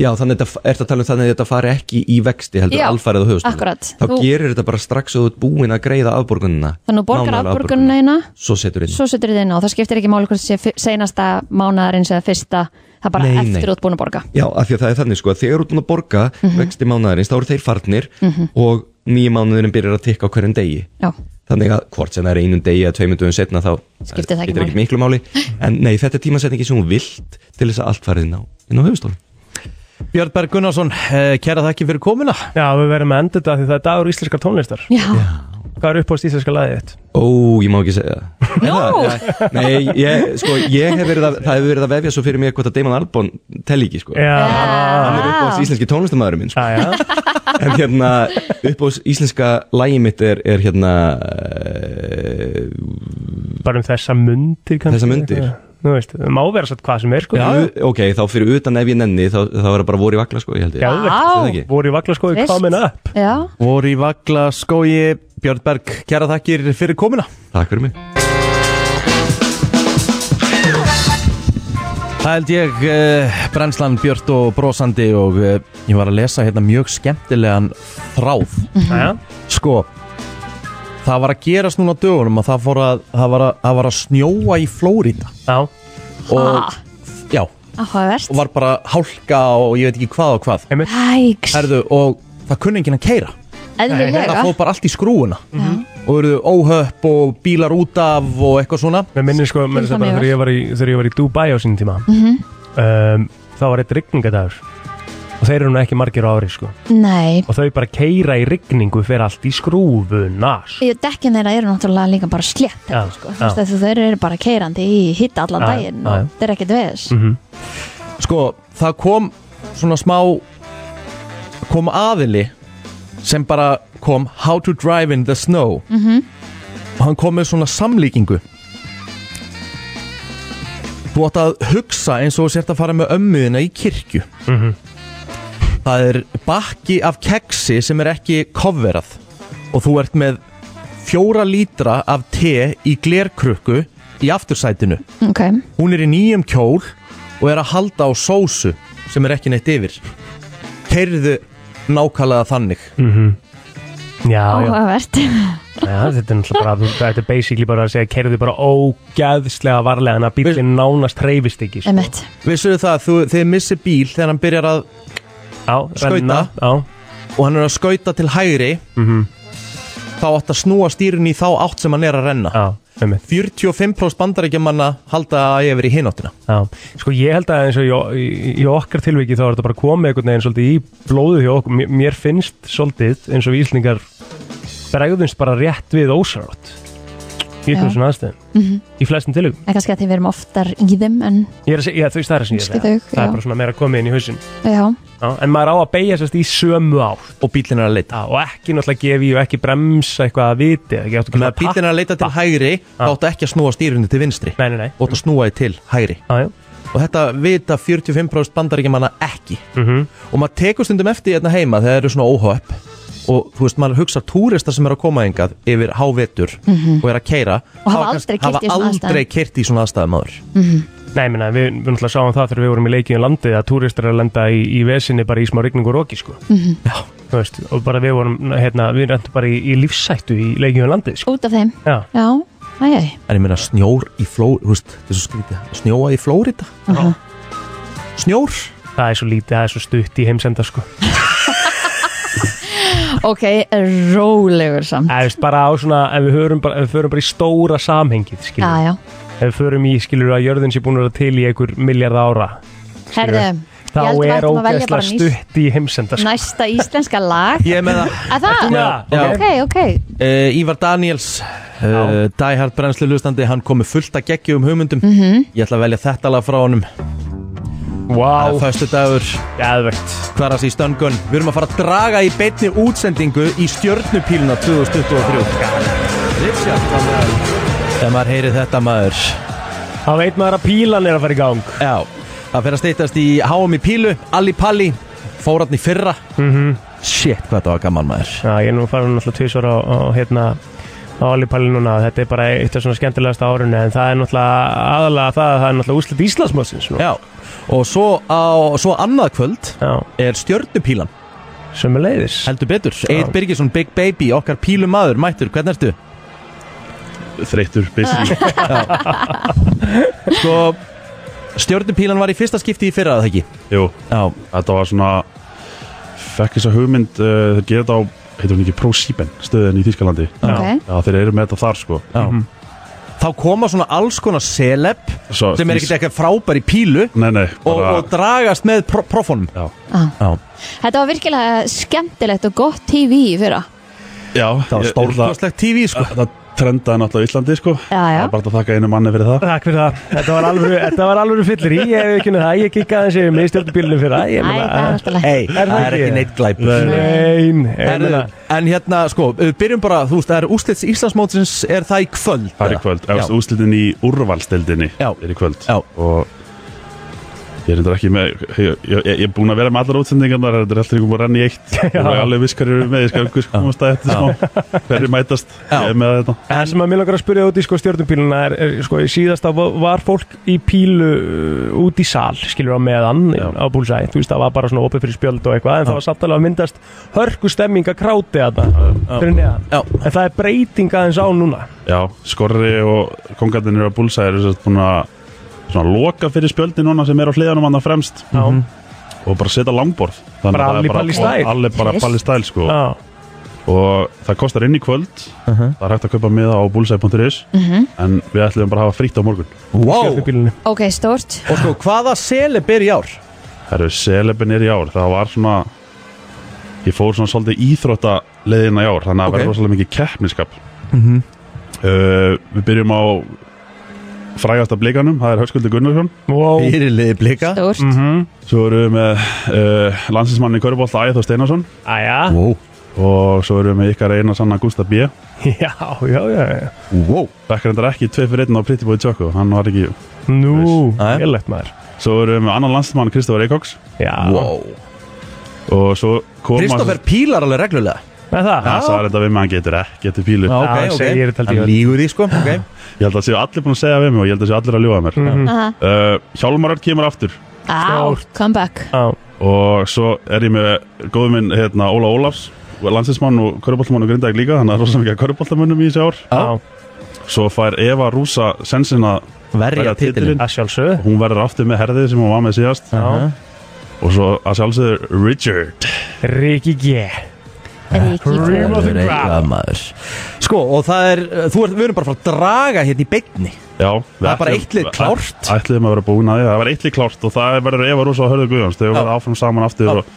S10: Já, þannig þetta, er þetta að tala um þannig að þetta fari ekki í vexti heldur
S3: Já,
S10: alfarið á höfustólinn
S3: akkurat.
S10: Þá
S3: Þú-
S10: gerir þetta bara strax og þú ert búin að greiða afborgunina
S3: Þannig að þú borgar
S10: nánari
S3: afborgunina eina
S10: Svo setur inn
S3: Svo setur þið inn á, það skiptir ekki máli hvort það sé fi- seinasta mánaðarins eða fyrsta Það er bara
S10: Nei, nei.
S3: eftir út búin að borga
S10: Já, af því að það er þannig sko að þegar þú ert búin að borga vexti mánuðarins, þá eru þeir farnir
S3: Mhm.
S10: og nýju mánuðurinn byrjar að tikka á hverjum degi
S3: Já.
S10: þannig að hvort sem það er einum degi eða tveimundum setna þá
S3: Skiptir það ekki
S10: ekki miklu máli
S3: [LAUGHS]
S10: en nei, þetta er tímasetningi sem hún vilt til þess að allt farið inn á, inn á höfustólum
S4: Björn Berg Gunnarsson, kæra þakki fyrir komuna Já, við verðum að enda þetta því það er dagur íslenskar tónlistar
S3: Já.
S4: Hvað er uppáðst íslenska lagið þitt?
S10: Ó, ég má ekki segja
S3: [LAUGHS]
S10: það [LAUGHS] no. Nei, ég, sko, ég hef verið að, það hefur verið að vefja svo fyrir mig hvort að Damon Albon telli ekki, sko
S4: Já.
S10: Hann er uppáðs íslenski tónlistamæður minn, sko
S4: já, já.
S10: [LAUGHS] En hérna, uppáðs íslenska lægi mitt er, er hérna uh,
S4: Bara um þessa mundir kannski
S10: Þessa mundir?
S4: eitthvað. Nú um veist, það má vera satt hvað sem er sko
S10: u- Ok, þá fyrir utan ef ég nenni, þá, þá er það bara voru í vakla, sko, ég held ég
S4: Geðvegt.
S10: Er það ekki?
S4: Voru í vakla sko
S3: Veist?
S4: komin upp
S3: Já
S2: Voru í vagla sko, skói Björn Berg, kæra þakkir fyrir komuna
S10: Takk fyrir mig
S2: Það held ég uh, brennslan Björn og brosandi og uh, ég var að lesa hérna mjög skemmtilegan þráð
S4: Mhm. Jæja.
S2: Sko Það var að gerast núna á dögunum að það, fór að, það, var að, það var að snjóa í Flórida
S4: Já
S2: og,
S3: Ha.
S2: Já
S3: Áhugavert
S2: Og var bara hálka og ég veit ekki hvað og hvað
S3: Æks
S2: Herðu, og það kunni enginn að keira
S3: Eðlilega.
S2: Það fóð bara allt í skrúuna
S6: Mhm.
S2: Og eruðu óhöpp og bílar út af og eitthvað svona
S4: Mér minnir sko, mér
S2: Skil
S4: finnst
S2: það
S4: bara
S2: mjög
S4: þegar ég var í, þegar ég var í Dubai á sínum tíma
S3: Mhm.
S4: um, Þá var eitt rigningadagur Og þeir eru nú ekki margir á ári sko
S3: Nei
S4: Og þau bara keira í rigningu fyrir allt í skrúfuna sko.
S3: Ég dekkin þeirra eru náttúrulega líka bara slétt
S4: Já,
S3: sko. Þú veist að þú- þeir eru bara keirandi í hitta allan
S2: Já,
S3: daginn
S2: já,
S3: og
S2: já.
S3: þeir eru ekkert veðis
S2: Mhm. Sko, það kom svona smá kom aðili sem bara kom How to drive in the snow og hann kom með svona samlíkingu Þú átt að hugsa eins og þú sért að fara með ömmuðina í kirkju Það er bakki af keksi sem er ekki kofverað og þú ert með fjóra lítra af te í glerkrukku í aftursætinu
S3: Ok,
S2: Hún er í nýjum kjól og er að halda á sósu sem er ekki neitt yfir Keirðu nákvæmlega þannig
S4: Mhm. Já, já,
S3: áhugavert
S4: já, þetta er náttúrulega bara, þú- þetta er basically bara að segja Kerðu bara ógæðslega varlega en að bílinn nánast reyfist ekki sko.
S3: Emmett
S2: Vissuðu það, þú, þið missir bíl þegar hann byrjar að
S4: á,
S2: skauta
S4: á.
S2: og hann er að skauta til hægri
S4: Mhm.
S2: þá átt að snúa stýrun í þá átt sem hann er að renna
S4: á,
S2: 45% bandarækjumanna halda að ég veri í hináttina
S4: Já, sko ég held að eins og í, í, í okkar tilviki þá er þetta bara komið einhvern veginn svolítið í blóðið hjá okkur Mér- Mér finnst svolítið eins og við Íslingar bregðumst bara rétt við ósarátt Í
S3: Já.
S4: einhvern svona aðstæðum
S3: Mhm.
S4: Í flestum tilvikum
S3: En kannski að því við erum oftar í þeim en
S4: Ég er að segja, já, þú veist það er sem ég er að
S3: Kannski
S4: segja
S3: þau,
S4: Það
S3: já.
S4: er bara svona meira komið inn í hausin
S3: já,
S4: já, En maður á að beigja sérst í sömu átt
S2: Og bílinn er að leita
S4: já, Og ekki náttúrulega gefi og ekki bremsa eitthvað að viti eða ekki áttu ekki
S2: Með
S4: að
S2: að bílinn er að leita til hægri þá átt ekki að snúa stýrunni til vinstri
S4: nei, nei, nei.
S2: og átt að snúa þið til hægri
S4: ah,
S2: og þetta vita 45% bandarækjumanna ekki
S4: Mhm.
S2: og maður tekur stundum eftir hérna heima þegar það eru svona óhöpp og þú veist, maður hugsa túristar sem er að koma engað yfir hávetur og er að keira
S3: Mhm. Og hafa aldrei keyrt í svona aðstæðum. Mhm.
S2: keirt í svona aðstæðum aður
S4: Nei, minna, við, við náttúrulega sáum það þegar við vorum í leikið um landið að túristar er að lenda í, í vesinni bara í smá rigningu og roki, sko.
S3: Mhm.
S4: Já. Þú veist, og bara við vorum, hérna, við rendum bara í, í lífsættu í leikið um landið, sko.
S3: út af þeim
S4: Já.
S3: Já, æjæj
S2: En ég meina snjór í Flóri Þú veist, þetta er svo skrítið Snjóa í Flórida Snjór
S4: Það er svo lítið, það er svo stutt í heimsenda, sko.
S3: Ok, rólegur samt
S4: Það veist, bara á svona, ef við, hörum, bara, ef við förum bara í stóra samhengið, skilur.
S3: Já, já
S4: Ef við förum í, skilur, að jörðin sé búin að vera til í einhver miljard ára.
S3: Herðu,
S4: Þá
S3: ég held við
S4: er
S3: ættum að velja
S4: ógeðslega
S3: bara nýs,
S4: stutt í heimsenda, sko.
S3: næsta íslenska lag
S2: Ég með það
S3: Að það?
S2: með það?
S3: Ok, ok
S2: uh, Ívar Daniels uh, Die Hard brennslu hlustandi Hann komi fullt að geggju um hugmyndum Ég ætla að velja þetta lag frá honum
S4: Vá.
S2: Það er föstu dagur
S4: Jæðvegt
S2: Hvað er að sé stönngun Við erum að fara að draga í beinni útsendingu Í stjörnupíluna 2023 Þegar maður heyri þetta maður
S4: Þá veit maður að pílan er að fara í gang
S2: Já Það fer að steytast í háum í pílu Alli Palli Fóratni fyrra
S4: mm
S2: Shit, hvað þetta var gaman maður
S4: Já, ég er nú farin náttúrulega tvisvar á, á hérna á Alipalli núna, þetta er bara eitt af svona skemmtilegasta árunni en það er náttúrulega aðalega það að það er náttúrulega úslit Íslandsmótsins
S2: Já, og svo, á, svo annað kvöld
S4: Já.
S2: er stjörnupílan
S4: sem er leiðis
S2: Heldur betur, Eid Birgisson, Big Baby, okkar pílumadur, mættur, hvernig ertu?
S12: Þreyttur,
S2: [LAUGHS]
S12: busy
S2: Sko, stjörnupílan var í fyrsta skipti í fyrra, að það ekki?
S12: Jú,
S2: Já.
S12: þetta var svona fekk þess að hugmynd uh, þeir gera þetta á, heitur hún ekki ProSieben stöðin í Þýskalandi
S2: Ok.
S12: Já, þeir eru með þetta þar sko
S2: Já. Þá koma svona alls konar seleb
S12: Svo-
S2: sem er ekkert eitthvað frábær í pílu
S12: Nei, nei,
S2: og,
S12: bara-
S2: og dragast með pro profonum
S12: Já,
S2: Já.
S3: Þetta var virkilega skemmtilegt og gott TV í fyrra
S12: Já
S2: Það var stórkostlegt TV sko
S12: Það trendaði náttúrulega í Íslandi sko
S3: Já, já.
S12: Það er bara að þakka einu manni fyrir það
S4: Takk fyrir það, þetta var alvöru, þetta var alvöru fyllir í, ég hef ekki unnið það, ég kikkaði þessi með stjórnubílunum fyrir það, ég meina
S2: Hey,
S4: Er það
S2: það er
S4: ekki?
S2: ekki neitt glæpur
S4: Nein, ég
S2: Herðu,
S4: meina-
S2: En hérna, sko, við byrjum bara, þú veist, það er úslits Íslandsmótsins, er það í kvöld?
S12: Það er í kvöld,
S2: Já.
S12: eftir úrslitin í úrvalstildinni
S2: Já.
S12: er í kvöld
S2: Já.
S12: og ég er reyndar ekki með ég, ég, ég, ég er búin að vera með allar útsendingarnar þetta er alltaf ekki búin að renna í
S2: [LAUGHS]
S12: eitt ég er alveg viss hverju eru með, ég skal alveg komast að þetta smá hverju mætast ég er með þetta
S4: Það sem að mér langar að spyrja út í sko, stjórnubíluna er, er sko, í síðasta va- var fólk í pílu uh, út í sal, skilur á meðan á búlsæ, þú veist það var bara svona opið fyrir spjöld og eitthvað, en það var samt alveg að myndast hörku stemming að kráti þarna fyrir neðan, en það er breyting aðeins á núna
S12: Já, Skorri og kongarnir eru að búlsa eru sérst búin að svona loka fyrir spjöldin núna sem er á hliðanum hann fremst
S4: Já.
S12: og bara setja langborð
S4: Bara
S12: að það er
S4: allir Palli style.
S12: Allir bara
S4: Yes.
S12: palli stæl sko
S4: Já.
S12: og það kostar inn í kvöld það er hægt að kaupa miða á búlsa.is
S3: Mhm.
S12: en við ætlum bara að hafa frítt á morgun
S2: Wow.
S3: Ok, stórt
S2: Og sko, hvaða seleb er í ár?
S12: Það eru selebin er í ár það var svona ég fór svona svolítið íþrótta leiðina í ár þannig að það
S2: Ok.
S12: verður rosalega mikið keppniskap
S2: Mhm.
S12: uh, Við byrjum á frægasta blikanum, það er Höskuldur Gunnarsson Mhm.
S4: wow.
S2: Fyrirliði blika
S3: Stórt
S12: Svo erum við með uh, landsinsmann í Körbólta Æþór Steinarsson
S4: Æja,
S2: wow.
S12: og svo erum við með ykkar eina sanna Gustaf B
S4: já, já, já, já
S2: wow.
S12: Bekkar endar ekki tvei fyrir einn á Pretty Boy Tjökku hann var ekki
S4: Nú, velegt maður
S12: Svo erum við með annan landsinsmann Kristofur Eikóks
S4: Já,
S12: og svo koma
S2: Kristoffer pílar alveg reglulega
S4: með það
S12: Hann sagði þetta við mig, hann getur ekkert í pílu
S4: ok, Já, ok. segir þetta aldrei.
S2: Hann lígur því sko okay.
S12: Ég held að séu allir búin að segja við mig og ég held að séu allir að ljúa mér mm
S3: Aha.
S12: Hjálmar Örn kemur aftur
S3: Á,
S4: Mhm. Stórt.
S3: comeback
S4: Já,
S12: og og svo er ég með góðum minn hérna, Óla Ólafs landsinsmann og köruboltamann og grindag líka þannig að það er rosa mikið köruboltamönnum í þessi ár
S4: Já.
S12: svo fær Eva Rúsa sensin að
S4: Verja titilinn. Að
S12: sjálfsögðu hún verður aftur með herðið sem hún var með síðast
S4: Já.
S12: og svo að sjálfsögðu Richard
S4: Riki G
S2: Cream of the crop maður Sko og það er þú ert, Við erum bara að fara að draga hérna í beinni
S12: Já,
S2: Það er bara eitt lið klárt.
S12: Ætliðum að vera búin að því, það var eitt lið klárt og það verður Eva Rúsa og Hörður Guðjóns þau verður áfram saman aftur og,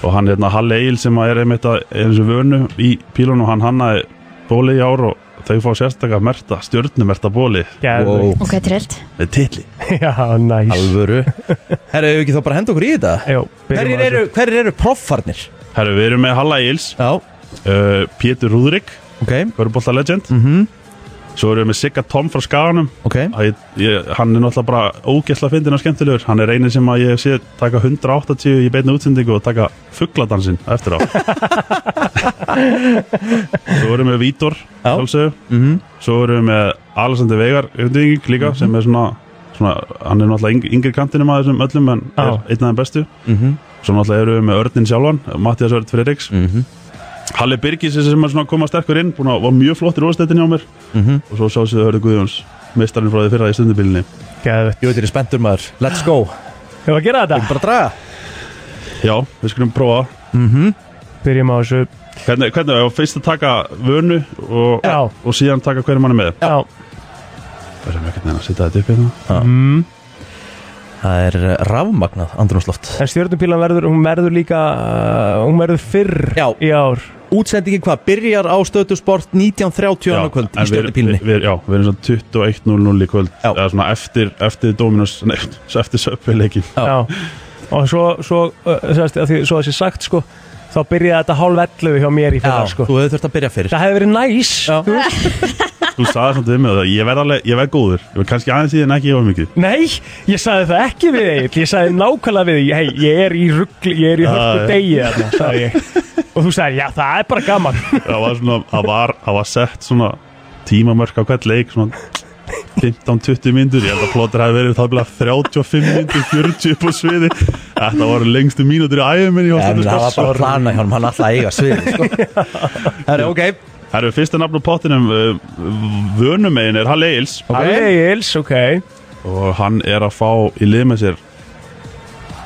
S12: og hann hérna Halle Egil sem að er einmitt að eins og vönu í pílunum hann hannaði bóli í ár og þau fá sérstakka merta, stjörnumerta bóli
S4: Geðveikt.
S3: Ok, trillt
S12: Með titli
S4: [LAUGHS] Já, næs
S2: Alvöru
S4: [LAUGHS]
S2: Herra, hefur ekki þá bara að henda okkur í þetta?
S4: Jó,
S2: Hverjir eru, hverjir eru proffarnir?
S12: Herru, við erum með Halla Eils
S2: uh,
S12: Pétur Rúðrik
S2: okay.
S12: Körbólta Legend mm
S2: Mhm.
S12: -hmm. Svo erum við með Sigga Tom frá Skaganum
S2: okay.
S12: ég, ég, Hann er náttúrulega bara ógæsla fyndin og skemmtilegur Hann er eini sem að ég hef séð taka 180 í beinni útsendingu og taka fuggladansin
S2: [LAUGHS]
S12: eftir á Svo erum við Vítor sjálfsögðu.
S2: Mhm.
S12: Svo erum við með Alexander Veigar Grindvíking líka sem er svona, svona hann er náttúrulega yng- yngri kantinum að þessum öllum en er
S4: Já.
S12: einn af þeim bestu
S4: Mhm.
S12: Svo náttúrulega erum við með Örnin sjálfan, Mattias Örn Fredriks
S2: Mhm.
S12: Halli Birgis er sem er svona að koma sterkur inn, búin að var mjög flottir úrstættin hjá mér
S2: Mhm.
S12: Og svo sá sér Hörðu Guðjóns, meistarinn frá því fyrra í stundubílinni
S4: Geðvett
S2: Jú, þetta er spenntur maður Let's go
S4: Hefur að gera þetta? Við
S2: bara að draga Mhm.
S12: Já, við skulum prófa
S4: mm -hmm. Byrjum á þessu
S12: Hvernig, hvernig, á fyrst að taka vönu og, og síðan taka hverju manni með
S4: Já
S12: Verðum ekkert neina að setja þetta upp hérna
S4: mm.
S2: Það er uh, rafmagnað andrumsloft
S4: En stjórnupílan verður, hún verður líka uh, Hún verður fyrr Já. í ár
S2: Útsendingin hvað? Byrjar á stöðtusport 19.30 annað kvöld í
S12: en við-
S2: stjórnupílinni
S12: við- við- Já, við erum svona 21.00 í kvöld Eða svona eftir, eftir Dominus, nei, eftir Söpveileikin
S4: Já. Og svo, svo, uh, sérst, að því, svo þessi sagt sko Þá byrjaði þetta hálf 11 hjá mér í fyrra sko
S2: Þú hefur þurft að byrja fyrir
S4: Það hefði verið næs þú veist.
S12: Þú sagði samt við mig það, ég verð alveg, ég verð góður Ég verð kannski aðeins í þið en ekki of mikið
S4: Nei, ég sagði það ekki við Egil Ég sagði nákvæmlega við Egil hey, Ég er í ruggli, ég er í
S12: Já,
S4: hörku
S12: já.
S4: degi þarna, sagði ég. Og þú sagði, já það er bara gaman
S12: Það var svona, það var, það var sett svona tímamörk á hvern leik Svona 15-20 myndur Ég held að plotir hafi verið það 35 myndur, 40 upp á sviði Þetta var lengstu mínútur í æfum minni hjá
S2: En
S12: Stundum
S2: það var
S12: Skottsson.
S2: bara að plana hjá hann, hann alltaf að eiga svið sko. Það er ok
S12: Það eru fyrsta nafn á pottinum uh, Vönumegin er Halle Eils
S4: Halli Egils, ok
S12: Og hann er að fá í lið með sér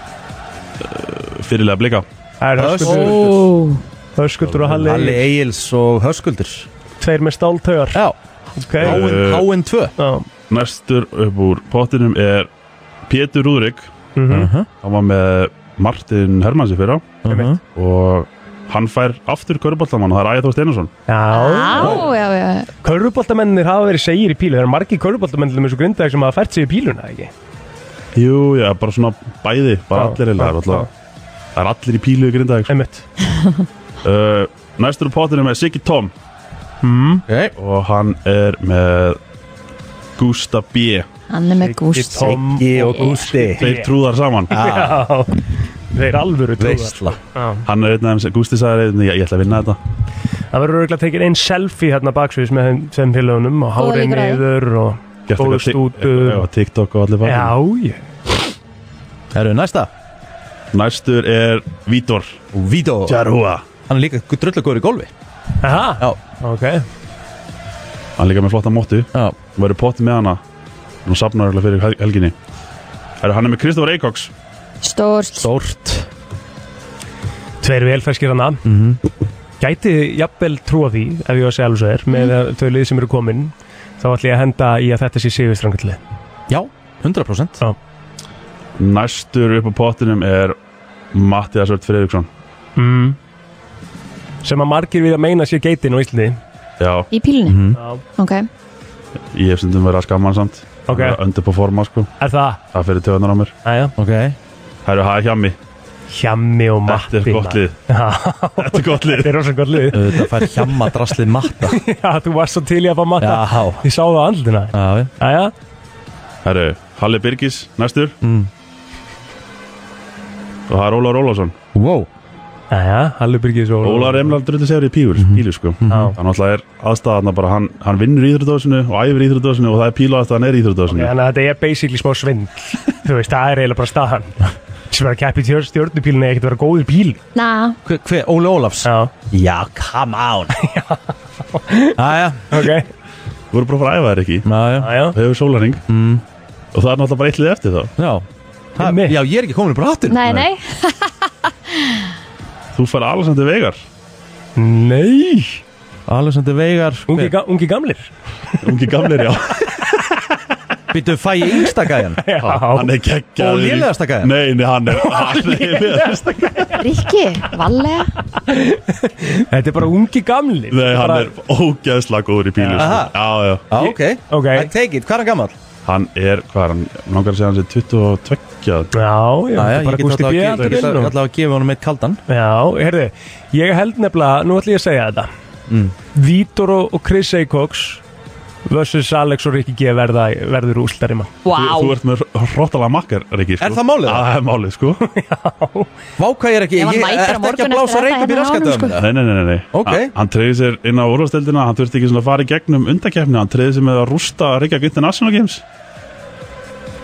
S12: uh, Fyrirlega blika
S4: Það er Höskuldur Höskuldur og Halli
S2: Halli Egils og Höskuldur
S4: Tveir með stáltögar
S2: Já
S4: okay.
S12: Eh,
S2: HN2
S12: Næstur upp úr pottinum er Pétur Rúðrik
S4: Mhm.
S12: Hann var með Martin Hermansi fyrir á
S4: Einmitt.
S12: Og hann fær aftur köruboltamann og Það er Ægja Þór Steinasson
S3: Á, já, já
S4: Körfuboltamennir hafa verið segir í pílu Það eru margir körfuboltamennir með svo grindaðið sem hafa fært sig í píluna ekki?
S12: Jú, já, bara svona bæði Bara
S4: Já,
S12: allir
S4: já,
S12: eiginlega Það er alltaf- það er allir í pílu í grindaðeg
S4: Einmitt
S12: [LAUGHS] uh, Næstur úr pottinum er Siggi Tom
S4: mm.
S2: okay.
S12: Og hann er með Gústa B
S3: Hann er með gúst
S12: Þeir trúðar saman
S4: Já Þeir alvöru trúðar
S12: Veistla.
S4: Já.
S12: Hann er einn af þeim sem Gústi sagði einn, ég, ég ætla að vinna þetta
S4: Það verður örgulega tekið einn selfie hérna baksviðis með þeim- þeim félagunum og
S12: Góða
S4: hárið
S12: líkur á því.
S4: niður og
S12: Gert
S4: góðu
S12: eitthvað
S4: stútu
S12: tik- eitthvað á TikTok og allir bara
S4: Já, já
S2: Herru, næsta
S12: Næstur er Vítor
S2: Vítor
S12: Jarúa
S2: Hann er líka drullagóður í golfi
S4: Aha, ok
S12: Hann er líka með flotta móttu
S2: Já
S12: Verður potti með hana Nú safnar örugglega fyrir hel- helginni Herru, hann er með Kristofur Eikoks
S3: Stórt
S2: Stórt
S4: Tveir velferskir hana Gæti jafnvel trúa því ef ég var að segja alveg svo er með mm. þau lið sem eru komin þá ætlum ég að henda í að þetta sé sigurstrangallið
S2: Já, 100%
S4: Já
S12: Næstur upp á pottinum er Mattias Ört Fredriksson
S4: mm. sem að margir við að meina sé geitin [LAUGHS] á Íslandi
S12: Já,
S3: Í pílunni?
S12: Mhm.
S3: Ok
S12: ég hef stundum verið að skamma hann samt
S4: Ok.
S12: Hann er Undir på forma sko
S4: Er það?
S12: Það fyrir töðunar á mér
S4: Æja
S2: Ok
S12: Herru, það er hjami
S4: Hjami og Matti
S12: Þetta er gott lið
S4: Þetta
S12: er gott lið
S4: Þetta er rosa gott lið
S2: Þetta fær hjamma draslið matta
S4: [LAUGHS] Já, þú varst svo til í að fá matta
S2: Já
S4: Ég sá það á andlina
S2: Já,
S4: Æja
S12: Herru, Halli Birgis, næstur mm. Og það er Ólar Ólásson
S2: Wow
S4: Æja, Halli Birgis og
S12: Ólar er emlað drullu segur í pílur,
S2: Mhm.
S12: pílu sko Það náttúrulega er aðstæðan bara hann, hann vinnur í Íþrótdósinu og æfir í Íþrótdósinu og það er pílu aðstæðan er í Íþrótdósinu
S4: Þannig að þetta er basically smá svindl Þú veist, það er eiginlega bara staðan sem er að keppi stjórnubílinni ekkert vera góður bíl
S3: Na,
S2: Hver, hver, Óli Ólafs?
S4: Já
S2: Já, come on Æja
S4: Ok
S12: Þú voru bara að fara að æfa þér ekki
S2: Æja
S4: Æja
S12: Það hefur sólaring mm. Og það er náttúrulega bara eitt lið eftir þá
S2: Já
S12: ha,
S2: Já, ég er ekki komin í brattin
S3: nei, nei
S12: Þú fær Alessandri Veigar
S4: [LAUGHS] Nei
S2: Alessandri Veigar
S4: Ungi, ga ungi gamlir
S12: Ungi gamlir,
S4: [LAUGHS]
S12: já
S2: Býttu fæ ég yngsta gæjan
S4: Já
S12: Hann er
S2: Og
S12: geggjaður í-
S2: lélegasta gæjan
S12: Nei, nei, hann
S2: [LAUGHS]
S12: er hann er lélegast.
S3: Rikki, vallega
S4: Þetta er bara ungi gamlir
S12: Nei, hann
S4: Bara-
S12: er ógeðslega góður í bílu
S2: Aha.
S12: sko. Já, já
S2: Já, ok
S4: Ok
S2: I take it, hvað er hann gammal?
S12: Hann er, hvað er hann, langar að segja hann sé 22
S4: Já, já,
S2: Já, já,
S4: þetta er
S2: ég
S4: bara
S2: get
S4: gústi
S2: alltaf að gefa-
S4: bíl
S2: ég get alltaf að gefa honum eitt kaldan
S4: Já, heyrðu, ég held nefnilega, nú ætlum ég að segja þetta mm. Vítor og, og Chris Acox versus Alex og Rikki G verða, verður úslari mann
S12: Þú, þú ert með hróttalega makkar, Riki sko.
S2: Er það málið?
S12: Já, það er málið,
S4: [LAUGHS]
S12: sko
S2: Vá, hvað ég er ekki
S3: Ef hann
S2: Ég
S3: mætir á
S2: er ekki
S3: morgun
S2: að blása
S3: eftir þetta
S2: reyngjum í
S3: hérna á
S4: sko-
S3: honum,
S2: raskatöðum
S12: Nei, nei, nei, nei, nei.
S2: Ok.
S12: Hann- Hann treyði sér inn á úrvasteldina Hann þurfti ekki svona að fara í gegnum undakeppni Hann treyði sér með að rústa Reykjavík International Games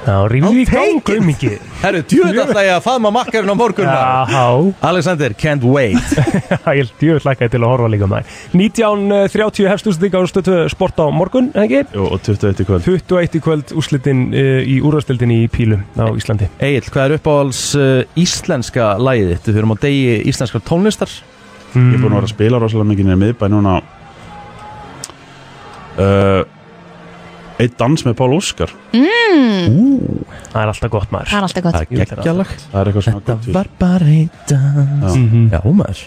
S4: Já, rífið í gangu mikið
S2: Herru, djúið alltaf ég að faðma makkarinn á morgun maður.
S4: Já,
S2: Alexander, can't
S4: [LAUGHS]
S2: wait
S4: ég held djöfull lakkaði til að horfa líka maður eh, 19.30 hefst úrslitning á stötu sport á morgun, hengi
S12: Jú, og 21 í kvöld
S4: 21 í kvöld úrslitin uh, í úrvastildinni í Pílum á Íslandi
S2: Egil, hvað er uppáhalds uh, íslenska lagið þitt? Við erum á degi íslenskar tónlistar
S12: Ég er búin að vera að spila rosalega mikið Nýra miðbæ núna uh, Eitt dans með Pál Óskar
S2: Mm.
S4: Mm.
S3: Mm.
S4: Það er alltaf gott maður
S3: Það er alltaf
S2: Það
S3: gott
S2: er geggjalag
S12: Það er eitthvað svona
S2: Þetta
S12: gott í-
S2: var Mm-hmm. bara einn dans Já, maður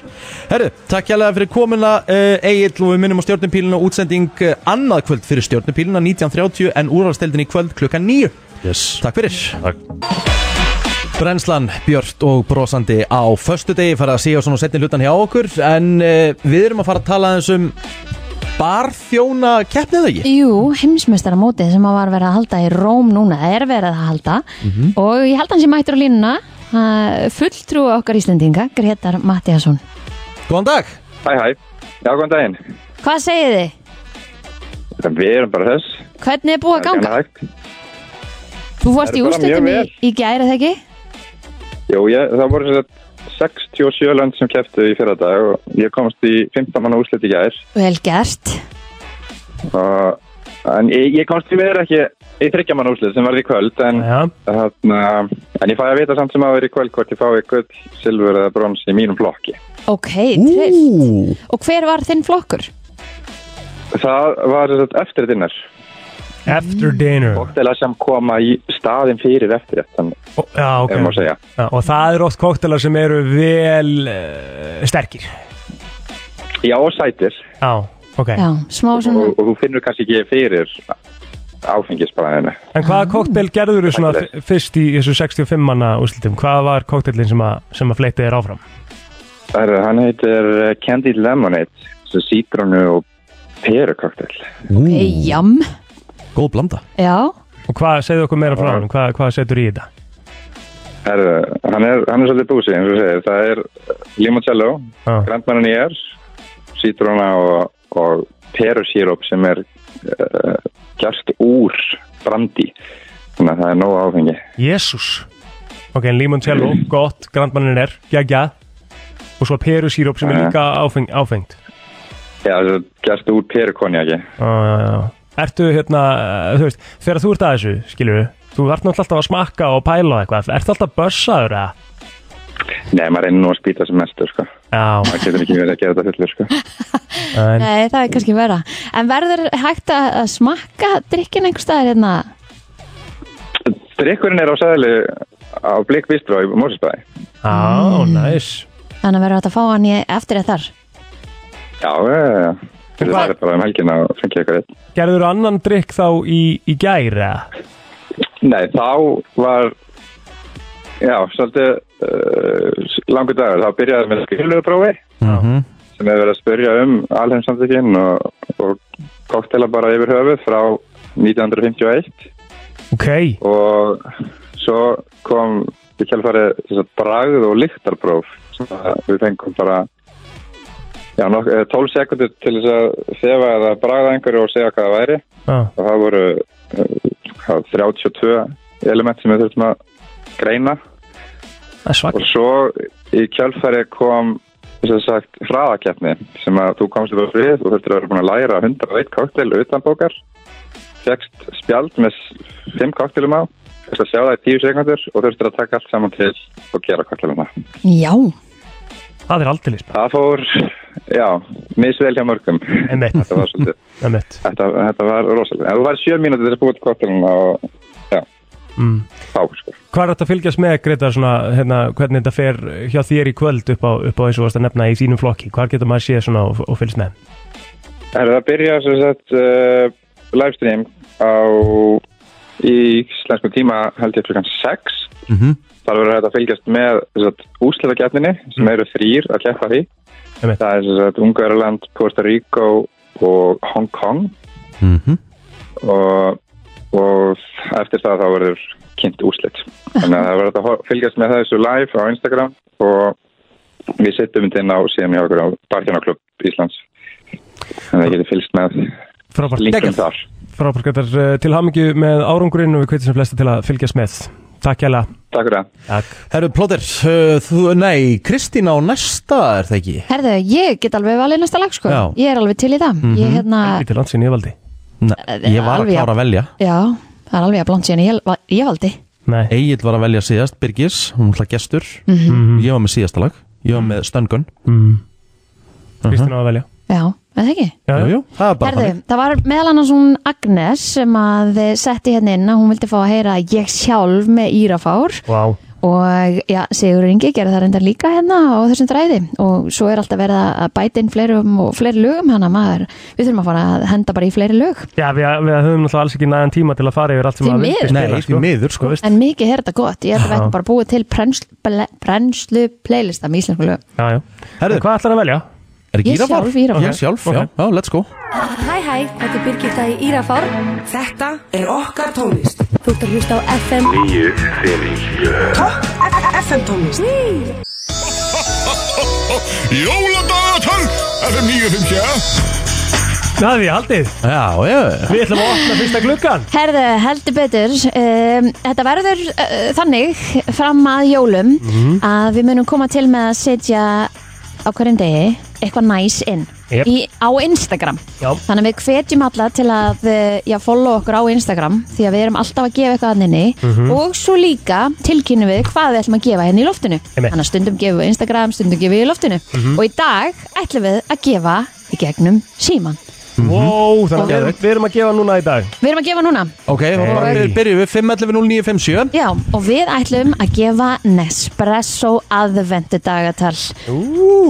S2: Herru, takk hérlega fyrir komuna uh, Egil og við minnum á stjórnupíluna útsending uh, annað kvöld fyrir stjórnupíluna 19.30 en úrvalsteldin í kvöld klukkan 9
S12: Yes
S2: Takk fyrir
S12: Takk.
S2: Brennslan, Björt og brosandi á föstu degi fara að síga svona setni hlutan hjá okkur en uh, við erum að fara að tala aðeins um barþjóna keppnið ekki?
S3: Jú, heimsmeistaramótið sem að var verið að halda í Róm núna er verið að halda og ég held hans ég mættur á línuna uh, fulltrú okkar Íslendinga Gretar Mattiasson
S2: Góðan dag!
S13: Hæ, hæ. Já, góðan daginn.
S3: Hvað segið þið?
S13: Við erum bara þess.
S3: Hvernig er búið að
S13: Það er ekki
S3: ganga?
S13: hægt.
S3: Þú fórst
S13: Það
S3: í
S13: er bara
S3: úrslitum í,
S13: mjög
S3: í gæri þegar ekki?
S13: Jú, ég, það voru sem sagt 67 lönd sem kæftu í fyrra dag og ég komst í 15 manna úrslit í gær.
S3: Vel gert
S13: Og, en ég, ég komst í meður ekki í 30 manna úrslit sem varði í kvöld en,
S4: Já,
S13: þarna, en ég fæ að vita samt sem að vera í kvöld hvort ég fái gull, silfur eða brons í mínum flokki.
S3: Ok, trillt Og hver var þinn flokkur?
S13: Það var sem sagt eftir dinnar.
S4: after dinner
S13: Bókteila sem koma í staðin fyrir eftir þetta,
S4: Já, ok
S13: ef maður segja.
S4: Já, Og það eru oft koktelar sem eru vel uh, sterkir
S13: Já, og sætir.
S4: Já, ok
S3: Já, smá svona
S13: Og, og þú finnur kannski ekki fyrir áfengisbræðinu.
S4: En hvaða koktel gerður þú svona f- fyrst í þessu 65 manna úrslitum? Hvað var koktelin sem að, sem að fleiti þér áfram?
S13: Herru, hann heitir eh, Candy Lemonade, sem sítrónu og perukoktel.
S3: okay, Jam
S2: Góð blanda
S3: Já,
S4: Og hvað segðu okkur meira frá hann? Hvað, hvað setur í þetta?
S13: Herru, hann er, hann er svolítið búsi, eins og segir. Það er eh, limoncello,
S4: Já.
S13: grandmannan í er, sítróna og, og perusíróp sem er uh, gert úr brandi. Þannig að það er nógu áfengi.
S4: Jésús Ok, en limoncello, gott, grandmannin er, gegja Og svo peru síróp sem er
S13: Já.
S4: líka áfeng, áfengt
S13: Já, það er gert úr perukonjaki.
S4: Já, já, já Ertu hérna, eh, þú veist, þegar þú ert að þessu, skilur Þú ert náttúrulega alltaf að smakka og pæla og eitthvað Ertu alltaf börsaður að?
S13: Nei, maður reynir nú að spýta sem mestu, sko.
S4: Já,
S13: Maður getur ekki verið að gera þetta fullur, sko.
S4: en
S3: nei, það er kannski vera En verður hægt að að smakka drikkin einhver staðar hérna?
S13: Drikkurinn er á sæðli á Blik Bistró í Mórsbæði.
S4: Já, næs
S3: Þannig að verður hægt að fá hann í eftir eða þar
S13: Já, já, já, já. Við
S4: hvað-
S13: verðum bara um helgina og fengið eitthvað eitt.
S4: Gerður annan drikk þá í, í gæra?
S13: Nei, þá var, já, svolítið uh, langur dagur. Þá byrjaði með skiluguprófi
S2: Mhm.
S13: sem hefur verið að spyrja um alheimsamtökin og, og koktela bara yfir höfuð frá 1951
S4: Ok,
S13: og svo kom í kjálfarið þess að bragð og lyktarpróf sem að við fengum bara já, nok, eh, 12 sekundir til þess að þefa eða bragða einhverju og segja hvað það væri
S4: já,
S13: og það voru eh, uh, 32 element sem við þurftum að greina og svo í kjálfæri kom sem sagt hraðakeppni sem að þú komst upp á frið og þurftir að vera búin að læra 101 koktel utan bókar fegst spjald með 5 koktelum á þurftir að sjá það í 10 sekundur og þurftir að taka allt saman til og gera koktelum á
S3: Já
S4: Það er aldrei list
S13: það fór, já, misvel hjá mörgum þetta var svolítið
S4: Emmett.
S13: þetta, þetta var rosalega, það var 7 mínútur þess að búið til koktelum og já,
S4: mm.
S13: þá sko
S4: Hvað er þetta að fylgjast með, Gretar, svona, hérna, hvernig þetta fer hjá þér í kvöld upp á, upp á eins og varst að nefna í þínum flokki? Hvað getur maður séð svona og, og fylgst með?
S13: Það er að byrja sem sagt uh, livestream á í íslensku tíma held ég klukkan 6
S7: Mhm.
S13: þar verður þetta að fylgjast með úslitakeppninni
S4: Mm.
S13: sem eru þrýr að keppa því það er sem sagt Ungverðarland, Puerto Rico og Hong Kong
S2: Mhm.
S13: og, og eftir það þá verður kynnt úslit þannig að það verður að hor- fylgjast með þessu live á Instagram og við setjum þetta inn á síðan hjá okkur á Barkjarnaklubb Íslands þannig að það getur fylgst með
S4: Frábært.
S13: linkum
S4: Geggjað.
S13: þar
S4: Frábær, Gretar, eh, til hamingju með árangurinn og við kveitum sem flesta til að fylgjast með. Takk jæla.
S13: Takk fyrir það.
S4: Takk.
S2: Herru, plóter, uh, þú, nei, Kristín á næsta, er það ekki?
S3: Herðu, ég get alveg valið næsta lag sko
S2: Já. Mhm.
S3: Ég er alveg til í það
S4: Mhm.
S3: Ég hérna, Eh,
S4: Lítið landsinn ég valdi.
S2: Nei, ég var að
S3: alveg
S2: klára að velja.
S3: já, það er alveg að blant síðan ég, ég valdi
S2: Egil var að velja síðast, Birgis, hún var gestur.
S3: Mhm.
S2: Ég var með síðasta lag, ég var með stöngun.
S4: Mm. Kristín á að velja.
S3: Já, er það ekki?
S4: Já,
S2: jú, jú, það er bara
S3: Herðu, það var meðal annars hún Agnes sem að setti hérna inn að hún vildi fá að heyra ég sjálf með Írafár
S4: Vá.
S3: og já, Sigur Ingi gerði það reyndar líka hérna á þessum dræði og svo er alltaf verið að bæta inn fleirum og fleiri lögum hana maður, við þurfum að fara að henda bara í fleiri lög
S4: Já, við, við höfum náttúrulega alls ekki nægan tíma til að fara yfir allt sem
S3: Því
S4: að vildi
S3: miður.
S4: spila,
S3: Nei,
S4: sko.
S2: því miður,
S4: sko. veist.
S3: en mikið er þetta gott, ég held að við
S4: Já.
S3: ættum bara að búa til brennslu, ble- brennslu playlista með íslensku lög
S4: Já, já. Herðu, hvað ætlar að velja?
S2: Er
S3: Ég Írafár? sjálf, Írafár.
S2: Ég sjálf, já,
S4: Ok.
S2: já, let's go.
S14: Hæ hæ, þetta er Birgitta í Írafár Þetta er okkar tónlist Þú ert að hlusta á FM
S7: Níu fyrir sjö
S14: FM tónlist
S7: Jóladagatal FM 957
S4: Það er því haldið.
S2: Já, já.
S4: Við ætlum að opna fyrsta gluggan.
S3: Herðu, heldur betur um, Þetta verður uh, þannig fram að jólum
S7: Mhm.
S3: að við munum koma til með að setja á hverjum degi eitthvað næs inn
S7: Jep.
S3: í, á Instagram
S7: Já.
S3: Þannig að við hvetjum alla til að uh, já, follow okkur á Instagram því að við erum alltaf að gefa eitthvað anninni
S7: Mhm.
S3: og svo líka tilkynum við hvað við ætlum að gefa henni í loftinu
S7: Einmitt.
S3: Þannig að stundum gefum við Instagram, stundum gefum við í loftinu
S4: Mhm.
S3: og í dag ætlum við að gefa í gegnum síman
S2: Mhm.
S4: Wow, þannig að við- við erum að gefa núna í dag. Eh,
S3: Við erum að gefa núna
S2: Ok, og bara
S4: Hey.
S2: við byrjum við 511-0957.
S3: Já, og við ætlum að gefa Nespresso aðvendu dagatal.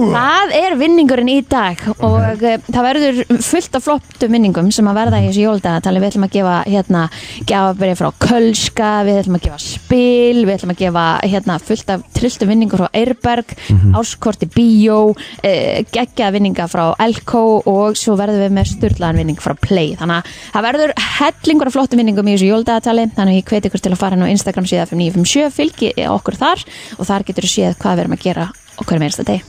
S3: Það er vinningurinn í dag og uh, það verður fullt af flottum vinningum sem að verða í þessu jóldagatali. Við ætlum að gefa hérna gjafabrið frá Kölska, við ætlum að gefa spil, við ætlum að gefa hérna fullt af trilltum vinningum frá Eirberg, áskorti bíó, uh, geggja vinninga frá Elko og svo verðum við með styrlaðan vinning frá Play. Þannig að það verður hellingur af flottum vinningum í þessu jóldagatali þannig að ég hveti ykkur til að fara inn á Instagram síða 5957, fylgi okkur þar og þar getur þú séð hvað við erum að gera okkur með einsta deg.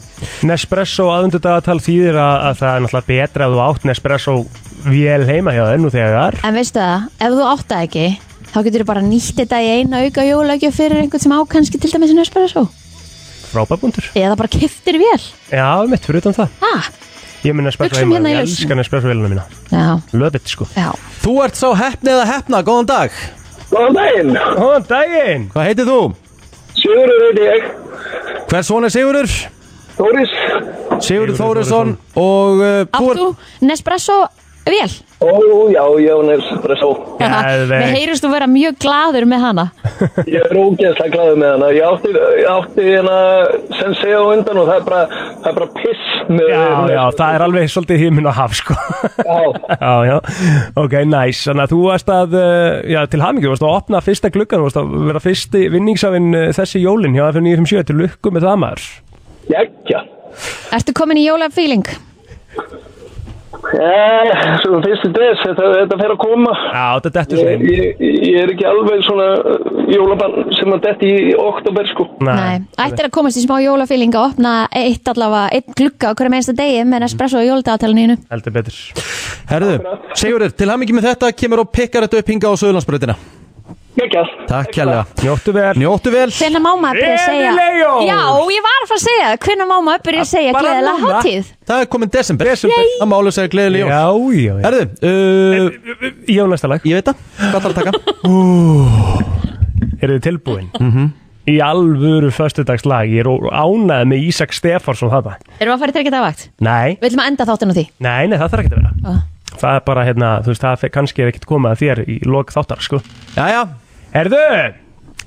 S4: Nespresso aðundudagatal þýðir að, að það er náttúrulega betra að þú átt Nespresso vél heima hjá þennu þegar.
S3: En veistu það, ef þú átt það ekki þá getur þú bara nýtt þetta í eina auka jólagjöf fyrir einhvern sem á kannski til dæmis en espresso
S4: Frábærbundur.
S3: eða bara kiftir vél
S4: Já, mitt fyrir utan það.
S3: ha,
S4: Ég minn Nespresso
S3: Hugsum
S4: heima,
S3: hérna í
S4: ég
S3: lausn.
S4: elskar Nespresso vélina mína.
S3: Já.
S4: Love it, sko.
S3: Já.
S2: Þú ert sá hefni eða hefna, góðan dag
S15: Góðan daginn
S4: Góðan daginn
S2: Hvað heitir þú?
S15: Sigurður heiti ég
S2: Hver son er Sigurður?
S15: Þóris
S2: Sigurður Þórisson og uh,
S3: Átt þú Nespresso vél?
S15: Ó, já, já, Nespresso
S3: Við heyrist þú vera mjög gladur með hana
S15: Ég er ógeðslega glaður með hana Ég átti, ég átti hérna Sensei á undan og það er bara, það er bara piss með
S4: Já, já, það er alveg svolítið himinn og haf, sko.
S15: Já.
S4: [LAUGHS] já, Ok, næs. Þannig að þú varst að, uh, já, til hamingju, þú varst að opna fyrsta gluggan, þú varst að vera fyrsti vinningsafinn uh, þessi jólin hjá F957 til lukku með það maður.
S15: Jækja
S3: Ertu komin í jólafíling?
S15: Eh, Svo fyrstu des, þetta, þetta fer að koma
S4: Já, þetta dettur
S15: svo ég, ég er ekki alveg svona eh, jólabann sem að detti í oktober sko
S3: Nei Ættir að komast í smá jólafíling að opna eitt allavega, eitt glugga á hverjum einsta degi með Nespresso og jóldagatalinu
S4: Heldur betur
S2: Herðu, Sigurður, til hamingi með þetta kemur og pikkar þetta upp hinga á Söðurlandsbröðina Gekkjað Takk kjærlega
S4: Njóttu vel
S2: Njóttu vel
S3: Hvenær má maður byrja að segja
S2: Revelio!
S3: Já, ég var að fara að segja það. Hvenær má maður byrja að segja gleðilega hátíð
S2: Það er komin desember Desember Það má alveg segja gleðileg jól Já, já, já Herðu uh,
S4: Ég á næsta lag
S2: Ég veit það Hvað þarf að taka? Mhm.
S4: Er þið tilbúin? Mm -hmm. Í alvöru föstudagslag Ég er ánæð með Ísak Stefánsson þarna
S3: Erum við að fara í tryggja dagvakt?
S4: Nei,
S3: Við viljum að enda þáttinn á því
S4: nei, nei, það þarf ekki að vera
S3: Ah.
S4: Það er bara, hérna, þú veist, það fer- kannski er ekkert komið að þér í lok þáttar, sko
S2: Jæja
S4: Herðu,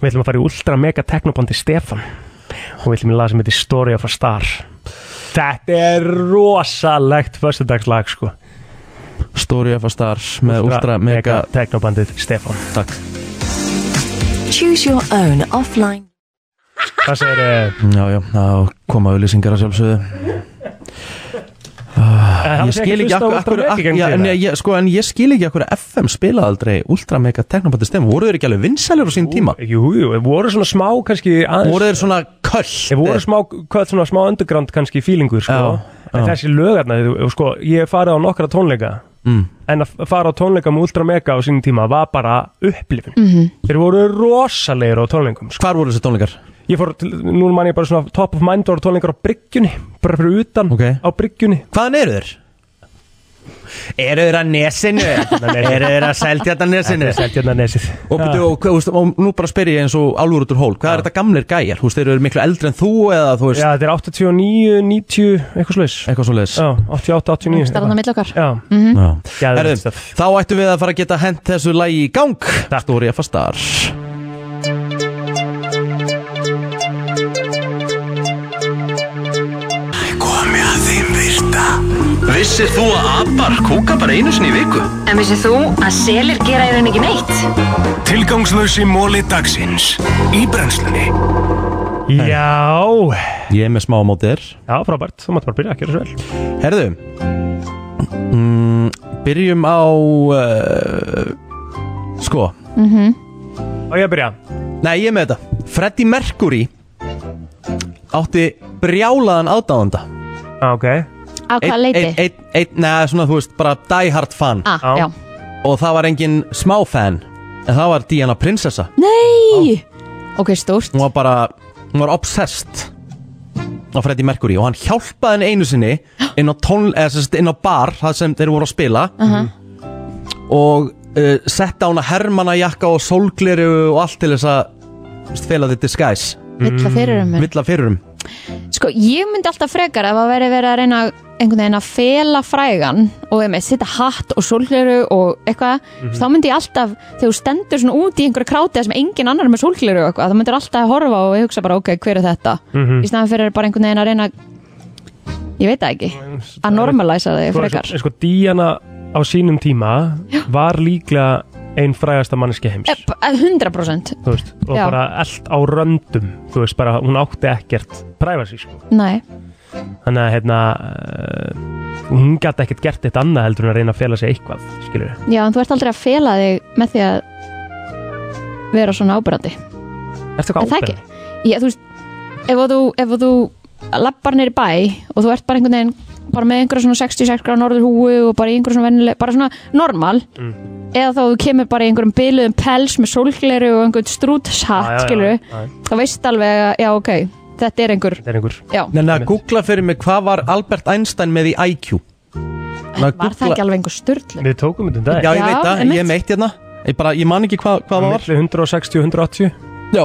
S4: við ætlum að fara í ultra mega teknobandi Stefan og við ætlum í lag sem heitir Story of a Star Þetta er rosalegt föstudagslag, sko
S2: Story of a Star með Ultra Mega
S4: Teknobandið Stefan
S2: Takk
S5: Choose your own offline
S4: Hvað segir þið?
S2: Já, já, þá koma auðlýsingar að sjálfsögðu Ah,
S4: hann
S2: Ég
S4: sé
S2: skil ekki
S4: ekki hlustað á
S2: akkur, akkur,
S4: Ultra Mega
S2: akkur
S4: gegn
S2: já,
S4: þér,
S2: en,
S4: eða?
S2: ég, sko, en ég skil ekki akkur FM spila aldrei Ultra Mega Technopathy Stem Voru þeir ekki alveg vinsælir á sín tíma?
S4: Jú, jú, voru svona smá kannski aðeins
S2: Voru þeir svona köll
S4: Þeir voru smá, köll, svona smá underground kannski fílingur sko. En þessi lögarna, þú- sko, ég hef farið á nokkra tónleika
S2: Mm.
S4: En að fara á tónleika með Ultra Mega á sínum tíma var bara upplifun Þeir voru rosalegir á tónleikum sko.
S2: Hvar voru þessi tónleikar?
S4: Ég fór, til, nú man ég bara svona top of mind voru tónleikar á bryggjunni Bara fyrir utan á bryggjunni
S2: Hvaðan eru þeir? Eru þeir að nesinu? Eru þeir að selja hérna þetta nesinu?
S4: Selja þetta nesið
S2: Og, byrju, og, hvað- veist, og nú bara spyr ég eins og álfur út úr hól Hvað er þetta gamlir gæjar? Þú veist, þeir eru miklu eldri en þú eða þú veist
S4: Já, þetta er 89, 90, eitthvað slags
S2: Eitthvað svo leiðis
S4: Já, 88, 89
S3: Starðan á milli okkar
S4: Já
S3: Mhm.
S2: Herðu, þá ættum við að fara að geta hent þessu lagi í gang Takk Stóri að fastar
S1: Komið að þeim virta Vissir þú að abar kúka bara einu sinni í viku?
S5: En vissið þú að selir gera í raun ekki neitt?
S1: Tilgangslösi móli dagsins Í brennslunni
S4: Já
S2: Ég er með smá mótir
S4: Já, frábært, þú mátt bara byrja að gera svo vel
S2: Herðu mm, Byrjum á uh, Sko
S3: Mhm.
S4: Og ég að byrja
S2: Nei, ég er með þetta Freddie Mercury Átti brjálaðan aðdáðanda
S4: ah, Ok
S3: Á hvaða leyti?
S2: Einn, ein, ein, neða, svona þú veist, bara die hard fan
S3: Ah, Já. já.
S2: Og það var engin smá fan En það var Diana prinsessa
S3: Nei Ok, stórt
S2: Hún var bara, hún var obsessed á Freddie Mercury og hann hjálpaði henni einu sinni inn á, tón, eða, sem sagt, inn á bar það sem þeir voru að spila
S3: Aha.
S2: og uh, setta hún að hermana jakka og sólgleru og allt til þess að þú veist, fela þetta disguise
S3: Villa fyrir um.
S2: Villa fyrir um
S3: Sko, ég myndi alltaf frekar ef að veri verið að reyna einhvern veginn að fela frægan og með sitta hatt og sólgleru og eitthvað,
S5: Mhm.
S3: þá myndi ég alltaf þegar þú stendur svona út í einhverju kráti þar sem engin annar er með sólgleru og eitthvað, þá myndir alltaf horfa og hugsa bara, ok, hver er þetta?
S4: Mhm.
S3: Í staðan fyrir bara einhvern veginn að reyna ég veit það ekki, að normalæsa þig frekar.
S4: Sko, sko Díana á sínum tíma var líklega einn frægasta manneski heims
S3: Eh, b- eh, 100%
S4: þú veist, og
S3: Já.
S4: bara allt á röndum þú veist, bara hún átti ekkert privacy sko.
S3: Nei,
S4: þannig að hérna uh, hún gæti ekkert gert eitt annað heldur en að reyna að fela sig eitthvað skilur
S3: já, en þú ert aldrei að fela þig með því að vera svona ábyrgandi
S4: Ertu
S3: Er
S4: eitthvað
S3: það ekki? Já, þú veist, ef að þú, ef að þú lappar neyri bæ og þú ert bara einhvern veginn bara með einhverja svona 66 gráð norður húu og bara í einhverju svona vennileg, bara svona normal
S2: Mm.
S3: eða þá þú kemur bara í einhverjum byluðum pels með sólgleru og einhvern
S2: Já, já,
S3: strútshatt
S2: já,
S3: skilur
S2: já.
S3: þá veist alveg að, já ok þetta er einhver,
S4: er einhver.
S3: já,
S2: Nei, að googla fyrir mig hvað var Albert Einstein með í IQ Var
S3: var það ekki alveg einhver styrlu?
S4: Við tókum þetta um dag
S2: Já, ég
S3: Já,
S2: veit það,
S3: einmitt.
S2: ég er meitt hérna Ég, bara, ég man ekki hvað hva var
S4: Milli 160 og 180
S2: Já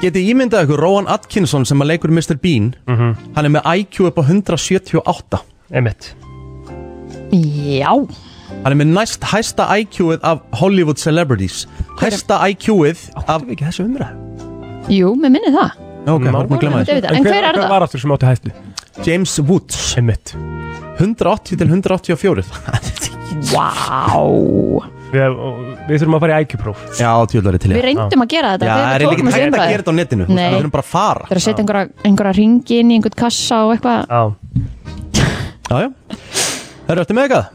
S2: Getið ímyndað ykkur Rowan Atkinson sem að leikur Mr. Bean
S4: Mhm.
S2: Hann er með IQ upp á 178
S4: Emmett
S3: Já
S2: Hann er með næst hæsta IQ-ið af Hollywood celebrities Hæsta IQ-ið af Áttu
S4: við ekki þessu umræð?
S3: jú, mér minni það
S2: Já, ok, hann er að glemma
S3: Vonandi
S2: þessu
S3: vita. En En hver- hver er hver það?
S4: var aftur sem átti hættu?
S2: James Woods
S4: Einmitt
S2: 180 til
S3: [LAUGHS]
S2: 184
S3: Wow
S4: við, og við þurfum að fara í IQ-próf
S2: Já, tjóðlari til
S3: Við reyndum að gera þetta
S2: Já,
S3: þegar
S2: það
S3: við
S2: er
S3: tókum
S2: ekki hægt
S3: þessu
S2: að
S3: umræðu.
S2: gera þetta á netinu Þú veist,
S3: Nei.
S2: Við þurfum bara að fara
S3: Það er að setja einhverja, einhverja ringi inn í einhvern kassa og eitthvað
S4: Já
S2: Já, já Það eru eftir með eitthvað?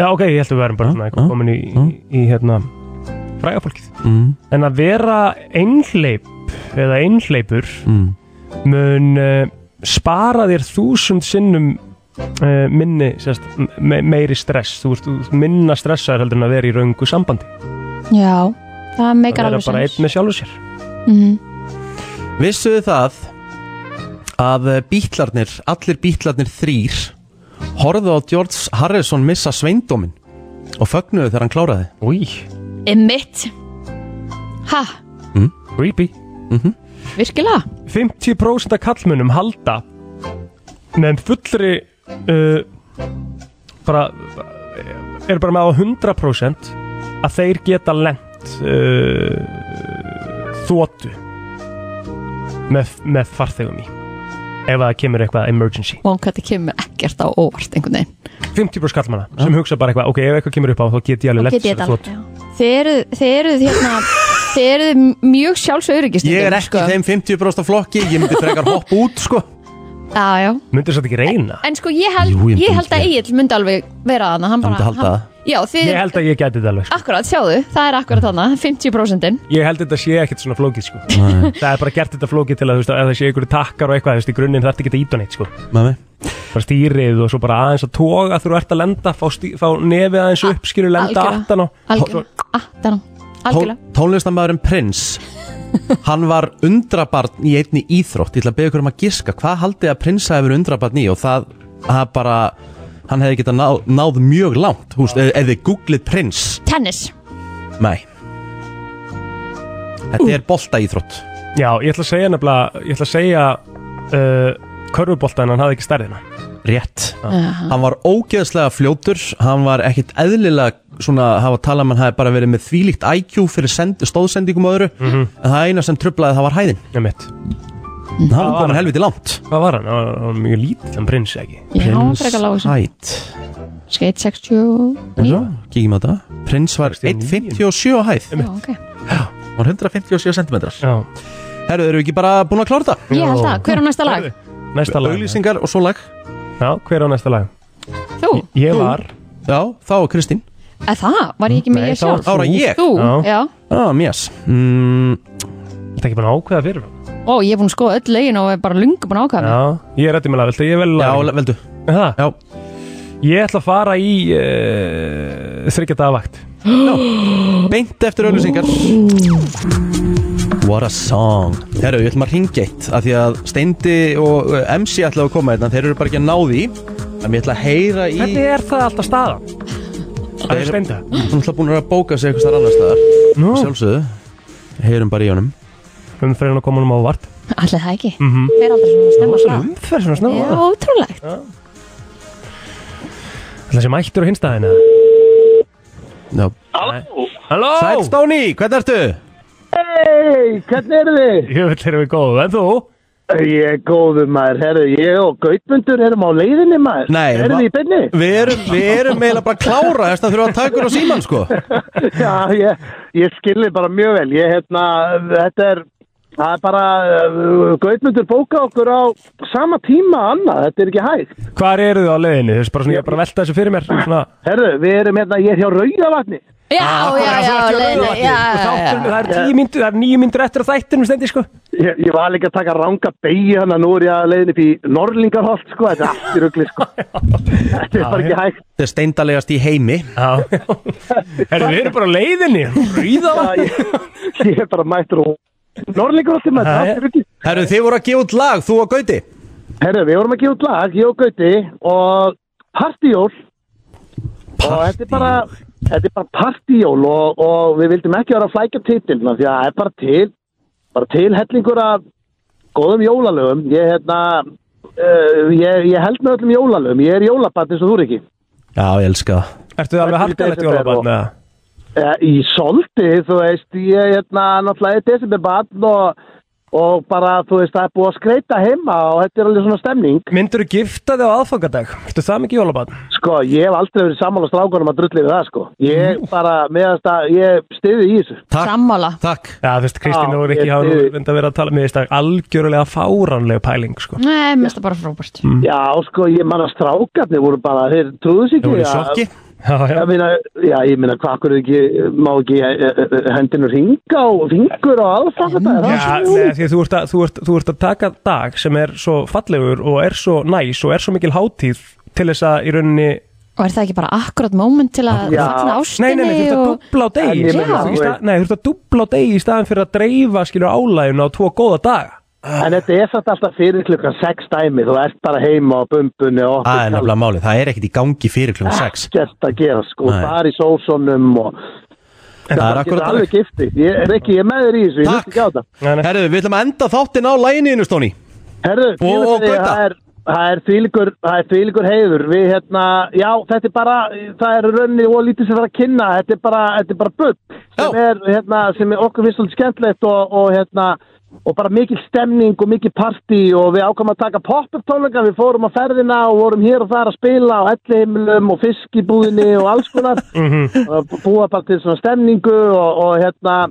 S4: Já, ok, ég held að við erum bara svona eitthvað komin í, í, í hérna frægafólkið mm. En að vera einhleip eða einhleipur
S2: Mm.
S4: mun uh, spara þér þúsund sinnum uh, minni sérst, me meiri stress þú veist, þú ert minna stressaður heldur en að vera í raungu sambandi
S3: Já, það meikar
S4: að vera
S3: alveg
S4: bara
S3: sens
S4: einn með sjálfur sér
S3: Mhm.
S2: Vissuðu það að bítlarnir, allir bítlarnir þrýr horfðu á George Harrison missa sveindómin og fögnuðu þegar hann kláraði
S4: Új
S3: Emmitt Ha,
S2: mm.
S4: Creepy
S2: mm -hmm.
S3: virkilega?
S4: 50% af kallmönum halda nefn fullri uh, bara er bara með á 100% að þeir geta lent uh, þóttu með, með farþegum í ef það kemur eitthvað emergency
S3: Og hvað þetta kemur ekkert á óvart einhvern veginn
S4: 50% kallmanna sem hugsa bara eitthvað ok, ef eitthvað kemur upp á þá get ég
S3: Þá
S4: alveg lent
S3: get ég þetta alveg,
S4: þóttu
S3: Þið eruð, þið eruð hérna Þið eruð mjög sjálfsöryggist
S2: Ég er ekki í
S3: sko.
S2: þeim 50% af flokki Ég myndi frekar hoppa út sko
S3: Já, já
S4: Myndir þetta ekki reyna?
S3: En sko ég held,
S4: Jú, ég
S3: ég
S4: myndi
S3: held að Egil myndi alveg vera þarna Hann bara
S4: myndi halda
S3: hann-
S4: það.
S3: Já, þið
S4: Ég held að ég geti þetta alveg sko.
S3: Akkurat, sjáðu, það er akkurat þarna 50%
S4: Ég held þetta sé ekkert svona flókið sko. [LAUGHS] Það er bara gert þetta flókið til að þú veist að það sé einhverju takkar og eitthvað þú veist í grunninn þarf þetta ekki að íta neitt sko.
S2: Mami.
S4: Bara stýrið og svo bara aðeins að toga þú ert að lenda, fá, stí, fá nefið aðeins upp skilur lenda
S3: Algjörlega.
S4: aftan á
S3: Algjörlega, aftan á Algjörlega
S2: Tónlistamæðurinn Prince Hann var undrabarn í einni íþrótt Ég ætla að beða ykkur um að giska Hvað haldið að Prince hafi verið undrabarn í Og það, það bara Hann hefði getað náð, náð mjög langt Húst, ef, ef þið googlið Prince
S3: Tennis
S2: Nei Þetta er bolta íþrótt
S4: Já, ég ætla að segja nefnilega ég ætla að segja uh, körfubolta en hann hafði ekki stærðina
S2: Rétt
S4: Aha.
S2: Hann var ógeðslega fljótur Hann var ekkit eðlilega Svona hafa talað um að Hann hafi bara verið með þvílíkt IQ Fyrir send, stóðsendingum og öðru
S4: Mhm.
S2: En það eina sem trublaði það var hæðin
S4: Nei mitt
S2: Hann var komin helviti langt
S4: Hvað var hann? Hann var- hann var mjög lítill, hann prins ekki
S3: Já, hann var frekar lágur sem-
S2: Hætt
S3: Skate 60
S2: Kíkjum á þetta Prins var 1,57 á hæð
S3: Já, ok
S2: Hann var 157 cm
S4: Já
S2: Herru, eru við ekki bara búin að klára þetta?
S3: Ég held það, hver er næsta lag?
S4: Næsta lag
S2: Auglýsingar og svo lag
S4: Já, hver á næsta lag?
S3: Þú?
S4: Ég var
S2: Já, þá var Kristín
S3: Eða það, var ég ekki með
S2: Nei,
S3: ég
S2: þá var
S3: sjálf?
S2: þú. Þá var ég.
S3: Þú,
S2: Já.
S3: já
S2: Ah, mjöss mm.
S4: Þetta ekki búin að ákveða fyrir hann
S3: Ó, ég er búin að skoða öll lögin og er bara lungu búin að ákvæða mig
S4: Já, ég er rætti með lag, viltu ég vel lag?
S2: Já, veldu
S4: Það?
S2: Já
S4: Ég ætla að fara í uh, þryggja dagvakt
S3: [GASPS]
S2: Beint eftir auglýsingar What a song Herru, ég ætlum að ringa eitt af Því að Steindi og uh, MC ætlaðu að koma hérna Þeir eru bara ekki að ná því En ég ætla að heyra í
S4: Hvernig er það alltaf staðan? Það er steinda
S2: Hún ætla búin að bóka sig eitthvað annar staðar
S4: Nú.
S2: Sjálfsögðu Heyrum bara í honum
S4: Umferðin að koma honum á vart
S3: Allir það ekki
S4: mm -hmm.
S3: Hver aldrei svona snemma svona
S4: Umferð svona snemma?
S3: Já, ótrúlegt
S4: Það sé mættur á hinstaðina
S2: Já
S4: Halló Halló
S2: Sæl Stóni, hvernig ertu?
S16: Hei, hvernig eru þið?
S4: Jöfell erum við góðu, en þú?
S16: Ég er góður maður, herru, ég og Gautmundur erum á leiðinni maður
S2: Nei,
S16: Erum
S2: ma-
S16: við í byrni?
S2: Við erum, við erum eiginlega bara að klára þess að þurfa að taka úr á síman sko
S16: [LAUGHS] Já, ég, ég skilði bara mjög vel Ég, hérna, þetta er Það er bara, uh, Gautmundur bóka okkur á sama tíma annað, þetta er ekki hægt
S4: Hvar eru þið á leiðinni? Þú veist bara svona, ég er bara að velta þessu fyrir mér svona.
S16: Herru, við erum hérna, ég er hjá Rauðavatni
S3: Já,
S2: Ah,
S3: já, já, leiðinni Já, já,
S4: Þátturinn, það er
S3: já
S4: tíu myndur, það er nýju myndur eftir að þættinum stendi, sko
S16: Ég, ég var líka að taka ranga beigi hann að nú er ég að leiðin upp í Norlingarholt, sko, þetta er allt í rugli, sko Þetta er bara ekki hægt
S2: Þetta er steindalegast í heimi
S4: Já Herru, við erum bara á
S16: [LAUGHS]
S4: leiðinni Rauðavatn
S16: Ég er bara mættur og Norrlíkuráttir með þetta
S2: Herru, þið voru að gefa út lag, þú og Gauti
S16: Herru, við vorum að gefa út lag, ég og Gauti og partíjól og þetta er bara þetta er bara partíjól og, og við vildum ekki vera að flækja titilna því að það er bara til bara til hellingur af góðum jólalögum ég, hérna, uh, ég, ég held með öllum jólalögum ég er jólabat eins og þú er ekki
S2: Já, ég elska það
S4: Ertu alveg harkalegt jólabarn, eða?
S16: Eh, Í soldi, þú veist, ég hérna náttúrulega í desemberbann og, og bara, þú veist, það er búið að skreita heima og þetta er alveg svona stemning.
S4: Myndur þú gifta þig á aðfangadag? Ertu það mikið jólabarn?
S16: Sko, ég hef aldrei verið sammála strákunum að drulli við það, sko. Ég bara, meðast að, ég stiði í þessu.
S2: Takk.
S3: Sammála.
S2: Takk.
S4: Já, þú veist, Kristín
S16: Já,
S4: og Rikki
S16: ég
S4: hafa nú
S16: styð-
S4: vind að vera að tala með þess að algjörulega fáránlega pæling, sko
S3: Nei, mér finnst það bara frábært
S16: Já, sko, ég manna strákarnir voru bara, þeir trúðu sig
S4: Þeir voru í
S16: að-
S4: sjokki. Já, já.
S16: Ég meina, já, ég meina, hvað akkur ekki, má ekki eh, eh, eh, hendinu ringa og fingur og aðfann þetta. er
S4: Mm. Já,
S16: það
S4: nei,
S16: sem-
S4: því að þú ert að, þú, ert, þú ert að taka dag sem er svo fallegur og er svo næs og er svo mikil hátíð til þess að í rauninni
S3: Og er það ekki bara akkurat moment til að fagna ástinni
S4: Nei, nei, nei, þú ert að
S3: og...
S4: dubla á degi
S3: En ég
S4: skilur,
S3: meina,
S4: þú
S3: þú
S4: veist.
S3: veist-
S4: Nei, þú ert að dubla á degi í staðan fyrir að dreifa skilur álæginu á tvo góða daga
S16: En þetta er satt alltaf fyrir klukkan 6 dæmi, þú ert bara heima á bumbunni og
S2: Það er nefnilega málið, það er ekkert í gangi fyrir klukkan 6
S16: Ekkert að gera sko,
S2: Nei.
S16: bara í sósónum og
S2: En það er akkurat
S16: er alveg gifti, ég, Rikki, ég er með þér í þessu, ég hlusti ekki á það
S2: Herðu, við ætlum að enda þáttin á læginu, Stóni
S16: Herðu,
S2: Og- og Gauta.
S16: það er Það er þvílíkur, það er þvílíkur heiður, við hérna, já, þetta er bara, það er rauninni og lítið sem það er að kynna, þetta er bara, þetta er bara bupp, sem er, hérna, sem er okkur finnst svolítið skemmtilegt og, og hérna, og bara mikil stemning og mikil partí og við ákvæmum að taka pop-up tónleika, við fórum á ferðina og vorum hér og þar að spila á ellihimlum og fiskibúðinni og alls
S2: [LAUGHS]
S16: konar,
S2: Mhm.
S16: og búa bara til svona stemningu og, og hérna,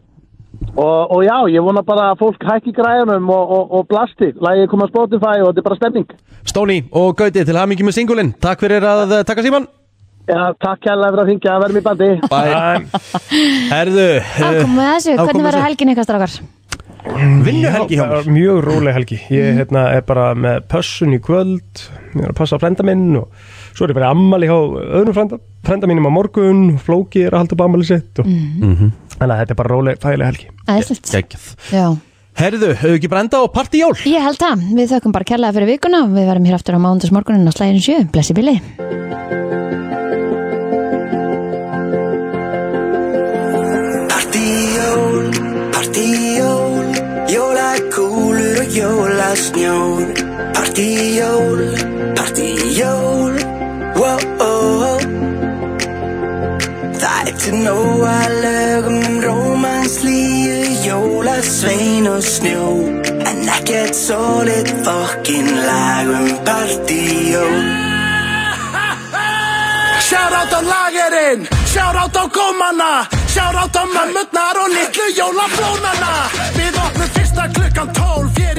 S16: Og, og já, ég vona bara að fólk hækki græðunum og, og, og blasti. Lægið kom að Spotify og þetta er bara stemning.
S2: Stóni og Gauti, til hamingi með singulinn Takk fyrir að eh, taka síman
S16: Já, takk hérlega fyrir að hringja, verðum í bandi.
S2: Herðu
S3: eh, Þá komum við að þessu,
S4: þá komum
S3: hvernig
S4: við
S3: verður
S4: þessu.
S3: helgin eitthvað strákar?
S4: Vinnuhelgi hjá mér Mjög róleg helgi Ég
S3: Mm.
S4: hérna, er bara með pössun í kvöld Ég er að passa á frenda minn og svo er ég bara ammali hjá öðrum frenda, frenda mínum á morgun Flóki er að halda upp ammali sitt og...
S3: Mhm.
S4: Þannig að þetta er bara róleg, þægileg helgi
S3: Æðislegt.
S2: Gækjað
S3: Já.
S2: Herðu, hefur ekki brenda á partíjól?
S3: Ég held það, við þökkum bara kærlega fyrir vikuna Við verðum hér aftur á mándagsmorgunin á slæðinu sjö Blessi bíli
S6: Partíjól, partíjól, jólakúlur og jólasnjór. Partíjól, partíjól, wow. oh, Það er til nóa lögum um rómanslíu, jólasvein og snjó. En ekkert solid fokkin lag um partíjól.
S17: Shout out á lagerinn, shout out á gómana Shout out á mömmutnar og litlu jólablónana Við opnum fyrsta klukkan tólf Ég